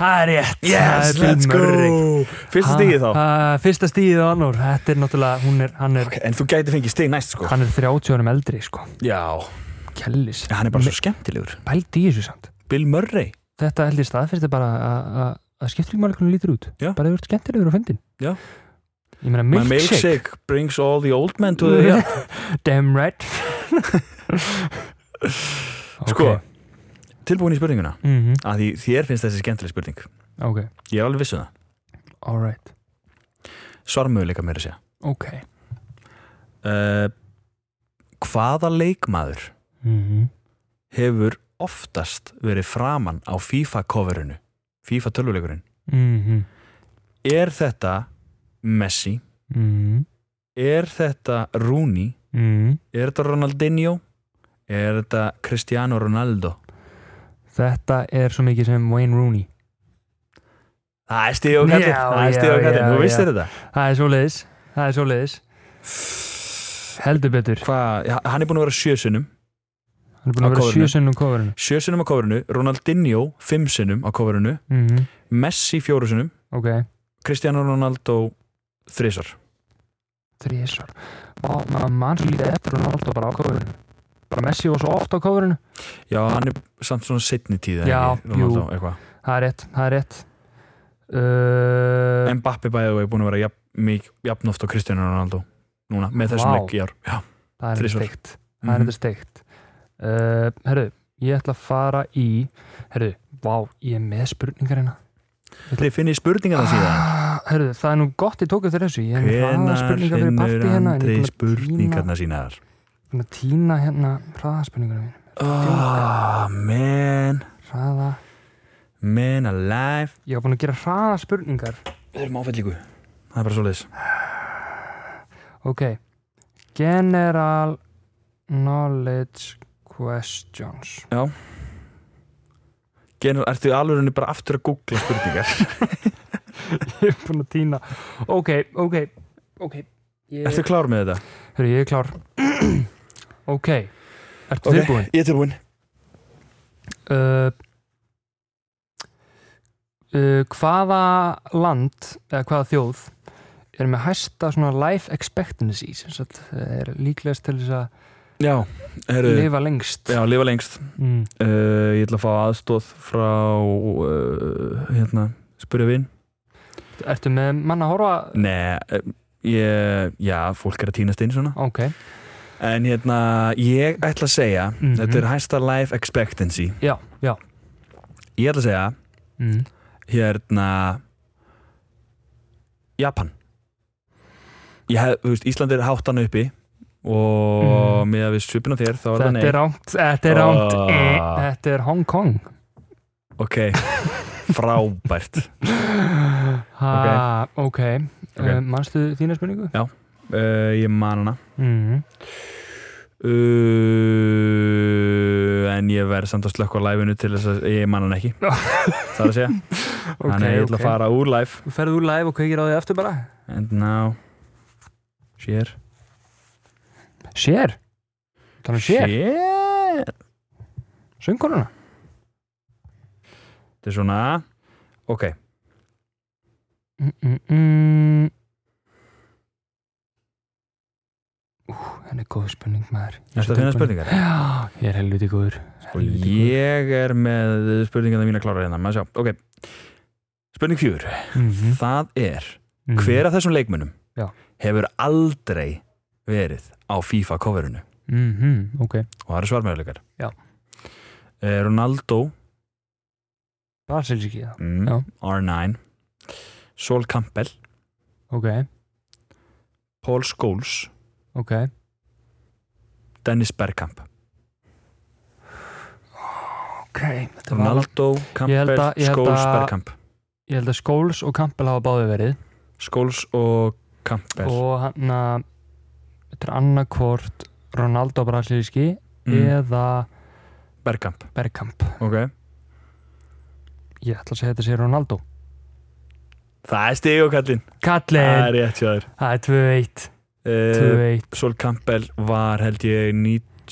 Speaker 2: það er rétt
Speaker 1: Yes,
Speaker 2: það er Bill
Speaker 1: let's
Speaker 2: Murray.
Speaker 1: go Fyrsta stigið þá
Speaker 2: Ha, ha, fyrsta stíði þá annur, þetta er náttúrulega hún er, hann, er,
Speaker 1: Ok, En þú gæti fengið stig næst sko
Speaker 2: hann er 30 árum eldri sko.
Speaker 1: Já
Speaker 2: Kellis,
Speaker 1: Hann er bara
Speaker 2: Me-
Speaker 1: svo skemmtilegur
Speaker 2: bældi í þessu samt
Speaker 1: Bill Murray
Speaker 2: þetta held ég staðfyrst er bara að- að- að skiptir ekki máli hvernig hún lítur út
Speaker 1: Já.
Speaker 2: bara þú ert skemmtilegur á fyndin
Speaker 1: Já.
Speaker 2: ég meina
Speaker 1: My
Speaker 2: milkshake,
Speaker 1: milkshake brings all the old men to the
Speaker 2: damn right Ok.
Speaker 1: Sko. Tilbúin í spurninguna
Speaker 2: Mhm,
Speaker 1: að því þér finnst þessi skemmtileg spurning
Speaker 2: ok,
Speaker 1: Ég er alveg vissu það
Speaker 2: alright
Speaker 1: Svarmöguleika mér að segja
Speaker 2: ok
Speaker 1: uh, hvaða leikmaður
Speaker 2: Mhm.
Speaker 1: hefur oftast verið framan á FIFA coverinu FIFA tölvuleikurinn
Speaker 2: Mhm.
Speaker 1: er þetta Messi,
Speaker 2: Mhm.
Speaker 1: er þetta Rooney,
Speaker 2: Mhm.
Speaker 1: er þetta Ronaldinho er þetta Cristiano Ronaldo
Speaker 2: þetta er svo mikið sem Wayne Rooney
Speaker 1: það er stíð og kallir,
Speaker 2: Já,
Speaker 1: það er
Speaker 2: já,
Speaker 1: stíð og kallir
Speaker 2: já,
Speaker 1: þú veistir
Speaker 2: já.
Speaker 1: þetta
Speaker 2: það er svo leiðis það er svo leiðis heldur betur
Speaker 1: Hva, ja, hann er búin að vera sjösunum
Speaker 2: hann er búin að
Speaker 1: Á
Speaker 2: vera
Speaker 1: coverinu.
Speaker 2: sjö sinnum á coverinu
Speaker 1: sjösunum á coverinu, Ronaldinho fimmsunum á coverinu,
Speaker 2: Mhm.
Speaker 1: Messi fjórusunum
Speaker 2: ok,
Speaker 1: Cristiano Ronaldo þrisar
Speaker 2: þrísvar og maður mann svo lítið eftir Ronaldo bara á coverinu bara Messi var svo oft á coverinu
Speaker 1: já, hann er samt svona setni tíð
Speaker 2: Já, jú.
Speaker 1: Ronaldo, eitthvað
Speaker 2: Það er rétt, það er rétt uh,
Speaker 1: Mbappi bæðið og er búin að vera jafn, mik, jafn oft á Kristjánu Ronaldo núna með þessum
Speaker 2: Vá.
Speaker 1: leik í ár já, Mhm.
Speaker 2: Það er þetta
Speaker 1: þrisvar.
Speaker 2: steikt Það er þetta steikt uh, Herru, ég ætla að fara í herðu, vá, ég er með spurningar hérna
Speaker 1: Þið finnir spurningana síðan
Speaker 2: Ah, herðu, það er nú gott ég tók eftir þessu ég er með hraða
Speaker 1: Hvenar
Speaker 2: spurningar fyrir
Speaker 1: finnur
Speaker 2: partí hérna en
Speaker 1: Andri
Speaker 2: ég er búin
Speaker 1: spurningarna sínar?
Speaker 2: að týna hérna hraða spurningar mín
Speaker 1: Oh, man
Speaker 2: hraða,
Speaker 1: Man alive
Speaker 2: ég var búin að gera hraða spurningar
Speaker 1: Við erum áfællíku Það er bara svo leiðis
Speaker 2: ok general knowledge questions
Speaker 1: General, ertu í alveg bara aftur að googla spurningar?
Speaker 2: ég er búin að týna ok, ok, ok ég,
Speaker 1: Ertu klár með þetta?
Speaker 2: Hörru, ég er klár ok, ertu
Speaker 1: Ok.
Speaker 2: tilbúin
Speaker 1: Ég er tilbúin
Speaker 2: uh, uh, hvaða land eða hvaða þjóð er með hæsta svona life expectancy sem sagt, eh, er líklegast til þess að
Speaker 1: Já, heyrðu
Speaker 2: lifa lengst
Speaker 1: Já, lifa lengst
Speaker 2: mm.
Speaker 1: uh, Ég ætla að fá aðstóð frá uh, hérna, spurja vin
Speaker 2: ertu með mann að horfa
Speaker 1: Nei, eh, ég, já, fólk er að týnast inn svona
Speaker 2: ok,
Speaker 1: En hérna, ég ætla að segja
Speaker 2: Mhm.
Speaker 1: Þetta er hæsta life expectancy
Speaker 2: já, já
Speaker 1: Ég ætla að segja,
Speaker 2: mm.
Speaker 1: hérna Japan Ég hef, þú veist, Ísland er háttan uppi Og mm. með að við svipin á þér Þá er það nei
Speaker 2: Mhm. þetta er rámt þetta er rámt
Speaker 1: Ah.
Speaker 2: eh, þetta er Hong Kong
Speaker 1: Ok, frábært
Speaker 2: ha, ok,
Speaker 1: Ok.
Speaker 2: Uh, manstu þína spurningu?
Speaker 1: uh, Ég man hana
Speaker 2: Mm.
Speaker 1: Uh, en ég verð samt að slökka á live-inu til þess að ég man hann ekki það er að segja þannig að ég ætla að fara úr live
Speaker 2: Þú ferðu úr live og kveikir á því eftir bara
Speaker 1: and now share
Speaker 2: Sér Þannig um sér,
Speaker 1: share
Speaker 2: söngkonuna
Speaker 1: þetta er svona ok
Speaker 2: mm, mm, mm. Ú, henni er góð spurning maður Ég er
Speaker 1: næsta
Speaker 2: svo
Speaker 1: að finna
Speaker 2: tilbúin.
Speaker 1: spurningar
Speaker 2: Já, ég er helviti góður
Speaker 1: og
Speaker 2: Helviti
Speaker 1: ég er með spurningarna mína klára hérna maður sjá ok spurning fjúr
Speaker 2: góður. Mhm,
Speaker 1: það er
Speaker 2: mhm.
Speaker 1: hver af þessum leikmunum
Speaker 2: Já.
Speaker 1: hefur aldrei verið á FIFA coverinu
Speaker 2: Mhm, Ok,
Speaker 1: og það eru svarmöðuleikar
Speaker 2: Já.
Speaker 1: Ronaldo
Speaker 2: Brasilíski það Já.
Speaker 1: mm, R9 Sol Campbell,
Speaker 2: Ok,
Speaker 1: Paul Scholes
Speaker 2: ok
Speaker 1: Dennis Bergkamp
Speaker 2: Ok, þetta var alveg
Speaker 1: Ronaldo,
Speaker 2: Ég held
Speaker 1: Campbell,
Speaker 2: að- ég held
Speaker 1: Scholes,
Speaker 2: að-
Speaker 1: Bergkamp
Speaker 2: Ég held að Skóls og Kampel hafa báði verið
Speaker 1: Scholes og Campbell
Speaker 2: Og hann að Þetta er annarkvort Ronaldo Brasilíski
Speaker 1: mm,
Speaker 2: Eða
Speaker 1: Bergkamp
Speaker 2: Bergkamp
Speaker 1: okay.
Speaker 2: Ég ætla að segja þetta sé Ronaldo
Speaker 1: Það er stig og kallinn Það er
Speaker 2: Kallin,
Speaker 1: rétt hjá þér
Speaker 2: það er 2-1
Speaker 1: Eh,
Speaker 2: 2-1
Speaker 1: Sol Campbell var held ég 99,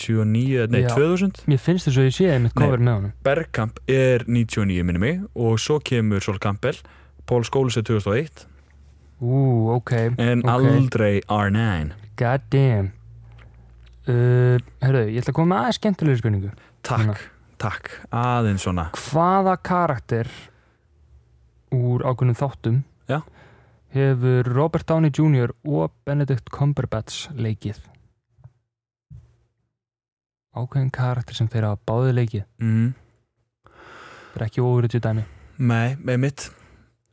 Speaker 1: eh, nei
Speaker 2: Já.
Speaker 1: 2000
Speaker 2: Mér finnst þess að ég sé einmitt
Speaker 1: Nei.
Speaker 2: cover með honum
Speaker 1: Bergkamp er 99 minni mig og svo kemur Sol Campbell Paul Scholes er 2001
Speaker 2: Ú, ok,
Speaker 1: en
Speaker 2: Ok.
Speaker 1: aldrei R9
Speaker 2: god damn uh, Herðu, ég ætla að koma með aðeins skemmtilegu spurningu
Speaker 1: Takk,
Speaker 2: Svona.
Speaker 1: takk, aðeins svona
Speaker 2: Hvaða karakter úr ákveðnum þáttum
Speaker 1: Já.
Speaker 2: hefur Robert Downey Jr. og Benedict Cumberbatch leikið? Ákveðin karakter sem þeirra hafa báði leikið
Speaker 1: mm.
Speaker 2: Þetta er ekki ofur þetta dæmi
Speaker 1: Nei, með mitt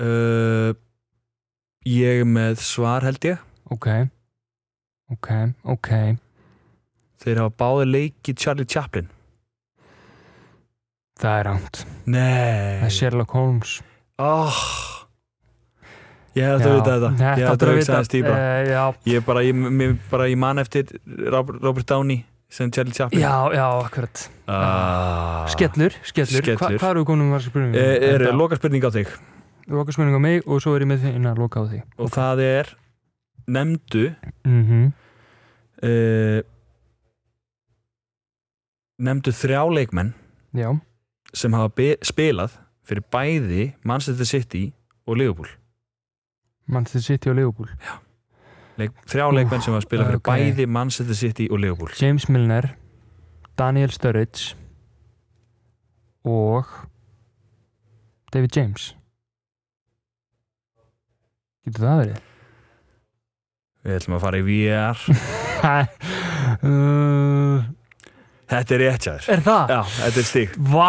Speaker 1: uh, Ég er með svar held ég
Speaker 2: Ok, ok, ok
Speaker 1: Þeir hafa báði leikið Charlie Chaplin
Speaker 2: Það er rámt
Speaker 1: Nei
Speaker 2: Það er Sherlock Holmes
Speaker 1: oh. Ég hef þetta að vita þetta Ég hef þetta að hugsa aðeins dýbra
Speaker 2: uh, já,
Speaker 1: Ég bara, ég, mér, bara, ég man eftir Robert, Robert Downey sem Charlie Chaplin
Speaker 2: já, já, akkurat
Speaker 1: ah.
Speaker 2: Skellur, skellur,
Speaker 1: Skellur. Eh,
Speaker 2: Hva, Hvað eru komin með spurningum?
Speaker 1: Er, er loka spurning á þig
Speaker 2: um? loka spurning á mig og svo er ég með því inn að loka á því
Speaker 1: og það er nefndu
Speaker 2: mm
Speaker 1: uh, nefndu þrjá leikmenn
Speaker 2: Já,
Speaker 1: sem hafa be- spilað fyrir bæði Manchester City og Liverpool
Speaker 2: Manchester City og Liverpool
Speaker 1: Leik, þrjá leikmenn sem hafa spilað fyrir
Speaker 2: ok.
Speaker 1: bæði Manchester City og Liverpool
Speaker 2: James Milner Daniel Sturridge og David James Getur það verið? Eh,
Speaker 1: við ætlum að fara í VR
Speaker 2: Ha, uh,
Speaker 1: Þetta er rétt jáður
Speaker 2: Er það?
Speaker 1: Já, þetta er stíkt
Speaker 2: Vá,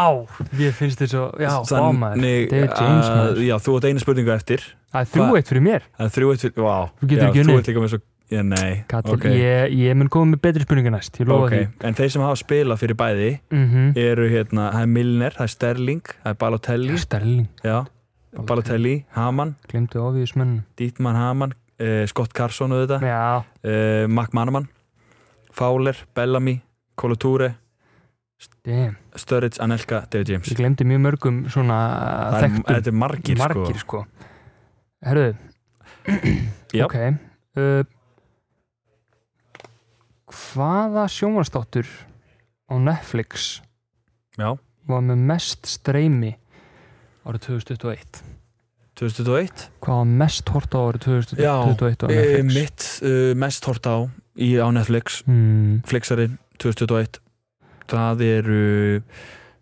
Speaker 2: ég finnst þér svo, já, vá maður, David James
Speaker 1: að,
Speaker 2: maður.
Speaker 1: eh, já, þú átt eina spurningu eftir
Speaker 2: Það er þrjú
Speaker 1: Hva-
Speaker 2: eitt fyrir mér,
Speaker 1: En þrjú eitt fyrir, vá
Speaker 2: Þú getur
Speaker 1: já,
Speaker 2: ekki
Speaker 1: Þú
Speaker 2: unnið.
Speaker 1: ert líka með svo, já, nei
Speaker 2: Katil,
Speaker 1: ok.
Speaker 2: ég, ég mun koma með betri spurningar næst, ég lofa
Speaker 1: Ok, en þeir sem hafa spilað fyrir bæði
Speaker 2: því. Mhm,
Speaker 1: eru hérna, það er Milner, það er Sterling, það er Balotelli,
Speaker 2: Sterling,
Speaker 1: já, Balotelli, Hamann,
Speaker 2: glemdu ofiðismenn.
Speaker 1: Dietmann Hamann, uh, Scott Carson auðvitað,
Speaker 2: Já,
Speaker 1: uh, Mark Manaman, Fowler, Bellamy, Kolotúre,
Speaker 2: damn,
Speaker 1: Sturridge, Anelka, David James.
Speaker 2: ég glemdi mjög mörgum svona
Speaker 1: Það er,
Speaker 2: þekktum,
Speaker 1: þetta er margir,
Speaker 2: margir
Speaker 1: sko.
Speaker 2: sko. Herðu,
Speaker 1: Já.
Speaker 2: ok, uh, hvaða sjónvarstáttur á Netflix
Speaker 1: Já,
Speaker 2: var með mest streymi árið 2021?
Speaker 1: 2021.
Speaker 2: Hvað var mest hort á árið 2021 á
Speaker 1: Uh,
Speaker 2: Netflix?
Speaker 1: mitt uh, mest hort á í, á Netflix,
Speaker 2: Hmm,
Speaker 1: Flixarinn 2021. Það eru...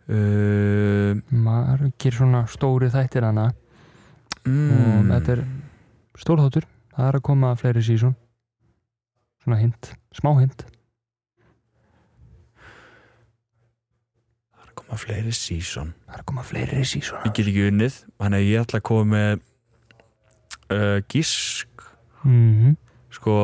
Speaker 1: Uh,
Speaker 2: margir svona stóri þættir hana
Speaker 1: mm,
Speaker 2: Og þetta er- Stórþáttur, það er að koma fleiri sísón Svona hint, smá hint
Speaker 1: Það koma fleiri sísón.
Speaker 2: Það er að koma fleiri sísón
Speaker 1: Ég get ekki unnið, þannig að ég ætla að koma með uh, gísk
Speaker 2: mm
Speaker 1: sko,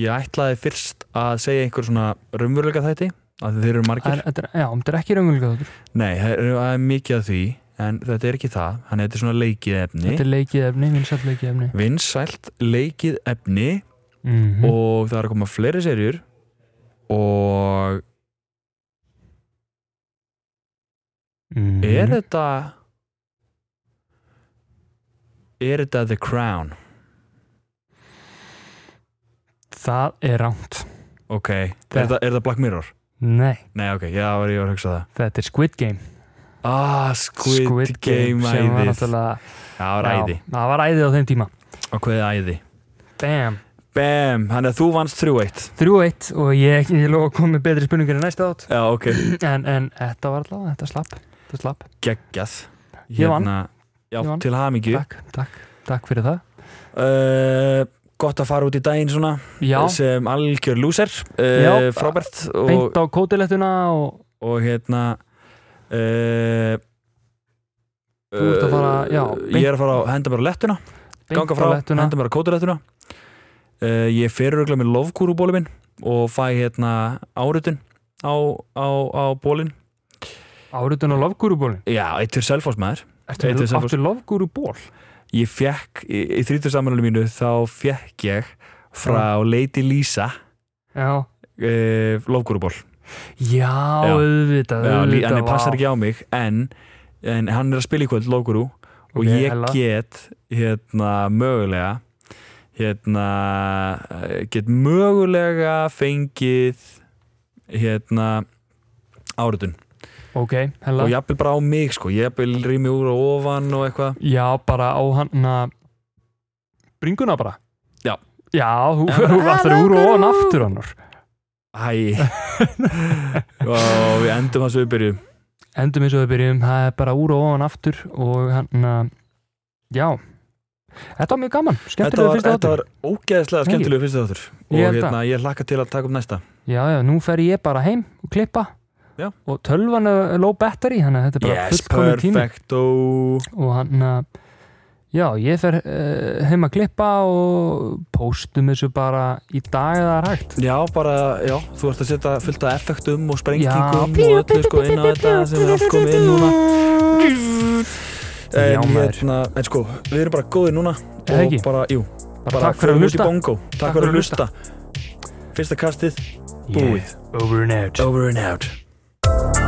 Speaker 1: ég ætlaði fyrst að segja einhver svona raunveruleika þætti að þeir eru margir,
Speaker 2: er, þetta er, Já, þetta er ekki raunvölga þáttur
Speaker 1: nei, það er, það er mikið að því en þetta er ekki það, þannig að þetta er svona leikið efni
Speaker 2: Þetta er leikið efni, vinsætt leikið efni
Speaker 1: vinsælt leikið efni
Speaker 2: mm
Speaker 1: og það er að koma fleiri serjur og
Speaker 2: Mhm.
Speaker 1: er þetta er þetta The Crown
Speaker 2: Það er ránt
Speaker 1: ok, er
Speaker 2: Það-
Speaker 1: þetta, er þetta Black Mirror?
Speaker 2: Nei,
Speaker 1: Nei, ok, já, var ég var að hugsa það
Speaker 2: þetta er Squid Game
Speaker 1: Ah, Squid, Game,
Speaker 2: sem var
Speaker 1: æðið
Speaker 2: náttúrulega
Speaker 1: Já, ræði,
Speaker 2: Já, Það var æði á þeim tíma
Speaker 1: og hvað er æði?
Speaker 2: Bam,
Speaker 1: Bam, hann er þú vannst 3-1
Speaker 2: 3-1 og ég, ég lofa að koma með betri spurningar í næsta átt
Speaker 1: Já, ok,
Speaker 2: en, en þetta var allavega, þetta slapp Þetta slapp,
Speaker 1: geggjað
Speaker 2: Ég vann.
Speaker 1: Hérna- Já,
Speaker 2: Ég vann.
Speaker 1: til hamingju
Speaker 2: takk, takk, takk fyrir það
Speaker 1: uh, Gott að fara út í daginn svona
Speaker 2: Já,
Speaker 1: sem algjör lúser uh,
Speaker 2: Já.
Speaker 1: frábært og,
Speaker 2: beint á kótilettuna og
Speaker 1: og hérna uh,
Speaker 2: Þú ert að fara- já, beint-
Speaker 1: eh, Ég er að fara að henda mér á lettuna
Speaker 2: beint
Speaker 1: ganga
Speaker 2: á
Speaker 1: frá,
Speaker 2: lettuna.
Speaker 1: henda mér á kóturættuna uh, ég fer örgulega með lofkúrubólu minn og fæ hérna árutun á, á, á bólin
Speaker 2: Árutun á lofgúrubólin
Speaker 1: já, eitt fyrir selfos maður
Speaker 2: Ertu
Speaker 1: Eitt við Selfoss.
Speaker 2: aftur lofgúruból?
Speaker 1: ég fekk, í, í 30 samanlunum mínu þá fekk ég frá Lady Lisa
Speaker 2: Já,
Speaker 1: uh, lofkúruból
Speaker 2: já,
Speaker 1: Já,
Speaker 2: auðvitað,
Speaker 1: lí- en
Speaker 2: auðvitað
Speaker 1: það passar ekki á mig en, en hann er að spila í kvöld lofkúru og
Speaker 2: Ok,
Speaker 1: ég
Speaker 2: hella.
Speaker 1: get hérna mögulega hérna eh, get mögulega fengið hérna árutun
Speaker 2: Ok, hella
Speaker 1: og jafnvel bara á mig sko jafnvel rými úr og ofan og eitthvað
Speaker 2: Já, bara á hann Bringuna bara
Speaker 1: Já.
Speaker 2: Já, þú
Speaker 1: Já,
Speaker 2: þú
Speaker 1: bara,
Speaker 2: ætlar úr og hann aftur hann
Speaker 1: Æ og við endum hans við byrjum
Speaker 2: Endum eins og við byrjum, það er bara úr og ofan aftur og hann Já Þetta var mjög gaman,
Speaker 1: þetta
Speaker 2: skemmtilega
Speaker 1: var,
Speaker 2: fyrsta
Speaker 1: þetta
Speaker 2: áttur
Speaker 1: var ógeðslega
Speaker 2: Nei,
Speaker 1: skemmtilegu fyrsta þáttur og
Speaker 2: Ég held
Speaker 1: hérna, ég hlakka til að taka upp næsta
Speaker 2: Já, já, nú fer ég bara heim og klippa
Speaker 1: Já.
Speaker 2: og tölvan er low battery þannig að þetta er bara
Speaker 1: yes,
Speaker 2: fullkomin tími
Speaker 1: perfecto
Speaker 2: og hann að já, ég fer uh, heim að klippa og postum þessu bara í dag eða það er hægt
Speaker 1: Já, bara, já, þú ert að setja fullt af effektum og
Speaker 2: Já,
Speaker 1: sprengingum og öllu sko inn á þetta sem er allt komið inn núna
Speaker 2: Já,
Speaker 1: En
Speaker 2: maður.
Speaker 1: hérna, en sko, við erum bara góðir núna
Speaker 2: Er það
Speaker 1: og
Speaker 2: ekki?
Speaker 1: bara, jú,
Speaker 2: bara
Speaker 1: bara
Speaker 2: takk fyrir að
Speaker 1: út í
Speaker 2: hlusta
Speaker 1: bongo Takk fyrir að hlusta Fyrsta kastið, búið
Speaker 2: yeah. over and out
Speaker 1: Over and out